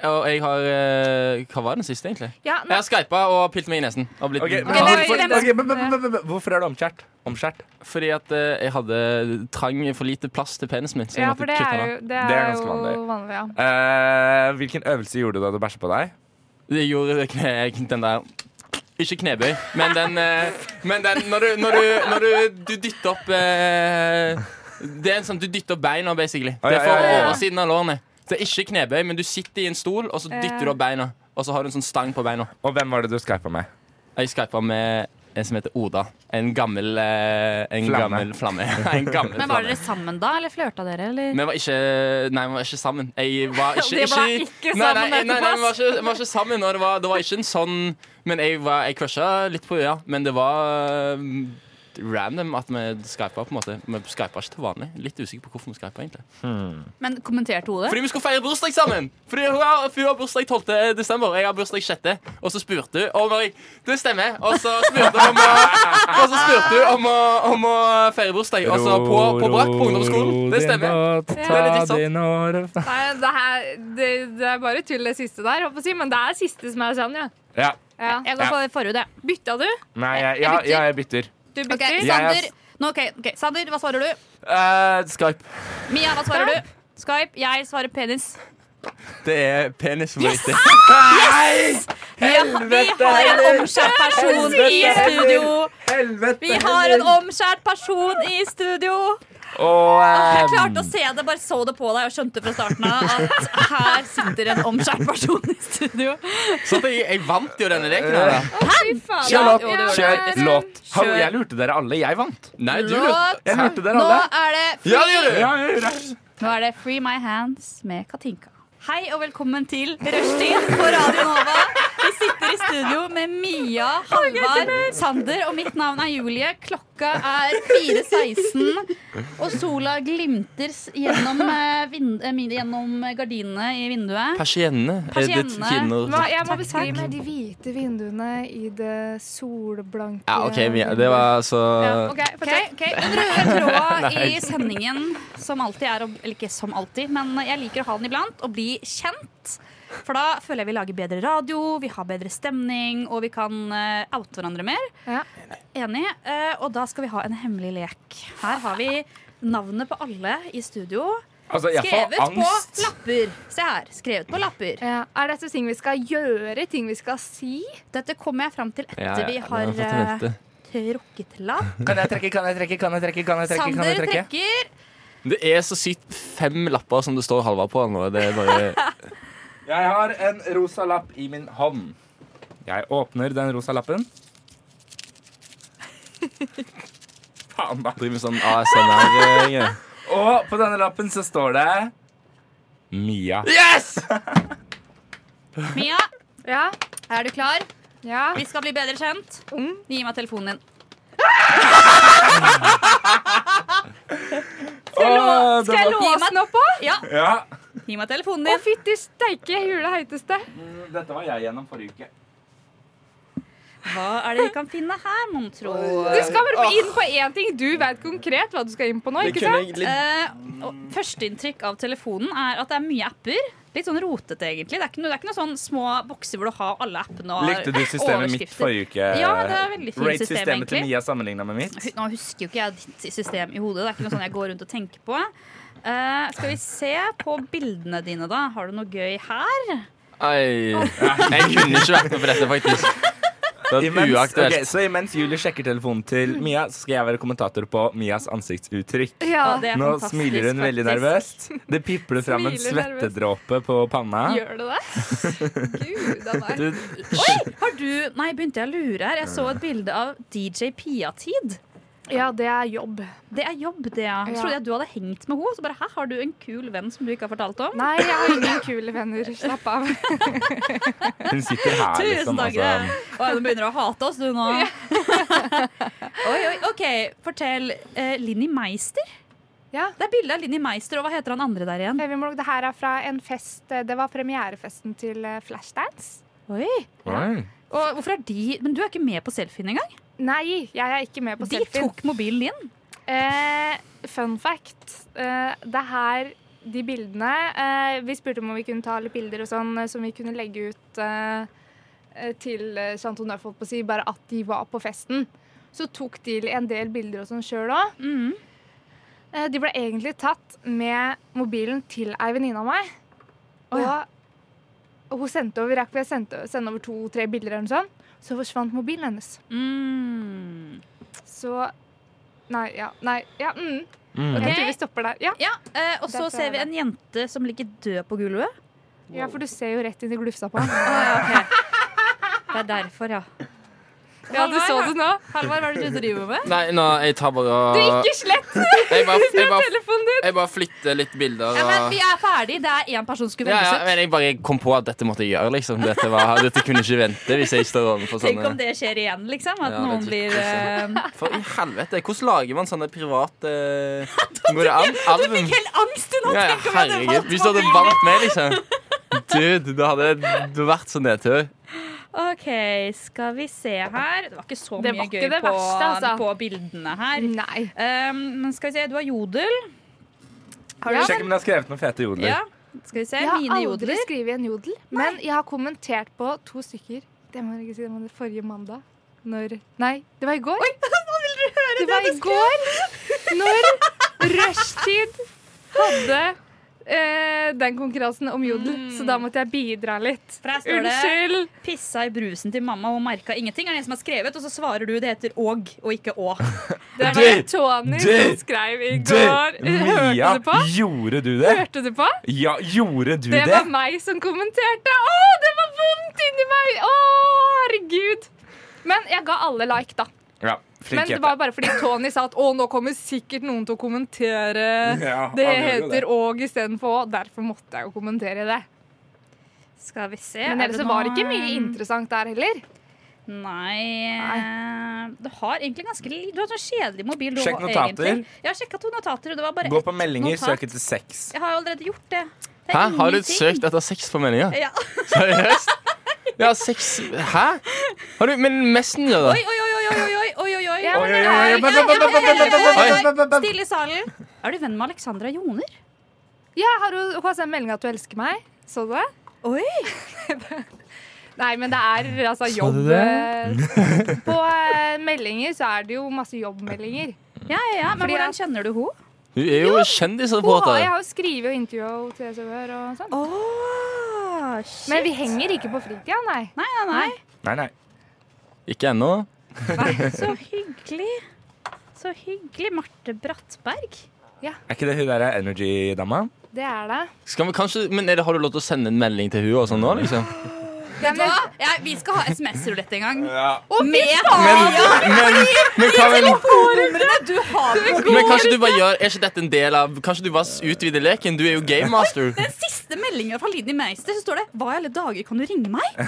[SPEAKER 9] og jeg har eh, Hva var den siste, egentlig?
[SPEAKER 3] Ja,
[SPEAKER 9] Jeg
[SPEAKER 3] nå,
[SPEAKER 9] har skypa og pilt meg i nesen. Og blitt,
[SPEAKER 2] Ok, men
[SPEAKER 3] men-
[SPEAKER 2] hvorfor-
[SPEAKER 3] men-
[SPEAKER 2] ok, men- men- men- men- Hvorfor er du omskjært? Omskjært?
[SPEAKER 9] Fordi at eh, jeg hadde trang for lite plass til penisen min. Så jeg
[SPEAKER 3] ja,
[SPEAKER 9] måtte
[SPEAKER 3] for det
[SPEAKER 9] kutte
[SPEAKER 3] er
[SPEAKER 9] den av.
[SPEAKER 3] jo, det er
[SPEAKER 2] Det er ganske
[SPEAKER 3] jo
[SPEAKER 2] vanlig.
[SPEAKER 3] vanlig. ja.
[SPEAKER 2] Eh, hvilken øvelse gjorde du da du bæsja på deg?
[SPEAKER 9] Det gjorde kne, den der Ikke knebøy, men den, eh, men den Når du, når du, når du, du dytter opp eh, Det er en sånn, Du dytter opp beina, basically.
[SPEAKER 2] Ah,
[SPEAKER 9] Det
[SPEAKER 2] ja,
[SPEAKER 9] er fra
[SPEAKER 2] ja, ja, ja.
[SPEAKER 9] oversiden av lårene. Så det er ikke knebøy, men du sitter i en stol, og så dytter du opp beina. Og så har du en sånn stang på beina.
[SPEAKER 2] Og hvem var det du skypa med?
[SPEAKER 9] Jeg skypa med en som heter Oda. En gammel eh, En
[SPEAKER 2] Flamme.
[SPEAKER 9] gammel flamme. en gammel
[SPEAKER 4] Men var
[SPEAKER 9] flamme.
[SPEAKER 4] dere sammen da, eller flørta dere, eller?
[SPEAKER 9] Vi var ikke Nei, vi var ikke sammen. Jeg var ikke,
[SPEAKER 4] Det var ikke
[SPEAKER 9] nei, nei,
[SPEAKER 4] sammen
[SPEAKER 9] nei, nei,
[SPEAKER 4] etterpå,
[SPEAKER 9] vi var ikke, vi var ikke sammen. Og det, var, det var ikke en sånn Men jeg, var, jeg crusha litt på ja. Men det var um, random at vi skypa, på en måte. Vi skypa ikke til vanlig. Litt usikker på hvorfor vi skypa, egentlig.
[SPEAKER 4] Men kommenterte hodet?
[SPEAKER 9] Fordi vi skulle feire bursdag sammen! Fordi hun har, hun har bursdag 12. desember, jeg har bursdag 6. Og så spurte hun om jeg, Det stemmer. Og så spurte hun om å, og så spurte hun om å, om å feire bursdag. Og så Altså, på, på brakk på ungdomsskolen. Det stemmer. Det er litt sånn. sant.
[SPEAKER 3] Nei, det, her, det, det er bare tull, det siste der, håper jeg, å si, men det er siste som er sann, ja.
[SPEAKER 2] Ja.
[SPEAKER 3] ja.
[SPEAKER 4] Jeg går for forhud, jeg.
[SPEAKER 3] Bytta du?
[SPEAKER 2] Nei, jeg, ja, ja, jeg bytter.
[SPEAKER 3] Du
[SPEAKER 4] OK,
[SPEAKER 3] bytter?
[SPEAKER 2] Ja.
[SPEAKER 4] Sander. Nå, ok, ok, Sander, hva svarer du?
[SPEAKER 9] Eh, Skype.
[SPEAKER 4] Mia, hva svarer du? Skype. Jeg svarer penis.
[SPEAKER 9] Det er penis som er riktig.
[SPEAKER 4] Vi har, vi har en omskjært person i studio. Vi har en omskjært person i studio.
[SPEAKER 2] Og eh,
[SPEAKER 4] Jeg klarte å se det, bare så det på deg og skjønte fra starten av at her sitter en omskjært person i studio.
[SPEAKER 9] Så at jeg, jeg vant jo denne leken. her da.
[SPEAKER 2] Kjør
[SPEAKER 4] Ja,
[SPEAKER 2] låt!
[SPEAKER 4] jo, det var
[SPEAKER 2] Kjør
[SPEAKER 4] det.
[SPEAKER 2] låt!
[SPEAKER 4] Kjør.
[SPEAKER 2] Hallo, jeg lurte dere alle. Jeg vant.
[SPEAKER 9] Nei, du
[SPEAKER 4] Låt.
[SPEAKER 2] Jeg lurte dere
[SPEAKER 4] Nå
[SPEAKER 2] alle.
[SPEAKER 4] er det
[SPEAKER 9] Ja, det gjør du!
[SPEAKER 2] Ja, jeg gjorde det.
[SPEAKER 4] Nå er det Free My Hands med Katinka. Hei og velkommen til Rushtid på Radio Nova. Vi sitter i studio med Mia, Halvard, Sander, og mitt navn er Julie. Klokka er 4.16, og sola glimter s- gjennom, eh, vind- eh, min- gjennom gardinene i vinduet.
[SPEAKER 9] Persiennene er det
[SPEAKER 4] Persiennene.
[SPEAKER 9] kvinner
[SPEAKER 3] Hva, jeg må
[SPEAKER 4] Takk,
[SPEAKER 3] beskrive
[SPEAKER 4] takk.
[SPEAKER 3] med de hvite vinduene i det solblanke
[SPEAKER 9] Ja, OK, Mia, det var så
[SPEAKER 3] ja, ok,
[SPEAKER 4] Ok,
[SPEAKER 3] fortsett.
[SPEAKER 4] ok. Den røde tråden i sendingen, som alltid er å- Eller ikke som alltid, men jeg liker å ha den iblant, og bli kjent. For da føler jeg vi lager bedre radio, vi har bedre stemning, og vi kan eh, oute hverandre mer.
[SPEAKER 3] Ja.
[SPEAKER 4] Enig. Eh, og da skal vi ha en hemmelig lek. Her har vi navnet på alle i studio.
[SPEAKER 2] Altså, jeg
[SPEAKER 4] Skrevet
[SPEAKER 2] får
[SPEAKER 4] på
[SPEAKER 2] angst.
[SPEAKER 4] lapper. Se her. Skrevet på lapper.
[SPEAKER 3] Ja, Er dette ting vi skal gjøre? Ting vi skal si?
[SPEAKER 4] Dette kommer jeg fram til etter
[SPEAKER 9] Ja, ja,
[SPEAKER 4] vi
[SPEAKER 9] det
[SPEAKER 4] har
[SPEAKER 9] fått vente.
[SPEAKER 4] eh, trukket lapp.
[SPEAKER 2] Kan jeg trekke, kan jeg trekke, kan jeg trekke? kan jeg trekke, kan
[SPEAKER 4] Sander
[SPEAKER 2] jeg trekke?
[SPEAKER 4] trekker.
[SPEAKER 9] Det er så sykt fem lapper som det står Halvard på nå. Det er bare
[SPEAKER 2] Jeg har en rosa lapp i min hånd. Jeg åpner den rosa lappen. Faen, da.
[SPEAKER 9] driver med sånn ASMR-greier.
[SPEAKER 2] Og på denne lappen så står det Mia.
[SPEAKER 9] Yes!
[SPEAKER 4] Mia,
[SPEAKER 3] Ja?
[SPEAKER 4] er du klar?
[SPEAKER 3] Ja?
[SPEAKER 4] Vi skal bli bedre kjent. Gi meg telefonen din.
[SPEAKER 2] Skal
[SPEAKER 3] Skal jeg
[SPEAKER 4] Gi
[SPEAKER 3] låse
[SPEAKER 4] meg-
[SPEAKER 3] den opp òg?
[SPEAKER 4] Ja,
[SPEAKER 2] Ja.
[SPEAKER 4] gi meg telefonen
[SPEAKER 3] Å,
[SPEAKER 4] din.
[SPEAKER 3] fytti steike, hule heiteste.
[SPEAKER 2] Dette var jeg gjennom forrige uke.
[SPEAKER 4] Hva er det vi kan finne her, mon tro?
[SPEAKER 3] Du skal bare på- inn på én ting. Du vet konkret hva du skal inn på nå.
[SPEAKER 4] Det
[SPEAKER 3] ikke
[SPEAKER 4] kunne
[SPEAKER 3] sant?
[SPEAKER 4] egentlig- Eh, og Førsteinntrykk av telefonen er at det er mye apper. Litt sånn rotete, egentlig. Det er ikke noe, det er ikke noe sånn små bokser hvor du har alle appene
[SPEAKER 3] Eh,
[SPEAKER 4] og
[SPEAKER 2] Likte du systemet mitt
[SPEAKER 4] overskrifter.
[SPEAKER 2] forrige uke?
[SPEAKER 4] Ja, det er veldig fint
[SPEAKER 2] Rate
[SPEAKER 4] system,
[SPEAKER 2] systemet til
[SPEAKER 4] egentlig.
[SPEAKER 2] Mia sammenligna med mitt?
[SPEAKER 4] Hu- Nå husker jo ikke jeg ditt system i hodet. Det er ikke noe sånn jeg går rundt og tenker på. Eh, skal vi se på bildene dine, da. Har du noe gøy her?
[SPEAKER 9] Ei, jeg kunne ikke vært med på dette, faktisk. Det var
[SPEAKER 2] Imens,
[SPEAKER 9] uaktuelt.
[SPEAKER 2] ok, så imens Julie sjekker telefonen til
[SPEAKER 3] Mm.
[SPEAKER 2] Mia, så skal jeg være kommentator på Mias ansiktsuttrykk.
[SPEAKER 3] Ja, det er
[SPEAKER 2] Nå
[SPEAKER 3] fantastisk,
[SPEAKER 2] smiler hun veldig nervøst.
[SPEAKER 3] faktisk.
[SPEAKER 2] Det pipler fram en
[SPEAKER 3] Smiler nervøst.
[SPEAKER 2] svettedråpe på panna.
[SPEAKER 3] Gjør du det? Gud a meg.
[SPEAKER 2] Du,
[SPEAKER 4] Oi! Har du Nei, begynte jeg å lure her. Jeg så et bilde av DJ Pia-tid.
[SPEAKER 3] Ja, det er jobb.
[SPEAKER 4] Det er jobb, det, ja.
[SPEAKER 3] Ja.
[SPEAKER 4] Trodde jeg du hadde hengt med henne. Så bare, hæ, har du en kul venn som du ikke har fortalt om?
[SPEAKER 3] Nei, jeg har ingen kule venner. Slapp av.
[SPEAKER 2] hun sitter her,
[SPEAKER 4] Tusen
[SPEAKER 2] liksom.
[SPEAKER 4] takk.
[SPEAKER 2] Altså.
[SPEAKER 4] Oi, du begynner å hate oss, du nå. oi, oi, OK. Fortell. Eh, Linni Meister?
[SPEAKER 3] Ja.
[SPEAKER 4] Det er bilde av Linni Meister, og hva heter han andre der igjen?
[SPEAKER 3] Eh, Vi må, det her er fra en fest eh, Det var premierefesten til eh, Flashdance.
[SPEAKER 4] Oi.
[SPEAKER 2] Oi.
[SPEAKER 4] Og hvorfor er de Men du er ikke med på selfien engang?
[SPEAKER 3] Nei, jeg er ikke med på
[SPEAKER 4] De
[SPEAKER 3] selfie.
[SPEAKER 4] tok mobilen din.
[SPEAKER 3] Eh, fun fact. Eh, det her, de bildene eh, Vi spurte om vi kunne ta litt bilder og sånn eh, som vi kunne legge ut eh, eh, til eh, Chanton Neuf, holdt på å si, bare at de var på festen. Så tok de en del bilder og sånn sjøl òg. Eh, De ble egentlig tatt med mobilen til ei venninne av meg. Og, og hun sendte over, rakk vi å sende sende over to-tre bilder, eller noe sånt, så forsvant mobilen hennes.
[SPEAKER 4] Mm.
[SPEAKER 3] Så Nei, ja. Nei, ja. Mm.
[SPEAKER 2] Mm.
[SPEAKER 3] Jeg tror vi stopper der. Ja.
[SPEAKER 4] Ja, eh, Og så
[SPEAKER 3] Derfor
[SPEAKER 4] ser
[SPEAKER 3] er
[SPEAKER 4] vi
[SPEAKER 3] det.
[SPEAKER 4] en jente som ligger død på gulvet.
[SPEAKER 3] ja, for du ser jo rett inn i glufsa på han.
[SPEAKER 4] Det er derfor, ja.
[SPEAKER 3] Ja, du så det nå.
[SPEAKER 4] Halvard, hva er det du driver med?
[SPEAKER 9] Nei, nå, jeg tar bare
[SPEAKER 3] Du, ikke slett
[SPEAKER 9] Jeg bare, jeg bare,
[SPEAKER 3] telefonen din!
[SPEAKER 9] jeg bare flytter litt bilder.
[SPEAKER 4] Ja, men
[SPEAKER 9] og-
[SPEAKER 4] Vi er ferdig, det er én person som skulle
[SPEAKER 9] Ja,
[SPEAKER 4] velges
[SPEAKER 9] ja,
[SPEAKER 4] ut.
[SPEAKER 9] men jeg bare kom på at dette måtte jeg gjøre, liksom. Dette, var, dette kunne ikke vente hvis jeg står overfor
[SPEAKER 4] Tenk om
[SPEAKER 9] sånne
[SPEAKER 4] det skjer igjen, liksom. At
[SPEAKER 9] Ja,
[SPEAKER 4] noen
[SPEAKER 9] det
[SPEAKER 4] blir
[SPEAKER 9] er
[SPEAKER 4] eh,
[SPEAKER 9] For i helvete, hvordan lager man sånne private eh, Går det an? Album?
[SPEAKER 4] Helt angst du nå!
[SPEAKER 9] Ja, ja,
[SPEAKER 4] Tenk om jeg hadde
[SPEAKER 9] herregud.
[SPEAKER 4] valgt
[SPEAKER 9] Hvis du hadde
[SPEAKER 4] mobilen.
[SPEAKER 9] valgt meg, liksom. Dude, da hadde det vært så nedtur.
[SPEAKER 4] OK, skal vi se her. Det var ikke så
[SPEAKER 3] Det
[SPEAKER 4] mye
[SPEAKER 3] var
[SPEAKER 4] gøy
[SPEAKER 3] ikke det
[SPEAKER 4] på,
[SPEAKER 3] verste, altså. Mm.
[SPEAKER 4] på bildene her.
[SPEAKER 3] Nei.
[SPEAKER 4] Um, men skal vi se, du har jodel. Har du
[SPEAKER 2] Sjekk om hun har skrevet noen fete jodler.
[SPEAKER 4] Ja. Skal vi se,
[SPEAKER 3] Jeg har
[SPEAKER 4] mine
[SPEAKER 3] aldri
[SPEAKER 4] jodler.
[SPEAKER 3] skrevet en jodel, men jeg har kommentert på to stykker. Det må jeg ikke si, det var det forrige mandag. Når Nei, det var i går. det var i går når Rushtid hadde eh, den konkurransen om jodel, så da måtte jeg bidra litt.
[SPEAKER 4] For her står det
[SPEAKER 3] Unnskyld!
[SPEAKER 4] 'pissa i brusen til mamma og merka ingenting'. Er det en som har skrevet, og så svarer du det heter 'og' og ikke 'å'.
[SPEAKER 3] Det var
[SPEAKER 2] Død!
[SPEAKER 3] Tony
[SPEAKER 2] Død!
[SPEAKER 3] som skrev i
[SPEAKER 2] Du,
[SPEAKER 3] går.
[SPEAKER 2] Mia,
[SPEAKER 3] Hørte du på?
[SPEAKER 2] gjorde du det?
[SPEAKER 3] Hørte du på?
[SPEAKER 2] Ja, gjorde du
[SPEAKER 3] Det
[SPEAKER 2] det?
[SPEAKER 3] var meg som kommenterte. Å, det var vondt inni meg! Å, herregud. Men jeg ga alle like, da.
[SPEAKER 2] Ja,
[SPEAKER 3] Men
[SPEAKER 2] flink
[SPEAKER 3] det
[SPEAKER 2] jente.
[SPEAKER 3] var bare fordi Tony sa at å, nå kommer sikkert noen til å kommentere.
[SPEAKER 2] Ja,
[SPEAKER 3] det
[SPEAKER 2] han gjorde det.
[SPEAKER 3] heter Åg istedenfor Å. Derfor måtte jeg jo kommentere det.
[SPEAKER 4] Skal vi se. er
[SPEAKER 3] Men
[SPEAKER 4] sånn
[SPEAKER 3] ellers så var det ikke
[SPEAKER 4] noe-
[SPEAKER 3] mye interessant der heller.
[SPEAKER 4] Nei, eh, Du har egentlig ganske li- Du har sånn kjedelig mobil. Du,
[SPEAKER 2] Sjekk
[SPEAKER 4] har
[SPEAKER 2] notater.
[SPEAKER 4] egentlig. Jeg har sjekka to notater. og Det var bare
[SPEAKER 2] Gå
[SPEAKER 4] ett
[SPEAKER 2] på meldinger,
[SPEAKER 4] notat.
[SPEAKER 2] søk etter sex.
[SPEAKER 4] Jeg har jo allerede gjort det. det er
[SPEAKER 9] Hæ? Har du
[SPEAKER 4] ingenting.
[SPEAKER 9] søkt etter sex på meninga?
[SPEAKER 4] Ja.
[SPEAKER 9] Seriøst? Ja, sex Hæ? Har du Men Messenger, da?
[SPEAKER 4] Oi, oi, oi, oi, oi, oi, oi, oi, oi.
[SPEAKER 3] Ja, men
[SPEAKER 2] Oi, oi, oi,
[SPEAKER 3] det er-
[SPEAKER 2] ba, ba, ba, ba, ba, ba, ba, ba, ba, ba.
[SPEAKER 4] Stille i salen. Er du venn med Alexandra Joner?
[SPEAKER 2] Mm.
[SPEAKER 3] Ja, har du hun har sendt melding at du elsker meg? Så du det?
[SPEAKER 4] Oi.
[SPEAKER 3] Nei, men det er altså jobb
[SPEAKER 9] du det?
[SPEAKER 3] eh, På eh, meldinger så er det jo masse jobbmeldinger.
[SPEAKER 4] Ja, ja, ja, men
[SPEAKER 3] Fordi
[SPEAKER 4] hvordan
[SPEAKER 3] at-
[SPEAKER 4] kjenner du henne?
[SPEAKER 9] Hun er jo
[SPEAKER 3] Hun har,
[SPEAKER 9] kjendisreporter.
[SPEAKER 3] jeg har jo skrevet og intervjua henne til SVR og sånn.
[SPEAKER 4] Oh,
[SPEAKER 3] Men vi henger ikke på fritida, nei.
[SPEAKER 4] Nei, nei, nei.
[SPEAKER 2] Nei, nei.
[SPEAKER 9] Ikke ennå.
[SPEAKER 4] nei. Så hyggelig. Så hyggelig. Marte Brattberg.
[SPEAKER 2] Er ikke det hun der er energy-dama?
[SPEAKER 3] Det er det.
[SPEAKER 9] Skal vi kanskje Men er det, har du lov til å sende en melding til hun og sånn nå, liksom?
[SPEAKER 4] Ja, vi skal ha SMS-rulett en gang.
[SPEAKER 2] Ja.
[SPEAKER 4] Med
[SPEAKER 9] Men, men, hva men,
[SPEAKER 4] telefonnummeret du har på
[SPEAKER 9] men kanskje du bare gjør Er ikke dette en del av Kanskje du bare s- utvider leken? Du er jo game master.
[SPEAKER 4] den siste meldingen fra Linni Meister så står det 'Hva i alle dager kan du ringe meg?'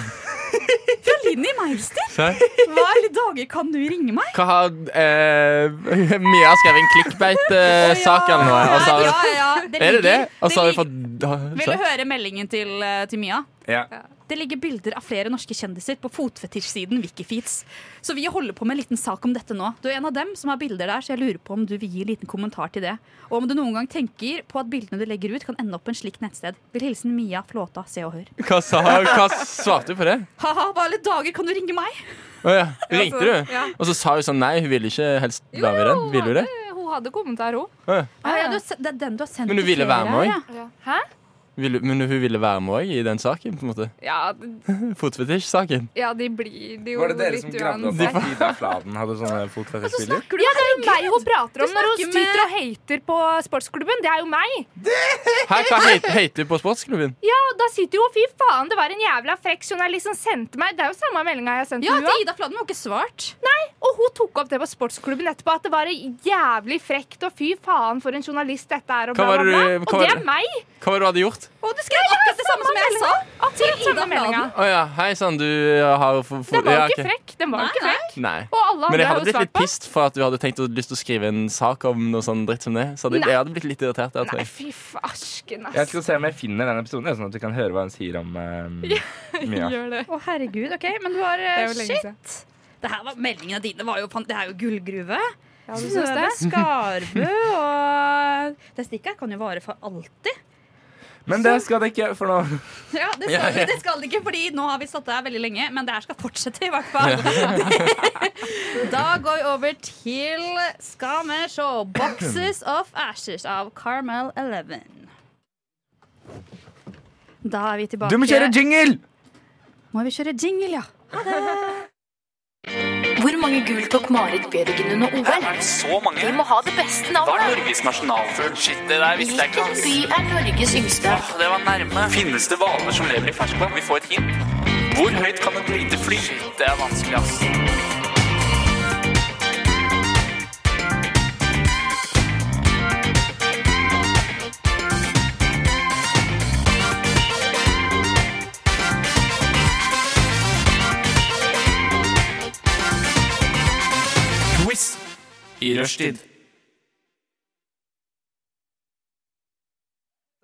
[SPEAKER 4] Fra Linni Meister!
[SPEAKER 9] Se.
[SPEAKER 4] Hva i alle dager kan du ringe meg?
[SPEAKER 9] Hva har eh, Mia skrevet en clickbait-sak eller noe? Og så har-
[SPEAKER 4] ja, ja, ja.
[SPEAKER 9] altså? er det det?
[SPEAKER 4] ligger-
[SPEAKER 9] Og så har vi
[SPEAKER 4] ligger-
[SPEAKER 9] fått
[SPEAKER 4] Vil du høre meldingen til, eh, til Mia?
[SPEAKER 2] Ja.
[SPEAKER 4] Det ligger bilder av flere norske kjendiser på fotfetisjsiden Wikifeeds. Så vi holder på med en liten sak om dette nå. Du er en av dem som har bilder der, så jeg lurer på om du vil gi en liten kommentar til det. Og om du noen gang tenker på at bildene du legger ut, kan ende opp på en slik nettsted. Vil hilsen Mia Flåta, Se og Hør.
[SPEAKER 9] Hva, sa, hva svarte du på det?
[SPEAKER 4] Ha-ha, hva alle dager kan du ringe meg?
[SPEAKER 9] Å ja. Ringte
[SPEAKER 3] Ja, så-
[SPEAKER 9] du?
[SPEAKER 3] ja.
[SPEAKER 9] Og så sa hun sånn nei, hun ville ikke helst være med i den. Ville hun det?
[SPEAKER 3] Eh, Hun hadde kommentar, hun.
[SPEAKER 9] Å ja.
[SPEAKER 4] Ah, ja, du, har se- det er den du har sendt
[SPEAKER 9] Men du
[SPEAKER 4] til
[SPEAKER 9] ville
[SPEAKER 4] flere
[SPEAKER 9] være med
[SPEAKER 4] her, ja.
[SPEAKER 3] Hæ?
[SPEAKER 9] Ville, men hun ville være med òg i den saken, på en måte.
[SPEAKER 3] Ja, d-
[SPEAKER 9] Fotfetisj-saken.
[SPEAKER 3] ja, de blir det jo
[SPEAKER 2] Var det dere
[SPEAKER 3] litt
[SPEAKER 2] som gravde opp at Ida Fladen hadde sånne fotfetisjbilder?
[SPEAKER 4] Snakker du om
[SPEAKER 3] Det er jo meg hun prater om
[SPEAKER 4] Du
[SPEAKER 3] når hun
[SPEAKER 4] snakker
[SPEAKER 3] styter og hater på sportsklubben. Det er jo meg.
[SPEAKER 9] Her, hva heit- heter du på sportsklubben?
[SPEAKER 3] Ja, og da sitter jo Fy faen, det var en jævla frekk journalist som sendte liksom meg Det er jo samme meldinga jeg har sendt
[SPEAKER 4] Ja,
[SPEAKER 3] til
[SPEAKER 4] til
[SPEAKER 3] henne.
[SPEAKER 4] Ida Fladen har hun ikke svart.
[SPEAKER 3] Og hun tok opp det på sportsklubben etterpå, at det var jævlig frekt og fy faen for en journalist dette er og
[SPEAKER 9] Hva
[SPEAKER 3] bla,
[SPEAKER 9] var
[SPEAKER 3] bla,
[SPEAKER 9] det
[SPEAKER 3] bla.
[SPEAKER 9] du-
[SPEAKER 3] Og
[SPEAKER 9] hva var
[SPEAKER 3] det er
[SPEAKER 9] det-
[SPEAKER 3] meg.
[SPEAKER 9] Hva var det du hadde gjort?
[SPEAKER 4] Og du skrev akkurat det samme som jeg sa! Til
[SPEAKER 3] Akkurat samme meldinga.
[SPEAKER 9] Å ja, hei sann, du har fo- fo-
[SPEAKER 3] Den var
[SPEAKER 9] ja,
[SPEAKER 3] jo ikke
[SPEAKER 9] ok.
[SPEAKER 3] frekk. Den var jo ikke frekk.
[SPEAKER 9] Nei.
[SPEAKER 3] Og alle
[SPEAKER 9] Men
[SPEAKER 3] andre
[SPEAKER 9] jeg
[SPEAKER 3] har
[SPEAKER 9] hadde
[SPEAKER 3] jo
[SPEAKER 9] blitt
[SPEAKER 3] svart
[SPEAKER 9] litt
[SPEAKER 3] på.
[SPEAKER 9] pist for at du hadde tenkt å lyst til å skrive en sak om noe sånn dritt som det. Så hadde, jeg hadde blitt litt irritert. Jeg, tror
[SPEAKER 3] Nei,
[SPEAKER 9] jeg.
[SPEAKER 3] fy farsken,
[SPEAKER 2] Jeg
[SPEAKER 3] ass.
[SPEAKER 2] skal se om jeg finner den episoden, ja, sånn at vi kan høre hva hun sier om eh, Mia.
[SPEAKER 3] Gjør det.
[SPEAKER 4] Å, herregud. OK, men du har
[SPEAKER 3] Det
[SPEAKER 4] eh,
[SPEAKER 3] er jo lenge
[SPEAKER 4] Shit.
[SPEAKER 3] siden.
[SPEAKER 4] Det her var Meldingene dine var jo fan- Det er jo gullgruve.
[SPEAKER 3] Ja, du synes
[SPEAKER 4] Synnøve
[SPEAKER 3] det?
[SPEAKER 4] Skarbø og Det stikket her kan jo vare for alltid.
[SPEAKER 2] Men det skal det ikke, for nå
[SPEAKER 4] Ja, det
[SPEAKER 9] Ja,
[SPEAKER 4] skal,
[SPEAKER 9] ja.
[SPEAKER 4] det skal det ikke, fordi nå har vi stått der veldig lenge, men det her skal fortsette, i hvert fall. da går vi over til Skal vi se Boxes of Ashes av Carmel Eleven. Da er vi tilbake.
[SPEAKER 2] Du må kjøre jingle!
[SPEAKER 4] Må vi kjøre jingle, ja.
[SPEAKER 10] Hvor mange gull tok Marit Bjørgen under OL?
[SPEAKER 8] Så mange.
[SPEAKER 10] Vi må ha det beste navnet.
[SPEAKER 8] Norges nasjonalfugl? Shit, det der altså,
[SPEAKER 10] Hvilken by er Norges yngste?
[SPEAKER 8] Det var nærme. Finnes det hvaler som lever i ferskvann? Vi får et hint. Hvor høyt kan et lite fly? Shit, det er vanskelig, ass. Quiz i rushtid.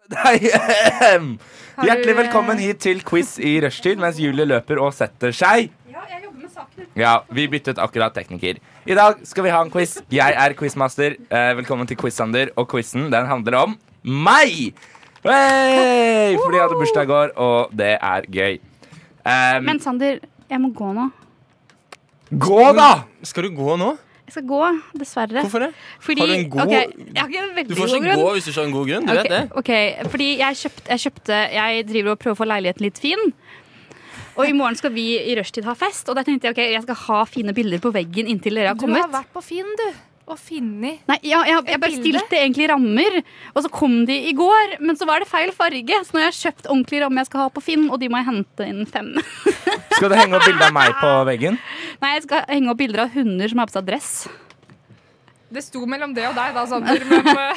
[SPEAKER 2] Nei,
[SPEAKER 3] du,
[SPEAKER 2] Hjertelig
[SPEAKER 3] eh,
[SPEAKER 2] velkommen hit til quiz i rushtid mens Julie løper og setter seg.
[SPEAKER 4] Ja, jeg jobber med saken.
[SPEAKER 2] Ja, vi byttet akkurat tekniker. I dag skal vi ha en quiz. Jeg er quizmaster. Eh, velkommen til quiz, Sander. Og quizen den handler om meg! Hey! Fordi jeg hadde bursdag i går, og det er gøy. Ehm, Em,
[SPEAKER 4] Men Sander, jeg må gå nå.
[SPEAKER 2] gå, da!
[SPEAKER 9] Skal du gå nå?
[SPEAKER 4] Jeg skal gå, dessverre.
[SPEAKER 9] Hvorfor det?
[SPEAKER 4] Fordi,
[SPEAKER 9] Har du en god-
[SPEAKER 4] ok, jeg har ikke en veldig
[SPEAKER 9] Du får
[SPEAKER 4] god
[SPEAKER 9] ikke
[SPEAKER 4] grunn.
[SPEAKER 9] gå hvis du ikke har en god grunn. Du vet det.
[SPEAKER 4] Ok, ok, fordi jeg kjøpte, jeg kjøpte Jeg driver og prøver å få leiligheten litt fin. Og i morgen skal vi i rushtid ha fest, og der tenkte jeg ok, jeg skal ha fine bilder på veggen inntil dere har
[SPEAKER 3] Du har
[SPEAKER 4] kommet.
[SPEAKER 3] vært på Finn, du. Og funnet
[SPEAKER 4] Nei, ja, jeg, jeg
[SPEAKER 3] Et bilde?
[SPEAKER 4] bestilte egentlig rammer, og så kom de i går, men så var det feil farge. Så nå har jeg kjøpt ordentlige rammer jeg skal ha på Finn, og de må jeg hente innen fem.
[SPEAKER 2] Skal du henge opp bilde av meg på veggen?
[SPEAKER 4] Nei, jeg skal henge opp bilder av hunder som har på seg dress.
[SPEAKER 3] Det sto mellom det og deg da, Sander. Men eh,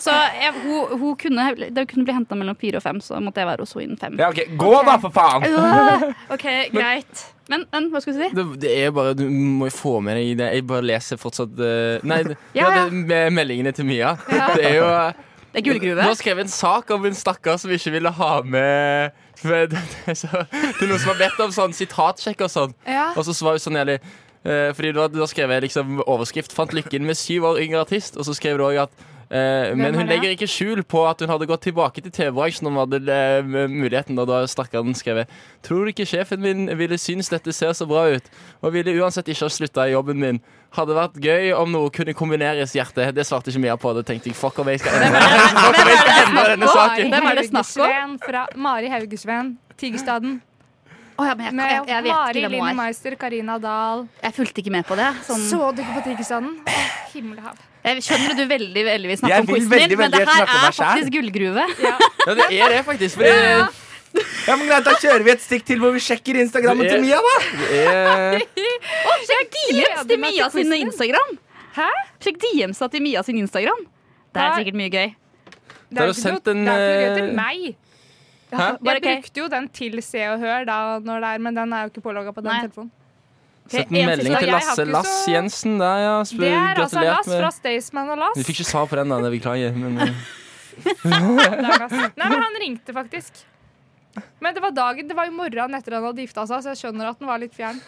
[SPEAKER 4] Så jeg, hun, hun kunne, det kunne bli henta mellom fire og fem, så måtte jeg være hos henne innen fem.
[SPEAKER 2] Ja, ok, Gå, da, for faen!
[SPEAKER 4] OK, greit. Men, men hva skulle du si?
[SPEAKER 9] Det, det er bare, Du må jo få med deg det. Jeg bare leser fortsatt eh, Nei, det-
[SPEAKER 4] Ja,
[SPEAKER 9] ja,
[SPEAKER 4] ja.
[SPEAKER 9] det, med meldingene til Mia. Det er jo eh,
[SPEAKER 4] Det er
[SPEAKER 9] Du
[SPEAKER 4] gullgruve.
[SPEAKER 9] har skrevet en sak om en stakkar som ikke ville ha med for det, det, er så, det er noen som har bedt om sånn sitatsjekk og sånn.
[SPEAKER 3] ja.
[SPEAKER 9] Og så var hun sånn jævlig eh, Fordi du har, du har skrevet liksom overskrift 'Fant lykken med syv år yngre artist', og så skrev du òg at eh, men
[SPEAKER 3] var
[SPEAKER 9] hun
[SPEAKER 3] det?
[SPEAKER 9] legger ikke skjul på at hun hadde gått tilbake til TV-bransjen om hun hadde eh, muligheten. Og da har stakkaren skrevet 'Tror du ikke sjefen min ville synes dette ser så bra ut?' 'Og ville uansett ikke ha slutta i jobben min'. Hadde vært gøy om noe kunne kombineres, hjerte. Det svarte ikke Mia på. Da tenkte jeg fuck om jeg skal endre, fuck om jeg skal endre denne saken.
[SPEAKER 4] Hvem er det snakk om?
[SPEAKER 3] Haugesveen Fra Mari Haugesveen, Tigerstaden.
[SPEAKER 4] Å ja, men jeg,
[SPEAKER 3] Med
[SPEAKER 4] jeg, jeg vet
[SPEAKER 3] Mari
[SPEAKER 4] ikke hvem
[SPEAKER 3] Linn
[SPEAKER 4] hun er.
[SPEAKER 3] Meister, Karina Dahl.
[SPEAKER 4] Jeg fulgte ikke med på det. Sånn.
[SPEAKER 3] Så du ikke på Tigerstaden? Å, Himmelhav.
[SPEAKER 4] Jeg skjønner at du veldig veldig vil snakke
[SPEAKER 2] Jeg
[SPEAKER 4] om
[SPEAKER 2] vil
[SPEAKER 4] quizen
[SPEAKER 2] veldig,
[SPEAKER 4] din, men
[SPEAKER 2] veldig
[SPEAKER 4] det her
[SPEAKER 2] snakke om
[SPEAKER 4] er
[SPEAKER 2] meg selv.
[SPEAKER 4] faktisk gullgruve.
[SPEAKER 9] Ja, det er det faktisk. Fordi
[SPEAKER 2] Ja, men greit, Da kjører vi et stikk til hvor vi sjekker Instagrammen til Mia, da.
[SPEAKER 9] det er
[SPEAKER 4] Sjekk DMs til
[SPEAKER 3] gleder meg til
[SPEAKER 4] Mia sin
[SPEAKER 3] quizen.
[SPEAKER 4] Instagram!
[SPEAKER 3] Hæ?
[SPEAKER 4] Sjekk DMs til Mia sin Instagram. Det er
[SPEAKER 3] Nei.
[SPEAKER 4] sikkert mye gøy.
[SPEAKER 3] Det er
[SPEAKER 9] jo
[SPEAKER 3] jo ikke noe-
[SPEAKER 9] sendt en,
[SPEAKER 3] det er ikke noe gøy
[SPEAKER 9] eh,
[SPEAKER 3] til meg.
[SPEAKER 9] Hæ?
[SPEAKER 4] Bare
[SPEAKER 3] Jeg
[SPEAKER 4] ok.
[SPEAKER 3] brukte jo den til Se og Hør, da, når det er, men den er jo ikke pålogga på den
[SPEAKER 4] Nei.
[SPEAKER 3] telefonen.
[SPEAKER 9] Sett
[SPEAKER 4] en
[SPEAKER 9] en melding
[SPEAKER 4] siste-
[SPEAKER 9] til
[SPEAKER 3] jeg har
[SPEAKER 9] Lasse
[SPEAKER 3] ikke
[SPEAKER 9] Lass
[SPEAKER 3] så-
[SPEAKER 9] Jensen der, ja. Spør,
[SPEAKER 3] Det er altså
[SPEAKER 9] gratulert
[SPEAKER 3] Lass
[SPEAKER 9] med-
[SPEAKER 3] fra Staysman og
[SPEAKER 9] Vi
[SPEAKER 3] Lass.
[SPEAKER 9] fikk ikke svar på den, da. det Beklager. Men, eh,
[SPEAKER 3] Det er Lass. Nei, men han ringte faktisk. Men det var dagen, det var jo morgenen etter han hadde gifta seg, så jeg skjønner at den var litt fjern.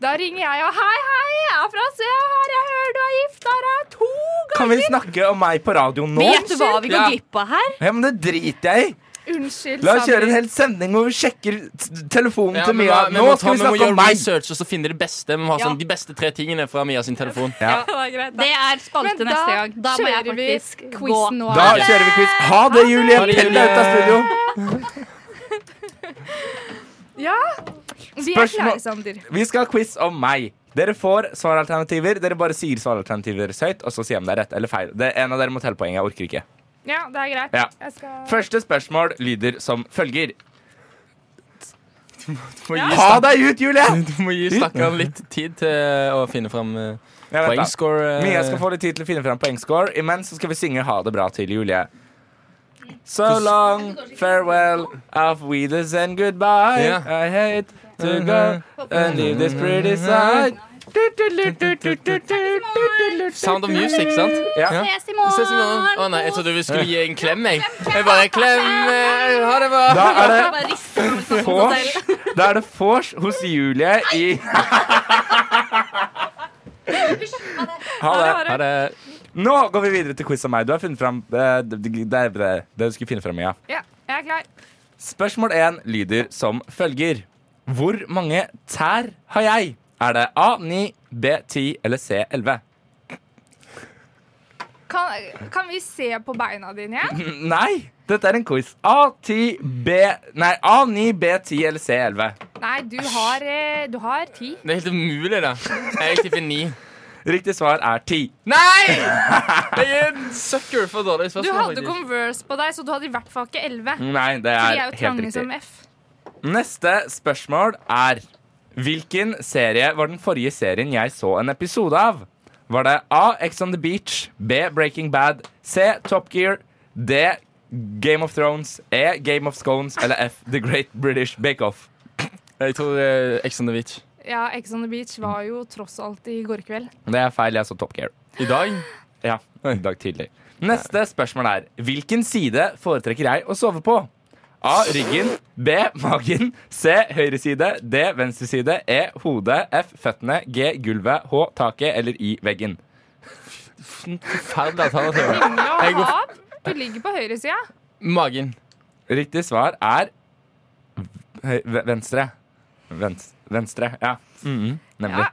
[SPEAKER 3] Da ringer jeg og Hei, hei, jeg er fra Se og Hør, jeg hører du er gifta deg to
[SPEAKER 2] Kan vi snakke om meg på radioen nå?
[SPEAKER 3] Vet du hva vi går
[SPEAKER 2] Ja.
[SPEAKER 3] glipp av her?
[SPEAKER 2] Ja, men det driter jeg i.
[SPEAKER 3] Unnskyld.
[SPEAKER 2] La oss kjøre en
[SPEAKER 3] Sander.
[SPEAKER 2] hel sending hvor vi sjekker t- telefonen
[SPEAKER 9] Ja,
[SPEAKER 2] til
[SPEAKER 9] men
[SPEAKER 2] Mia.
[SPEAKER 9] hva- men
[SPEAKER 2] Nå
[SPEAKER 9] må ta-
[SPEAKER 2] skal vi
[SPEAKER 9] men må
[SPEAKER 2] snakke
[SPEAKER 9] gjøre
[SPEAKER 2] om meg!
[SPEAKER 9] Research, og så finne det beste. Vi må ha
[SPEAKER 3] Ja.
[SPEAKER 9] sånn, de beste tre tingene fra Mia sin telefon.
[SPEAKER 2] Ja.
[SPEAKER 3] Det er greit, da.
[SPEAKER 4] Det er spalte
[SPEAKER 3] Men
[SPEAKER 4] neste gang. Da må jeg
[SPEAKER 3] kjører vi
[SPEAKER 4] faktisk
[SPEAKER 3] quiz
[SPEAKER 4] gå.
[SPEAKER 3] nå.
[SPEAKER 2] Da kjører vi quiz. Ha det, Julie!
[SPEAKER 9] Ha det,
[SPEAKER 2] Pell deg ut av
[SPEAKER 9] Julie.
[SPEAKER 2] studio.
[SPEAKER 3] Ja, vi er
[SPEAKER 2] Spørsmål-
[SPEAKER 3] klare, Sander.
[SPEAKER 2] Vi skal ha quiz om meg. Dere får svaralternativer. Dere bare sier svaralternativet deres høyt, og så sier jeg om det er rett eller feil. Det er En av dere må telle poeng. Jeg orker ikke.
[SPEAKER 3] Ja, det er greit.
[SPEAKER 2] Ja.
[SPEAKER 3] Jeg skal
[SPEAKER 2] Første spørsmål lyder som følger.
[SPEAKER 9] Du må gi
[SPEAKER 2] Ha
[SPEAKER 9] stakk-
[SPEAKER 2] deg ut, Julie!
[SPEAKER 9] Du må gi stakkaren litt tid til å finne fram eh,
[SPEAKER 2] Jeg vet da.
[SPEAKER 9] poengscore. eh.
[SPEAKER 2] Mia skal få litt tid til å finne fram poengscore. Imens så skal vi synge Ha det bra til Julie. So long, farewell, auf Wiedersehen and goodbye.
[SPEAKER 9] Ja.
[SPEAKER 2] I hate to go and leave this pretty side.
[SPEAKER 9] Sound of Music, sant?
[SPEAKER 2] Ja.
[SPEAKER 4] Ses i
[SPEAKER 9] Ses i morgen. Å nei, jeg trodde vi skulle gi en klem, jeg. Jeg bare klem, eh, ha det bra.
[SPEAKER 2] Da er det
[SPEAKER 4] Bare riste på seg
[SPEAKER 2] vors.
[SPEAKER 4] selv.
[SPEAKER 2] Da er det vors hos Julie i Ha det.
[SPEAKER 9] Ha det.
[SPEAKER 2] Nå går vi videre til quiz om meg. Du har funnet fram eh, det, det, det, det- det du skulle finne fram, Mia.
[SPEAKER 3] Ja, jeg er klar.
[SPEAKER 2] Spørsmål 1 lyder som følger. Hvor mange tær har jeg? Er det A9, B10 eller C11?
[SPEAKER 3] Kan, kan vi se på beina dine igjen?
[SPEAKER 2] Mm, Nei, dette er en quiz. A10, B... Nei, A9, B10 eller C11.
[SPEAKER 3] Nei, du har, eh, du har ti.
[SPEAKER 9] Det er helt umulig, da. Jeg tipper ni.
[SPEAKER 2] Riktig svar er 10.
[SPEAKER 9] Nei! Jeg er en sucker for dårlige
[SPEAKER 3] Du
[SPEAKER 9] spørsmål.
[SPEAKER 3] hadde
[SPEAKER 9] faktisk.
[SPEAKER 3] Converse på deg, så du hadde i hvert fall ikke elleve.
[SPEAKER 2] Nei, det
[SPEAKER 3] De
[SPEAKER 2] Mm, er,
[SPEAKER 3] er jo
[SPEAKER 2] helt
[SPEAKER 3] trange
[SPEAKER 2] riktig.
[SPEAKER 3] som F.
[SPEAKER 2] Neste spørsmål er Hvilken serie var den forrige serien jeg så en episode av? Var det A. X on the Beach, B. Breaking Bad, C. Top Gear, D. Game of Thrones, E. Game of Scones eller F. The Great British Bake Off?
[SPEAKER 9] Jeg tror eh, Ex on the Beach.
[SPEAKER 3] Ja, Ex on the Beach var jo tross alt i går kveld.
[SPEAKER 2] Det er feil, jeg så Top Gear.
[SPEAKER 9] I dag?
[SPEAKER 2] Ja, en dag tidlig. Neste spørsmål er Hvilken side foretrekker jeg å sove på? A. Ryggen. B. Magen. C. Høyre side. D. Venstre side. E. Hodet. F. Føttene. G. Gulvet. H. Taket. Eller I. Veggen.
[SPEAKER 9] Forferdelig alternativ.
[SPEAKER 3] Himmel
[SPEAKER 9] Jeg
[SPEAKER 3] og
[SPEAKER 9] går-
[SPEAKER 3] hav. Du ligger på høyresida.
[SPEAKER 9] Magen.
[SPEAKER 2] Riktig svar er høy, ve- venstre. Vens, venstre, ja. Mhm, nemlig.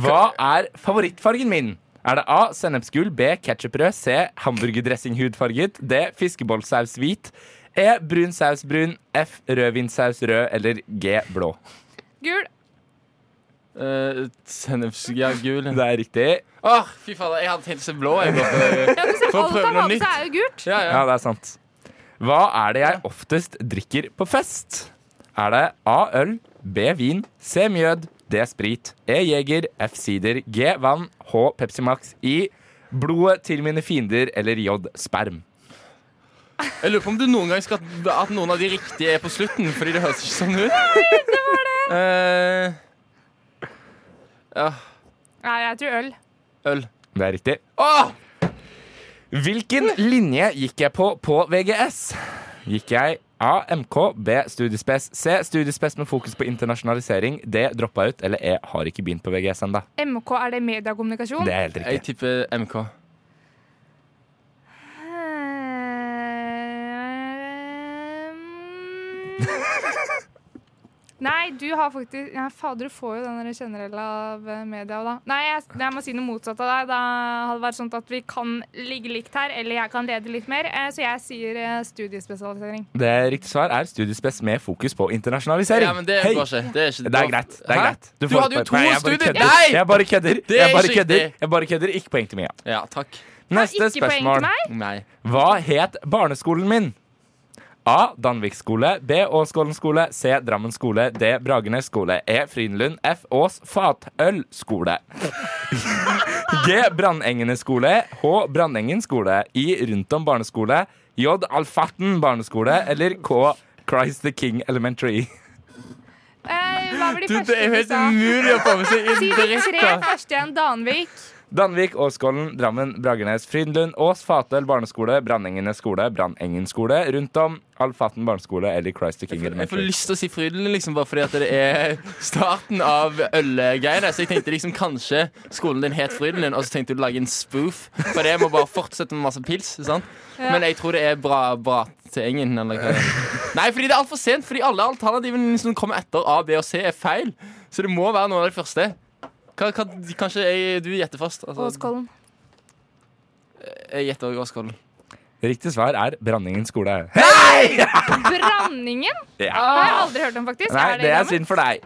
[SPEAKER 2] Hva er favorittfargen min? Er det A. Sennepsgul. B. Ketchupbrød. C. Hamburgerdressinghudfarget. D. Fiskebollsaus hvit. E. Brun saus brun. F. Rødvinsaus rød. Eller G. Blå.
[SPEAKER 3] Gul.
[SPEAKER 2] Eh,
[SPEAKER 9] Uh, Sennepsgul.
[SPEAKER 2] Det er riktig.
[SPEAKER 9] Åh, fy fader, jeg hadde tenkt seg blå. Jeg bare,
[SPEAKER 3] Ja, du ser,
[SPEAKER 9] Får
[SPEAKER 3] alt
[SPEAKER 9] prøve
[SPEAKER 3] han
[SPEAKER 9] noe
[SPEAKER 3] har på
[SPEAKER 9] nytt.
[SPEAKER 3] seg, er jo gult.
[SPEAKER 9] ja, ja.
[SPEAKER 2] Ja, det er sant. Hva er det jeg oftest drikker på fest? Er det A. Øl, B. Vin, C. Mjød, D. Sprit, E. Jeger, F. Sider, G. Vann, H. Pepsi Max, I. Blodet til mine fiender eller J. Sperm.
[SPEAKER 9] Jeg lurer på om du noen gang skal at noen av de riktige er på slutten, fordi det høres ikke sånn ut. Eh, det var det.
[SPEAKER 3] Nei, jeg tror øl.
[SPEAKER 9] øl.
[SPEAKER 2] Det er riktig.
[SPEAKER 9] Åh!
[SPEAKER 2] Hvilken linje gikk jeg på på VGS? Gikk jeg A. MK, B. Studiespes, C. Studiespes med fokus på internasjonalisering, D. Droppa ut, eller E. Har ikke begynt på VGS ennå.
[SPEAKER 3] MK, er det mediakommunikasjon?
[SPEAKER 2] Det er helt
[SPEAKER 9] Jeg
[SPEAKER 2] riktig.
[SPEAKER 9] tipper MK.
[SPEAKER 3] Ehm. Nei, du har faktisk ja, Fader, du får jo den der generelle av eh, media òg, da. Nei, jeg, jeg må si noe motsatt av deg. Da hadde det vært sånn at vi kan ligge likt her, eller jeg kan lede litt mer. Eh, Så jeg sier eh, studiespesialisering.
[SPEAKER 2] Det riktige svar er studiespes med fokus på internasjonalisering.
[SPEAKER 9] Ja, men det
[SPEAKER 2] Hei!
[SPEAKER 9] går ikke. Det er, ikke
[SPEAKER 2] Det er greit. det er
[SPEAKER 9] Hæ?
[SPEAKER 2] greit.
[SPEAKER 9] Du,
[SPEAKER 2] får
[SPEAKER 9] hadde jo
[SPEAKER 2] et
[SPEAKER 9] to
[SPEAKER 2] poeng. Nei, jeg bare
[SPEAKER 9] studier!
[SPEAKER 2] kødder. Jeg bare kødder.
[SPEAKER 9] Det er
[SPEAKER 2] Jeg bare
[SPEAKER 9] ikke
[SPEAKER 2] kødder.
[SPEAKER 9] riktig.
[SPEAKER 2] Jeg bare kødder. Ikke poeng til Mia.
[SPEAKER 9] Nei! Ja, takk.
[SPEAKER 2] Neste
[SPEAKER 3] ikke poeng til
[SPEAKER 2] spørsmål.
[SPEAKER 3] meg.
[SPEAKER 9] Nei.
[SPEAKER 2] Hva het barneskolen min? A. Danvik skole. B. Åsgålen skole. C. Drammen skole. D. Bragernes skole. E. Frydenlund. F. Ås Fatøl skole. G. Brandengene skole. H. Brandengen skole. I. Rundt om barneskole. J. Alfatten barneskole. Eller K. Christ the King Elementary.
[SPEAKER 3] Eh, hva var de
[SPEAKER 9] Du,
[SPEAKER 3] første
[SPEAKER 9] det er jo
[SPEAKER 3] du
[SPEAKER 9] helt
[SPEAKER 3] sa?
[SPEAKER 9] umulig å få med seg
[SPEAKER 3] Si de
[SPEAKER 9] indirekte.
[SPEAKER 3] tre første igjen. Danvik.
[SPEAKER 2] Danvik, Åskollen, Drammen, Bragernes, Frydenlund, Ås, Fatøl barneskole, Brandengene skole, Brandengen skole, rundt om, Alfaten barneskole eller Christ the King
[SPEAKER 9] Jeg får
[SPEAKER 2] Elementary.
[SPEAKER 9] lyst til å si Frydenlund, liksom, bare fordi at det er starten av ølgreiene. Så jeg tenkte liksom kanskje skolen din het Frydenlund, og så tenkte du å lage en spoof. For det må bare fortsette med masse pils. Sant?
[SPEAKER 7] Ja.
[SPEAKER 9] Men jeg tror det er bra, bra til Engen. Eller hva det er. Nei, fordi det er altfor sent. Fordi alle alternativene som kommer etter A, B og C, er feil. Så det må være noe av det første. Hva, hva, kanskje jeg, du gjetter først. altså.
[SPEAKER 3] Åskollen.
[SPEAKER 9] jeg gjetter også Åskollen.
[SPEAKER 2] Riktig svar er Brandingen skole.
[SPEAKER 3] Branningen?
[SPEAKER 2] Ja.
[SPEAKER 3] Det har jeg aldri hørt om, faktisk.
[SPEAKER 2] Nei,
[SPEAKER 3] er
[SPEAKER 2] det
[SPEAKER 3] det
[SPEAKER 2] er synd for deg.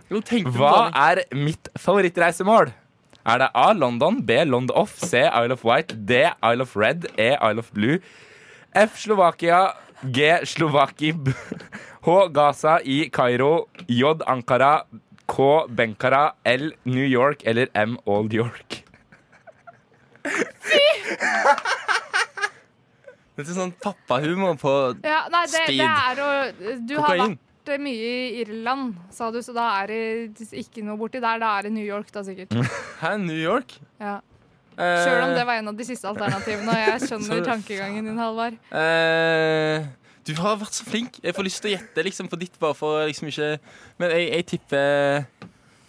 [SPEAKER 2] Hva er mitt favorittreisemål? Er det A. London, B. London Off, C. Isle of White, D. Isle of Red, E. Isle of Blue, F. Slovakia, G. Slovaki, B- H. Gaza, I. Kairo, J. Ankara, K. Benkara, L. New York eller M. Old York.
[SPEAKER 9] Litt sånn pappahumor på
[SPEAKER 3] Ja, nei, det, det er å Du har
[SPEAKER 9] Kokain.
[SPEAKER 3] vært eh, mye i Irland, sa du, så da er det ikke noe borti der. Da er det New York, da sikkert.
[SPEAKER 2] Mm.
[SPEAKER 9] Hæ, New York?
[SPEAKER 3] Ja.
[SPEAKER 9] Eh,
[SPEAKER 3] Sjøl om det var en av de siste alternativene, og jeg skjønner
[SPEAKER 9] Så-
[SPEAKER 3] tankegangen din, Halvard.
[SPEAKER 9] Eh, du har vært så flink. Jeg får lyst til å gjette liksom, på ditt, bare for å liksom ikke Men jeg, jeg tipper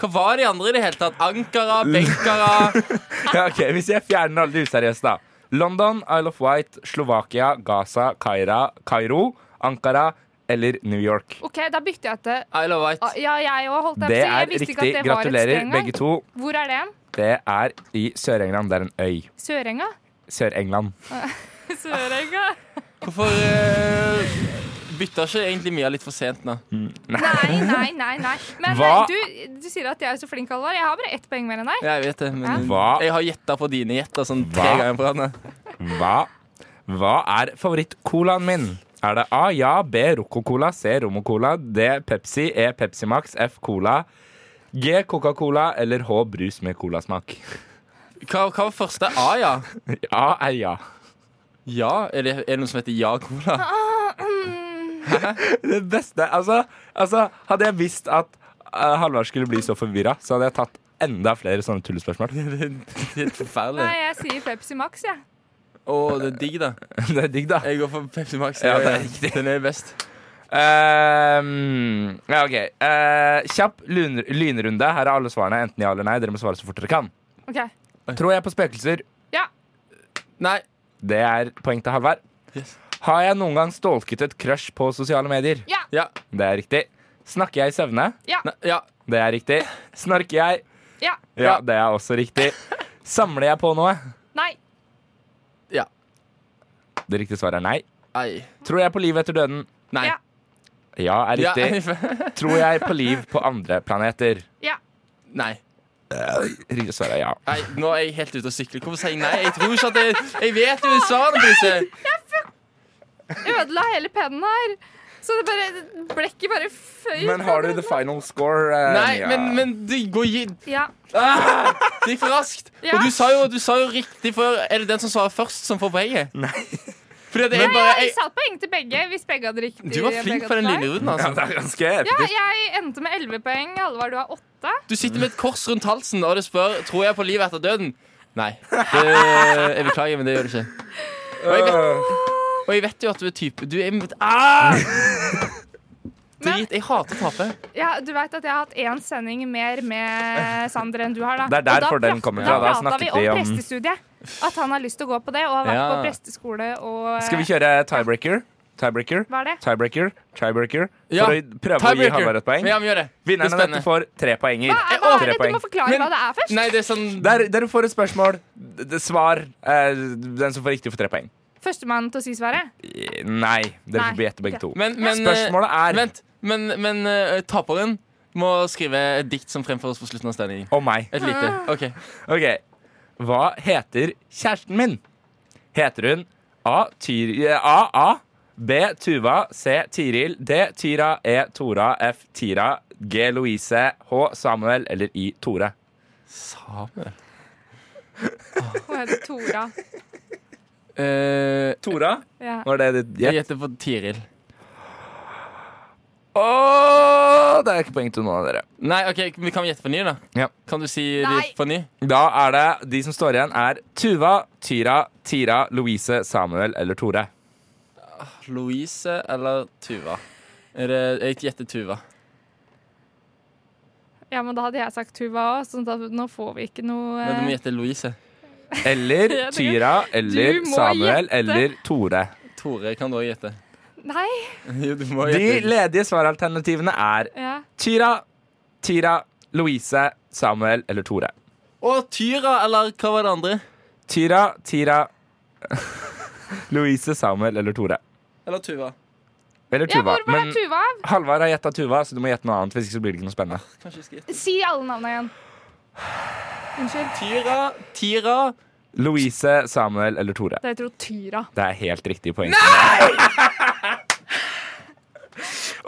[SPEAKER 9] Hva var de andre i det hele tatt? Ankara,
[SPEAKER 2] Uh.
[SPEAKER 9] Benkara
[SPEAKER 2] ja, ok, Hvis jeg fjerner alle de useriøse, da. London, Isle of White, Slovakia, Gaza, Kaira, Kairo, Ankara eller New York.
[SPEAKER 3] OK, da bytter jeg til
[SPEAKER 9] Isle of
[SPEAKER 3] Ah, Ja, jeg òg, holdt jeg på
[SPEAKER 2] Det
[SPEAKER 3] å si.
[SPEAKER 2] er
[SPEAKER 3] Jeg visste ikke
[SPEAKER 2] riktig.
[SPEAKER 3] at det var et sted
[SPEAKER 2] Gratulerer,
[SPEAKER 3] engang.
[SPEAKER 2] begge to.
[SPEAKER 3] Hvor er det? hen?
[SPEAKER 2] Det er i Sør-England. Det er en øy.
[SPEAKER 3] Sørenga?
[SPEAKER 2] Sør-England.
[SPEAKER 3] Sørenga.
[SPEAKER 9] Hvorfor eh, bytta ikke egentlig Mia litt for sent nå?
[SPEAKER 2] Mm.
[SPEAKER 3] Nei, nei, nei. nei. Men eh,
[SPEAKER 9] Hva-
[SPEAKER 3] du, du sier at jeg er så flink, Halvard. Jeg har bare ett poeng mer enn deg.
[SPEAKER 9] Jeg vet det, men
[SPEAKER 2] Hva?
[SPEAKER 9] jeg har gjetta på dine gjetter sånn tre
[SPEAKER 2] Hva?
[SPEAKER 9] ganger på rad. nå.
[SPEAKER 2] Hva, hva er favorittcolaen min? Er det A. Ja, B. Rocco-cola, C. Romo-cola, D. Pepsi, E. Pepsi Max, F. Cola, G. Coca-Cola eller H. Brus med colasmak?
[SPEAKER 9] Hva, hva var første A, ja?
[SPEAKER 2] A er ja.
[SPEAKER 9] Ja? Er det, er det noe som heter Ja-cola?
[SPEAKER 2] Det beste altså, altså, hadde jeg visst at eh, Halvard skulle bli så forvirra, så hadde jeg tatt enda flere sånne tullespørsmål.
[SPEAKER 9] det er helt forferdelig.
[SPEAKER 3] Nei, jeg sier Pepsi Max, jeg.
[SPEAKER 9] Å, det er digg, da.
[SPEAKER 2] det er digg, da.
[SPEAKER 9] Jeg går for Pepsi Max.
[SPEAKER 2] Ja, det er
[SPEAKER 9] riktig. Den er best.
[SPEAKER 2] Ehm, ja, OK. Eh, kjapp lun lynrunde. Her er alle svarene. Enten ja eller nei. Dere må svare så fort dere kan.
[SPEAKER 3] OK.
[SPEAKER 2] Tror jeg på spøkelser?
[SPEAKER 3] Ja.
[SPEAKER 9] Nei.
[SPEAKER 2] Det er poeng til Halvard. Har jeg noen gang stalket et crush på sosiale medier?
[SPEAKER 3] Ja.
[SPEAKER 2] Det er riktig. Snakker jeg i søvne?
[SPEAKER 3] Ja. Nei,
[SPEAKER 2] Det er riktig. Snorker jeg?
[SPEAKER 3] Ja.
[SPEAKER 2] Ja, det er også riktig. Samler jeg på noe?
[SPEAKER 3] Nei.
[SPEAKER 2] Det riktige svaret er nei.
[SPEAKER 9] Ei.
[SPEAKER 2] Tror jeg på liv etter døden?
[SPEAKER 9] Nei.
[SPEAKER 3] Ja.
[SPEAKER 2] Ja, er
[SPEAKER 9] Ja.
[SPEAKER 2] riktig. Tror jeg på liv på andre planeter?
[SPEAKER 3] Ja.
[SPEAKER 9] Nei.
[SPEAKER 2] Riktig svar er ja.
[SPEAKER 9] Nei, nå er jeg helt ute å sykle. Hvorfor sier jeg nei? Jeg tror ikke at jeg, jeg vet jo svarene på disse.
[SPEAKER 3] Ødela hele pennen her. Så det bare blekket bare føy.
[SPEAKER 2] Men har du the final score? eh,
[SPEAKER 9] Nei,
[SPEAKER 2] Mia?
[SPEAKER 9] men, men det går gi...
[SPEAKER 3] Ja.
[SPEAKER 9] Ah, det gikk for raskt.
[SPEAKER 3] Ja.
[SPEAKER 9] Og du sa, jo, du sa jo riktig før. Er det den som svarer først, som får poenget? Nei. Fordi at
[SPEAKER 3] Nei,
[SPEAKER 9] jeg bare
[SPEAKER 3] jeg
[SPEAKER 9] jeg,
[SPEAKER 3] satt poeng til begge hvis begge hadde riktig.
[SPEAKER 9] Du var
[SPEAKER 3] og
[SPEAKER 9] flink
[SPEAKER 3] begge
[SPEAKER 9] på den
[SPEAKER 3] hadde feil.
[SPEAKER 9] lynrunden, altså.
[SPEAKER 2] Ja, det er ganske
[SPEAKER 3] Ja, jeg endte med 11 poeng. Halvard, du har 8.
[SPEAKER 9] Du sitter med et kors rundt halsen, og du spør Tror jeg på livet etter døden. Nei. Det, jeg beklager, men det gjør du ikke. Og jeg vet, og jeg vet jo at du er type Du er ah! Drit. Jeg hater å tape.
[SPEAKER 3] Ja, du vet at jeg har hatt én sending mer med Sander enn du har, da.
[SPEAKER 2] Det er der
[SPEAKER 3] Og da
[SPEAKER 2] fordelen
[SPEAKER 3] prat-
[SPEAKER 2] kommer fra. Da
[SPEAKER 3] Da prata vi
[SPEAKER 2] snakket
[SPEAKER 3] om,
[SPEAKER 2] vi om-
[SPEAKER 3] prestestudiet. At han har lyst til å gå på det, og har vært
[SPEAKER 2] Ja.
[SPEAKER 3] på presteskole og
[SPEAKER 2] Skal vi kjøre tiebreaker? Tiebreaker,
[SPEAKER 3] Hva er det?
[SPEAKER 2] tiebreaker, tiebreaker for å
[SPEAKER 9] Ja,
[SPEAKER 2] prøve å gi
[SPEAKER 9] tiebreaker.
[SPEAKER 2] Halvard et poeng?
[SPEAKER 9] Ja, vi gjør det. Det er
[SPEAKER 2] Vinneren av
[SPEAKER 9] spennende.
[SPEAKER 2] dette får tre poenger.
[SPEAKER 3] Hva er, hva er
[SPEAKER 2] Tre
[SPEAKER 3] det? Du
[SPEAKER 2] poeng.
[SPEAKER 3] må forklare hva det er først.
[SPEAKER 9] Nei, det er sånn
[SPEAKER 2] Der, dere får et spørsmål, d- d- svar. eh, Den som får riktig, får tre poeng.
[SPEAKER 3] Førstemann til å si svaret.
[SPEAKER 2] Eh, Nei. Dere
[SPEAKER 3] Nei,
[SPEAKER 2] får gjette begge
[SPEAKER 3] ok.
[SPEAKER 2] to.
[SPEAKER 9] Men, men eh,
[SPEAKER 2] Spørsmålet er
[SPEAKER 9] Vent, men, men eh, taperen må skrive et dikt som fremføres på slutten av sendingen.
[SPEAKER 2] om meg.
[SPEAKER 9] Et lite. OK.
[SPEAKER 2] OK. Hva heter kjæresten min? Heter hun A. Tyr... eh, A. A. B. Tuva. C. Tiril. D. Tyra. E. Tora. F. Tira. G. Louise. H. Samuel. Eller I. Tore.
[SPEAKER 9] Samuel
[SPEAKER 3] Hun heter Tora.
[SPEAKER 9] Eh,
[SPEAKER 2] Tora?
[SPEAKER 3] Ja.
[SPEAKER 2] Var det ditt
[SPEAKER 9] Jeg
[SPEAKER 2] gjett?
[SPEAKER 9] gjetter på Tiril.
[SPEAKER 2] Åh, det er ikke poeng til noen av dere.
[SPEAKER 9] Nei, ok, vi kan gjette på ny, da.
[SPEAKER 2] Ja.
[SPEAKER 9] Kan du si
[SPEAKER 3] Nei.
[SPEAKER 9] de på ny?
[SPEAKER 2] Da er det de som står igjen, er Tuva, Tyra, Tira, Louise, Samuel eller Tore.
[SPEAKER 9] Louise eller Tuva? Er det, jeg gjetter Tuva.
[SPEAKER 3] Ja, men da hadde jeg sagt Tuva òg, så da, nå får vi ikke noe
[SPEAKER 9] Men du må
[SPEAKER 3] eh,
[SPEAKER 9] gjette Louise.
[SPEAKER 2] Eller Tyra eller
[SPEAKER 3] Du må
[SPEAKER 2] Samuel
[SPEAKER 3] gjette.
[SPEAKER 2] eller Tore.
[SPEAKER 9] Tore kan du også gjette.
[SPEAKER 3] eh, Nei.
[SPEAKER 9] Jo, du må
[SPEAKER 2] De
[SPEAKER 9] gjette.
[SPEAKER 2] ledige svaralternativene er
[SPEAKER 3] Ja.
[SPEAKER 2] Tyra, Tyra, Louise, Samuel eller Tore.
[SPEAKER 9] Å, Tyra, eller hva var det andre?
[SPEAKER 2] Tyra, Tyra Louise, Samuel eller Tore.
[SPEAKER 9] Eller Tuva.
[SPEAKER 2] Eller
[SPEAKER 3] Ja,
[SPEAKER 2] Tuva.
[SPEAKER 3] hvor ble
[SPEAKER 2] Men
[SPEAKER 3] Tuva av?
[SPEAKER 2] Halvard har gjetta Tuva, så du må gjette noe annet. Hvis ikke så blir det ikke noe spennende.
[SPEAKER 9] Kanskje jeg skal gjette.
[SPEAKER 3] Si alle navnene igjen. Unnskyld.
[SPEAKER 9] Tyra, Tira
[SPEAKER 2] Louise, Samuel eller Tore.
[SPEAKER 3] Det heter jo Tyra.
[SPEAKER 2] Det er helt riktig poeng. Nei!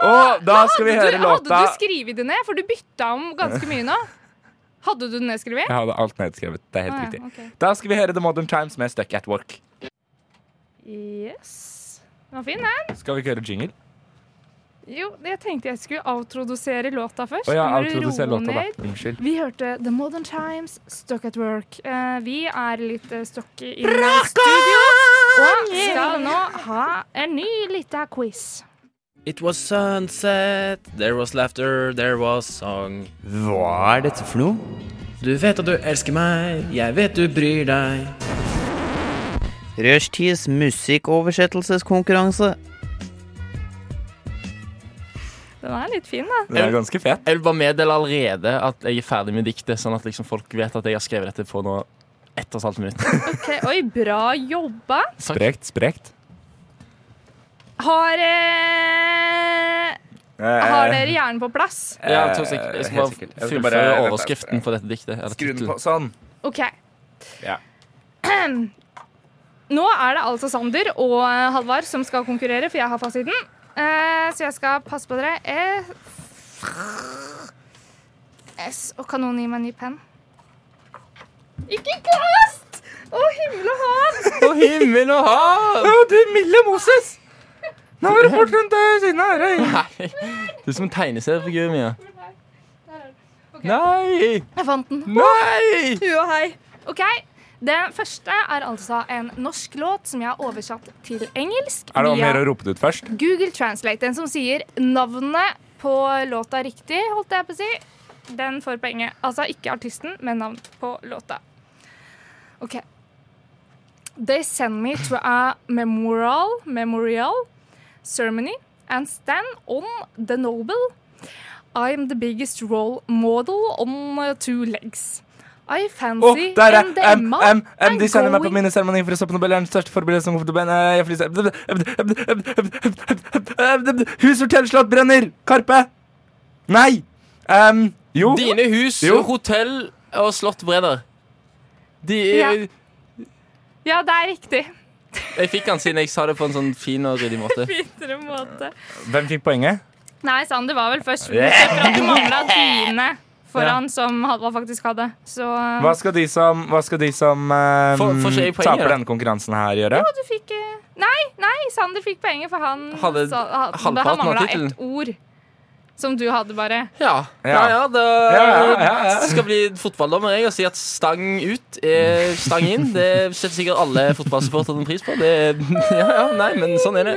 [SPEAKER 2] Og da skal vi høre
[SPEAKER 3] du,
[SPEAKER 2] låta
[SPEAKER 3] Hadde du skrevet det ned? For du bytta om ganske mye nå. Hadde du det nedskrevet?
[SPEAKER 2] Jeg hadde alt nedskrevet. Det er helt
[SPEAKER 3] Ah, ja,
[SPEAKER 2] riktig.
[SPEAKER 3] ok.
[SPEAKER 2] Da skal vi høre The Modern Times med Stuck at Work.
[SPEAKER 3] Yes. Den var fin, den.
[SPEAKER 2] Skal vi ikke høre jingle?
[SPEAKER 3] Jo, jeg tenkte jeg skulle avtrodusere låta først.
[SPEAKER 2] Å ja,
[SPEAKER 3] Nå må du
[SPEAKER 2] avtrodusere
[SPEAKER 3] roe
[SPEAKER 2] låta, da.
[SPEAKER 3] ned.
[SPEAKER 2] Unnskyld.
[SPEAKER 3] Vi hørte The Modern Times, Stuck at Work. Eh, vi er litt uh, stuck i studio og skal nå ha en ny lita quiz.
[SPEAKER 11] It was sunset, there was laughter, there was song. Hva er dette for noe? Du vet at du elsker meg, jeg vet du bryr deg.
[SPEAKER 12] Rushtids musikkoversettelseskonkurranse.
[SPEAKER 3] Den er litt fin, da.
[SPEAKER 9] Den er
[SPEAKER 2] ganske fet.
[SPEAKER 9] Jeg vil bare meddele allerede at jeg er ferdig med diktet, sånn at liksom folk vet at jeg har skrevet dette på nå ett og et halvt minutt.
[SPEAKER 3] Ok, Oi, bra jobba.
[SPEAKER 2] Sprekt, sprekt.
[SPEAKER 3] Har, eh, har dere hjernen på plass?
[SPEAKER 9] Ja, to sek- jeg
[SPEAKER 2] Eh,
[SPEAKER 9] skal bare
[SPEAKER 2] helt sikkert. Jeg skal
[SPEAKER 9] fullføre
[SPEAKER 2] bare- vent, vent,
[SPEAKER 9] overskriften på dette diktet. eller
[SPEAKER 2] Skru den
[SPEAKER 9] tittelen.
[SPEAKER 2] på. Sånn.
[SPEAKER 3] OK.
[SPEAKER 2] Ja.
[SPEAKER 3] Nå er det altså Sander og eh, Halvard som skal konkurrere, for jeg har fasiten. Eh, så jeg skal passe på dere. Eh, S. Og kan noen gi meg en ny penn? Ikke kast! Å, himmel og hav!
[SPEAKER 9] Å, himmel og hav!
[SPEAKER 2] Å, du milde Moses! Nå var det fort rundt eh, siden av øret.
[SPEAKER 9] Nei. Du er som en tegneseriefigur, Mia. Nei!
[SPEAKER 3] Jeg fant den.
[SPEAKER 9] Nei!
[SPEAKER 3] Hu og hei. OK. Den første er altså en norsk låt som jeg har oversatt til engelsk.
[SPEAKER 2] Er det om å
[SPEAKER 3] via
[SPEAKER 2] gjøre å rope det ut først?
[SPEAKER 3] Google Translate, den som sier navnet på låta riktig, holdt jeg på å si, den får poenget. Altså ikke artisten, men navn på låta. OK. They send me to a memorial, memorial ceremony and stand on the noble. I'm the biggest role model on uh, two legs. I fancy
[SPEAKER 2] Å, der er
[SPEAKER 3] and
[SPEAKER 2] em,
[SPEAKER 3] Emma
[SPEAKER 2] em, em,
[SPEAKER 3] I'm
[SPEAKER 2] De sender meg på
[SPEAKER 3] going-
[SPEAKER 2] minneseremonien for å stoppe Nobel. er den største forbildet som kommer til å bli eh, jeg flyser- Hus, hotell, slott, brenner! Karpe! Nei! Em, jo.
[SPEAKER 9] Dine hus,
[SPEAKER 2] Jo.
[SPEAKER 9] hotell og slott brenner. De,
[SPEAKER 3] Ja. Ja, det er riktig.
[SPEAKER 9] Jeg fikk han siden jeg sa det på en sånn fin og ryddig måte.
[SPEAKER 3] Finere måte.
[SPEAKER 2] Hvem fikk poenget?
[SPEAKER 3] Nei, Sander var vel først.
[SPEAKER 2] Yeah.
[SPEAKER 3] Bortsett fra at det mangla dine foran,
[SPEAKER 2] Ja.
[SPEAKER 3] som Halvard faktisk hadde. Så
[SPEAKER 2] Hva skal de som, hva skal de som em,
[SPEAKER 9] Får- får ikke jeg poenget,
[SPEAKER 2] taper
[SPEAKER 9] da?
[SPEAKER 2] denne konkurransen her, gjøre?
[SPEAKER 3] Jo, du fikk eh, Nei, nei, Sander fikk poenget, for han
[SPEAKER 2] Hadde
[SPEAKER 3] sa- ha-
[SPEAKER 2] halvparten
[SPEAKER 3] Han
[SPEAKER 2] av
[SPEAKER 3] mangla
[SPEAKER 2] tittelen.
[SPEAKER 3] ett ord. Som du hadde, bare.
[SPEAKER 9] Ja. Ja, ja, det skal bli fotballdommer jeg og si at stang ut er stang inn. Det setter sikkert alle fotballsupporterne pris på. Det, ja, ja, nei, men sånn er det.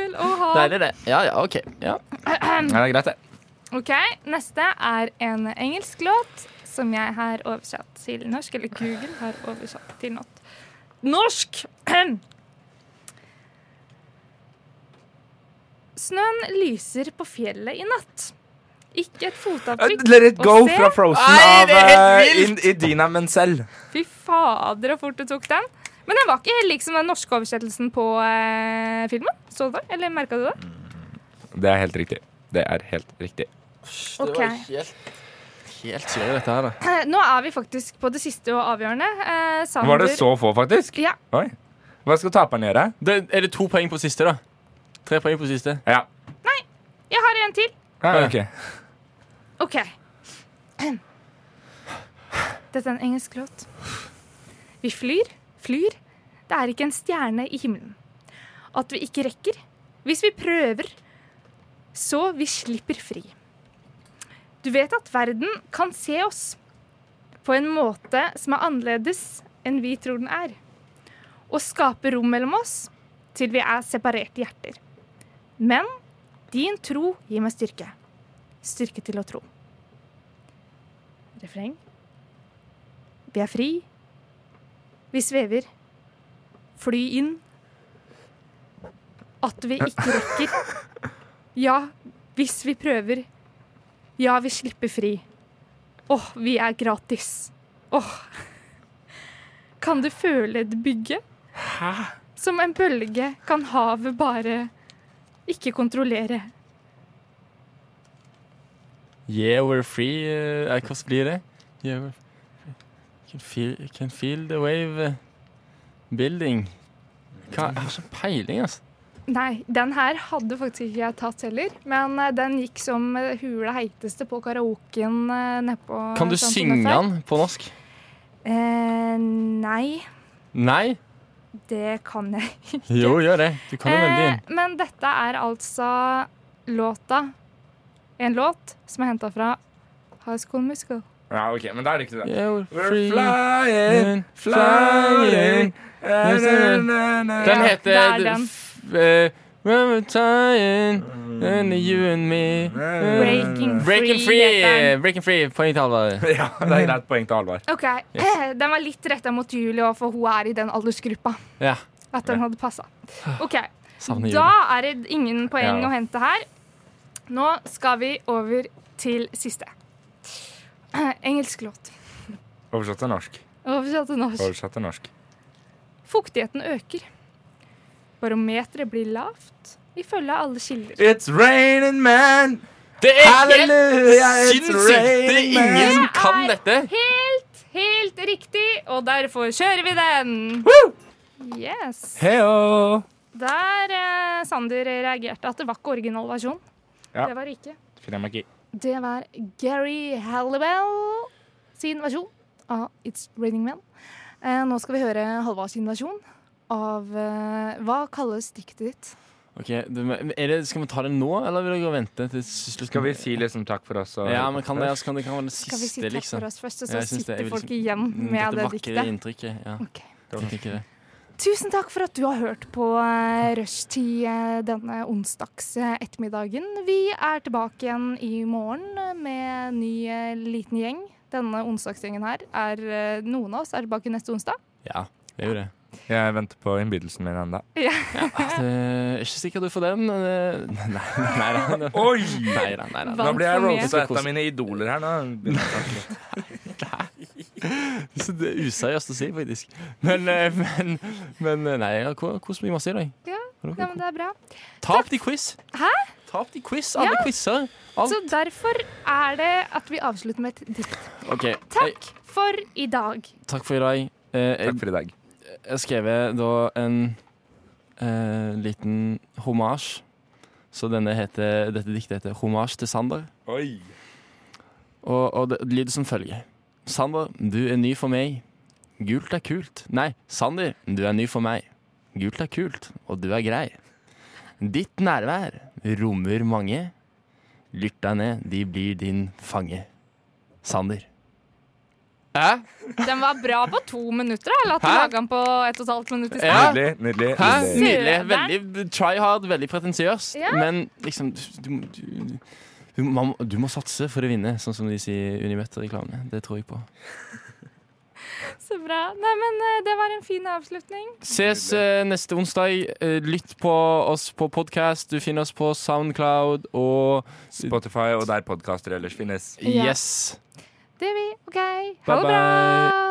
[SPEAKER 9] Deilig, det. Ja, ja, OK. Ja.
[SPEAKER 2] Ja, det er greit, det.
[SPEAKER 3] OK, neste er en engelsk låt som jeg har oversatt til norsk. Eller Google har oversatt til norsk. Norsk! Snøen lyser på fjellet i natt. Ikke et fotavtrykk
[SPEAKER 2] Eh, Let it
[SPEAKER 3] å
[SPEAKER 2] go
[SPEAKER 3] se.
[SPEAKER 2] fra Frozen av eh, Ind- Idina Menzel.
[SPEAKER 3] Fy fader, så fort du tok den. Men den var ikke lik som den norske oversettelsen på eh, filmen. Så du det? Eller merka du det?
[SPEAKER 2] Det er helt riktig. Det er helt riktig.
[SPEAKER 3] Ok.
[SPEAKER 9] Helt sløy, dette her, da.
[SPEAKER 3] Eh, Nå er vi faktisk på det siste og avgjørende. Eh, Sander-
[SPEAKER 2] Var det så få, faktisk?
[SPEAKER 3] Ja.
[SPEAKER 2] Oi. Hva skal taperen gjøre?
[SPEAKER 9] Det, er det to poeng på siste, da? Tre poeng på siste?
[SPEAKER 2] Ja.
[SPEAKER 3] Jeg har en til.
[SPEAKER 2] Ja, ok.
[SPEAKER 3] OK. Dette er en engelsk låt. Vi flyr, flyr. Det er ikke en stjerne i himmelen. At vi ikke rekker. Hvis vi prøver, så vi slipper fri. Du vet at verden kan se oss på en måte som er annerledes enn vi tror den er, og skape rom mellom oss til vi er separerte hjerter. Men din tro gir meg styrke. Styrke til å tro. Refreng. Vi er fri. Vi svever. Fly inn. At vi ikke rekker. Ja, hvis vi prøver. Ja, vi slipper fri. Åh, vi er gratis. Åh. Kan du føle det bygge?
[SPEAKER 2] Hæ?
[SPEAKER 3] Som en bølge kan havet bare ikke kontrollere.
[SPEAKER 9] Yeah, we're free. eh, Nei, hvordan blir det? Yeah, we're free. Can feel, can feel the wave eh, building. Hva? Jeg har ikke peiling, altså.
[SPEAKER 3] Nei, den her hadde faktisk ikke jeg tatt heller. Men eh, den gikk som eh, hula heiteste på karaoken eh, nedpå
[SPEAKER 9] Kan du
[SPEAKER 3] Samfunnet
[SPEAKER 9] synge
[SPEAKER 3] før.
[SPEAKER 9] den på norsk?
[SPEAKER 3] Eh, nei,
[SPEAKER 9] Nei?
[SPEAKER 3] det kan jeg ikke.
[SPEAKER 9] Jo, gjør det. Du kan jo veldig
[SPEAKER 3] Eh, men dette er altså låta En låt som er henta fra High School Musical.
[SPEAKER 2] Ja, ok, men da er det ikke det.
[SPEAKER 9] Yeah, we're
[SPEAKER 2] free. flying, flying.
[SPEAKER 9] Den heter
[SPEAKER 3] Ja, det er den.
[SPEAKER 9] f- eh, When we're tired, and you and me
[SPEAKER 3] Breaking
[SPEAKER 9] Eh, Breaking
[SPEAKER 3] free
[SPEAKER 9] free,
[SPEAKER 3] heter den.
[SPEAKER 9] Breaking free. Poeng til Halvard.
[SPEAKER 2] Ja, det er greit. Poeng til Halvard.
[SPEAKER 3] OK. Den var litt retta mot Julie, også, for hun er i den aldersgruppa.
[SPEAKER 9] Ja.
[SPEAKER 3] At den hadde passa. OK.
[SPEAKER 9] Savner Julie.
[SPEAKER 3] Da er det ingen poeng
[SPEAKER 9] Ja.
[SPEAKER 3] å hente her. Nå skal vi over til siste. Engelsk låt.
[SPEAKER 2] Oversatt til norsk.
[SPEAKER 3] Oversatt til norsk.
[SPEAKER 2] Oversatt til norsk.
[SPEAKER 3] Fuktigheten øker. Barometeret blir lavt ifølge alle kilder.
[SPEAKER 2] It's raining man.
[SPEAKER 9] Det
[SPEAKER 3] er
[SPEAKER 9] helt sinnssykt! Det er ingen som kan dette.
[SPEAKER 3] Helt, helt riktig, og derfor kjører vi den! Yes.
[SPEAKER 2] Heyo!
[SPEAKER 3] Der eh, Sander reagerte at det var ikke originalversjon.
[SPEAKER 2] Ja.
[SPEAKER 3] Det var det ikke.
[SPEAKER 2] Finner jeg meg ikke i.
[SPEAKER 3] Det var Gary Halliwell sin versjon av It's Raining Men. Eh, nå skal vi høre Halvard sin versjon av eh, Hva kalles diktet ditt?
[SPEAKER 9] Ok, du, men er det, Skal vi ta det nå, eller vil dere vente til slutten?
[SPEAKER 2] Skal vi si liksom takk for oss? Og
[SPEAKER 9] Ja, men kan det, altså, kan det kan være det siste,
[SPEAKER 3] Skal vi si takk
[SPEAKER 9] liksom?
[SPEAKER 3] for oss først, og så
[SPEAKER 9] Ja, jeg synes
[SPEAKER 3] sitter
[SPEAKER 9] jeg vil
[SPEAKER 3] folk igjen med det
[SPEAKER 9] sånn mm, Dette vakre
[SPEAKER 3] diktet?
[SPEAKER 9] inntrykket. Ja.
[SPEAKER 3] Ok.
[SPEAKER 9] Jeg tenker det.
[SPEAKER 3] Tusen takk for at du har hørt på eh, Rushtid eh, denne onsdags eh, ettermiddagen. Vi er tilbake igjen i morgen eh, med en ny eh, liten gjeng. Denne onsdagsgjengen her er eh, Noen av oss er tilbake neste onsdag.
[SPEAKER 9] Ja, det er jo det.
[SPEAKER 2] Jeg venter på innbydelsen min ennå.
[SPEAKER 3] Ja.
[SPEAKER 9] Det eh, er ikke sikkert du får den. men det- Nei, nei, nei, nei.
[SPEAKER 2] Oi!
[SPEAKER 9] Nei, nei, nei, nei.
[SPEAKER 2] Nå blir jeg roasta et av mine idoler her. Nå.
[SPEAKER 9] Så Det er useriøst å si, faktisk. Men, eh, men, men eh, nei, jeg har ko- kost meg masse i dag.
[SPEAKER 3] Ja, ja men det er bra.
[SPEAKER 9] Tap til quiz!
[SPEAKER 3] Hæ?
[SPEAKER 9] Tap til quiz, alle
[SPEAKER 3] Ja.
[SPEAKER 9] quizer. Alt.
[SPEAKER 3] Så derfor er det at vi avslutter med et dikt.
[SPEAKER 9] Ok, jeg-
[SPEAKER 3] Takk for i dag.
[SPEAKER 9] Takk for i dag. Takk for i dag. Jeg skrev da en eh, liten hommage. Så denne heter, dette diktet heter 'Hommage til Sander'.
[SPEAKER 2] Oi.
[SPEAKER 9] Og, og det lyder som følger. Sander, du er ny for meg. Gult er kult. Nei, Sander, du er ny for meg. Gult er kult, og du er grei. Ditt nærvær rommer mange. Lytt deg ned, de blir din fange. Sander. Hæ?
[SPEAKER 3] Den var bra på to minutter, eller at du
[SPEAKER 9] Hæ?
[SPEAKER 3] laga den på ett og et halvt minutt i
[SPEAKER 9] Ja.
[SPEAKER 3] stad.
[SPEAKER 2] nydelig.
[SPEAKER 9] Hæ?
[SPEAKER 3] nydelig.
[SPEAKER 9] Nydelig.
[SPEAKER 3] Søren.
[SPEAKER 9] Veldig try hard, veldig pretensiøst.
[SPEAKER 3] Ja.
[SPEAKER 9] Men liksom du, du, du, man, du må satse for å vinne, sånn som de sier i Unibet-reklamene. Det tror jeg på.
[SPEAKER 3] Så bra. Nei, men eh, det var en fin avslutning.
[SPEAKER 9] Ses eh, neste onsdag. Eh, lytt på oss på podkast. Du finner oss på Soundcloud og
[SPEAKER 2] Spotify og der podkaster ellers finnes.
[SPEAKER 3] Ja.
[SPEAKER 9] Yes.
[SPEAKER 3] Det er vi. OK. Ha
[SPEAKER 9] Bye
[SPEAKER 3] det
[SPEAKER 9] bye.
[SPEAKER 3] bra.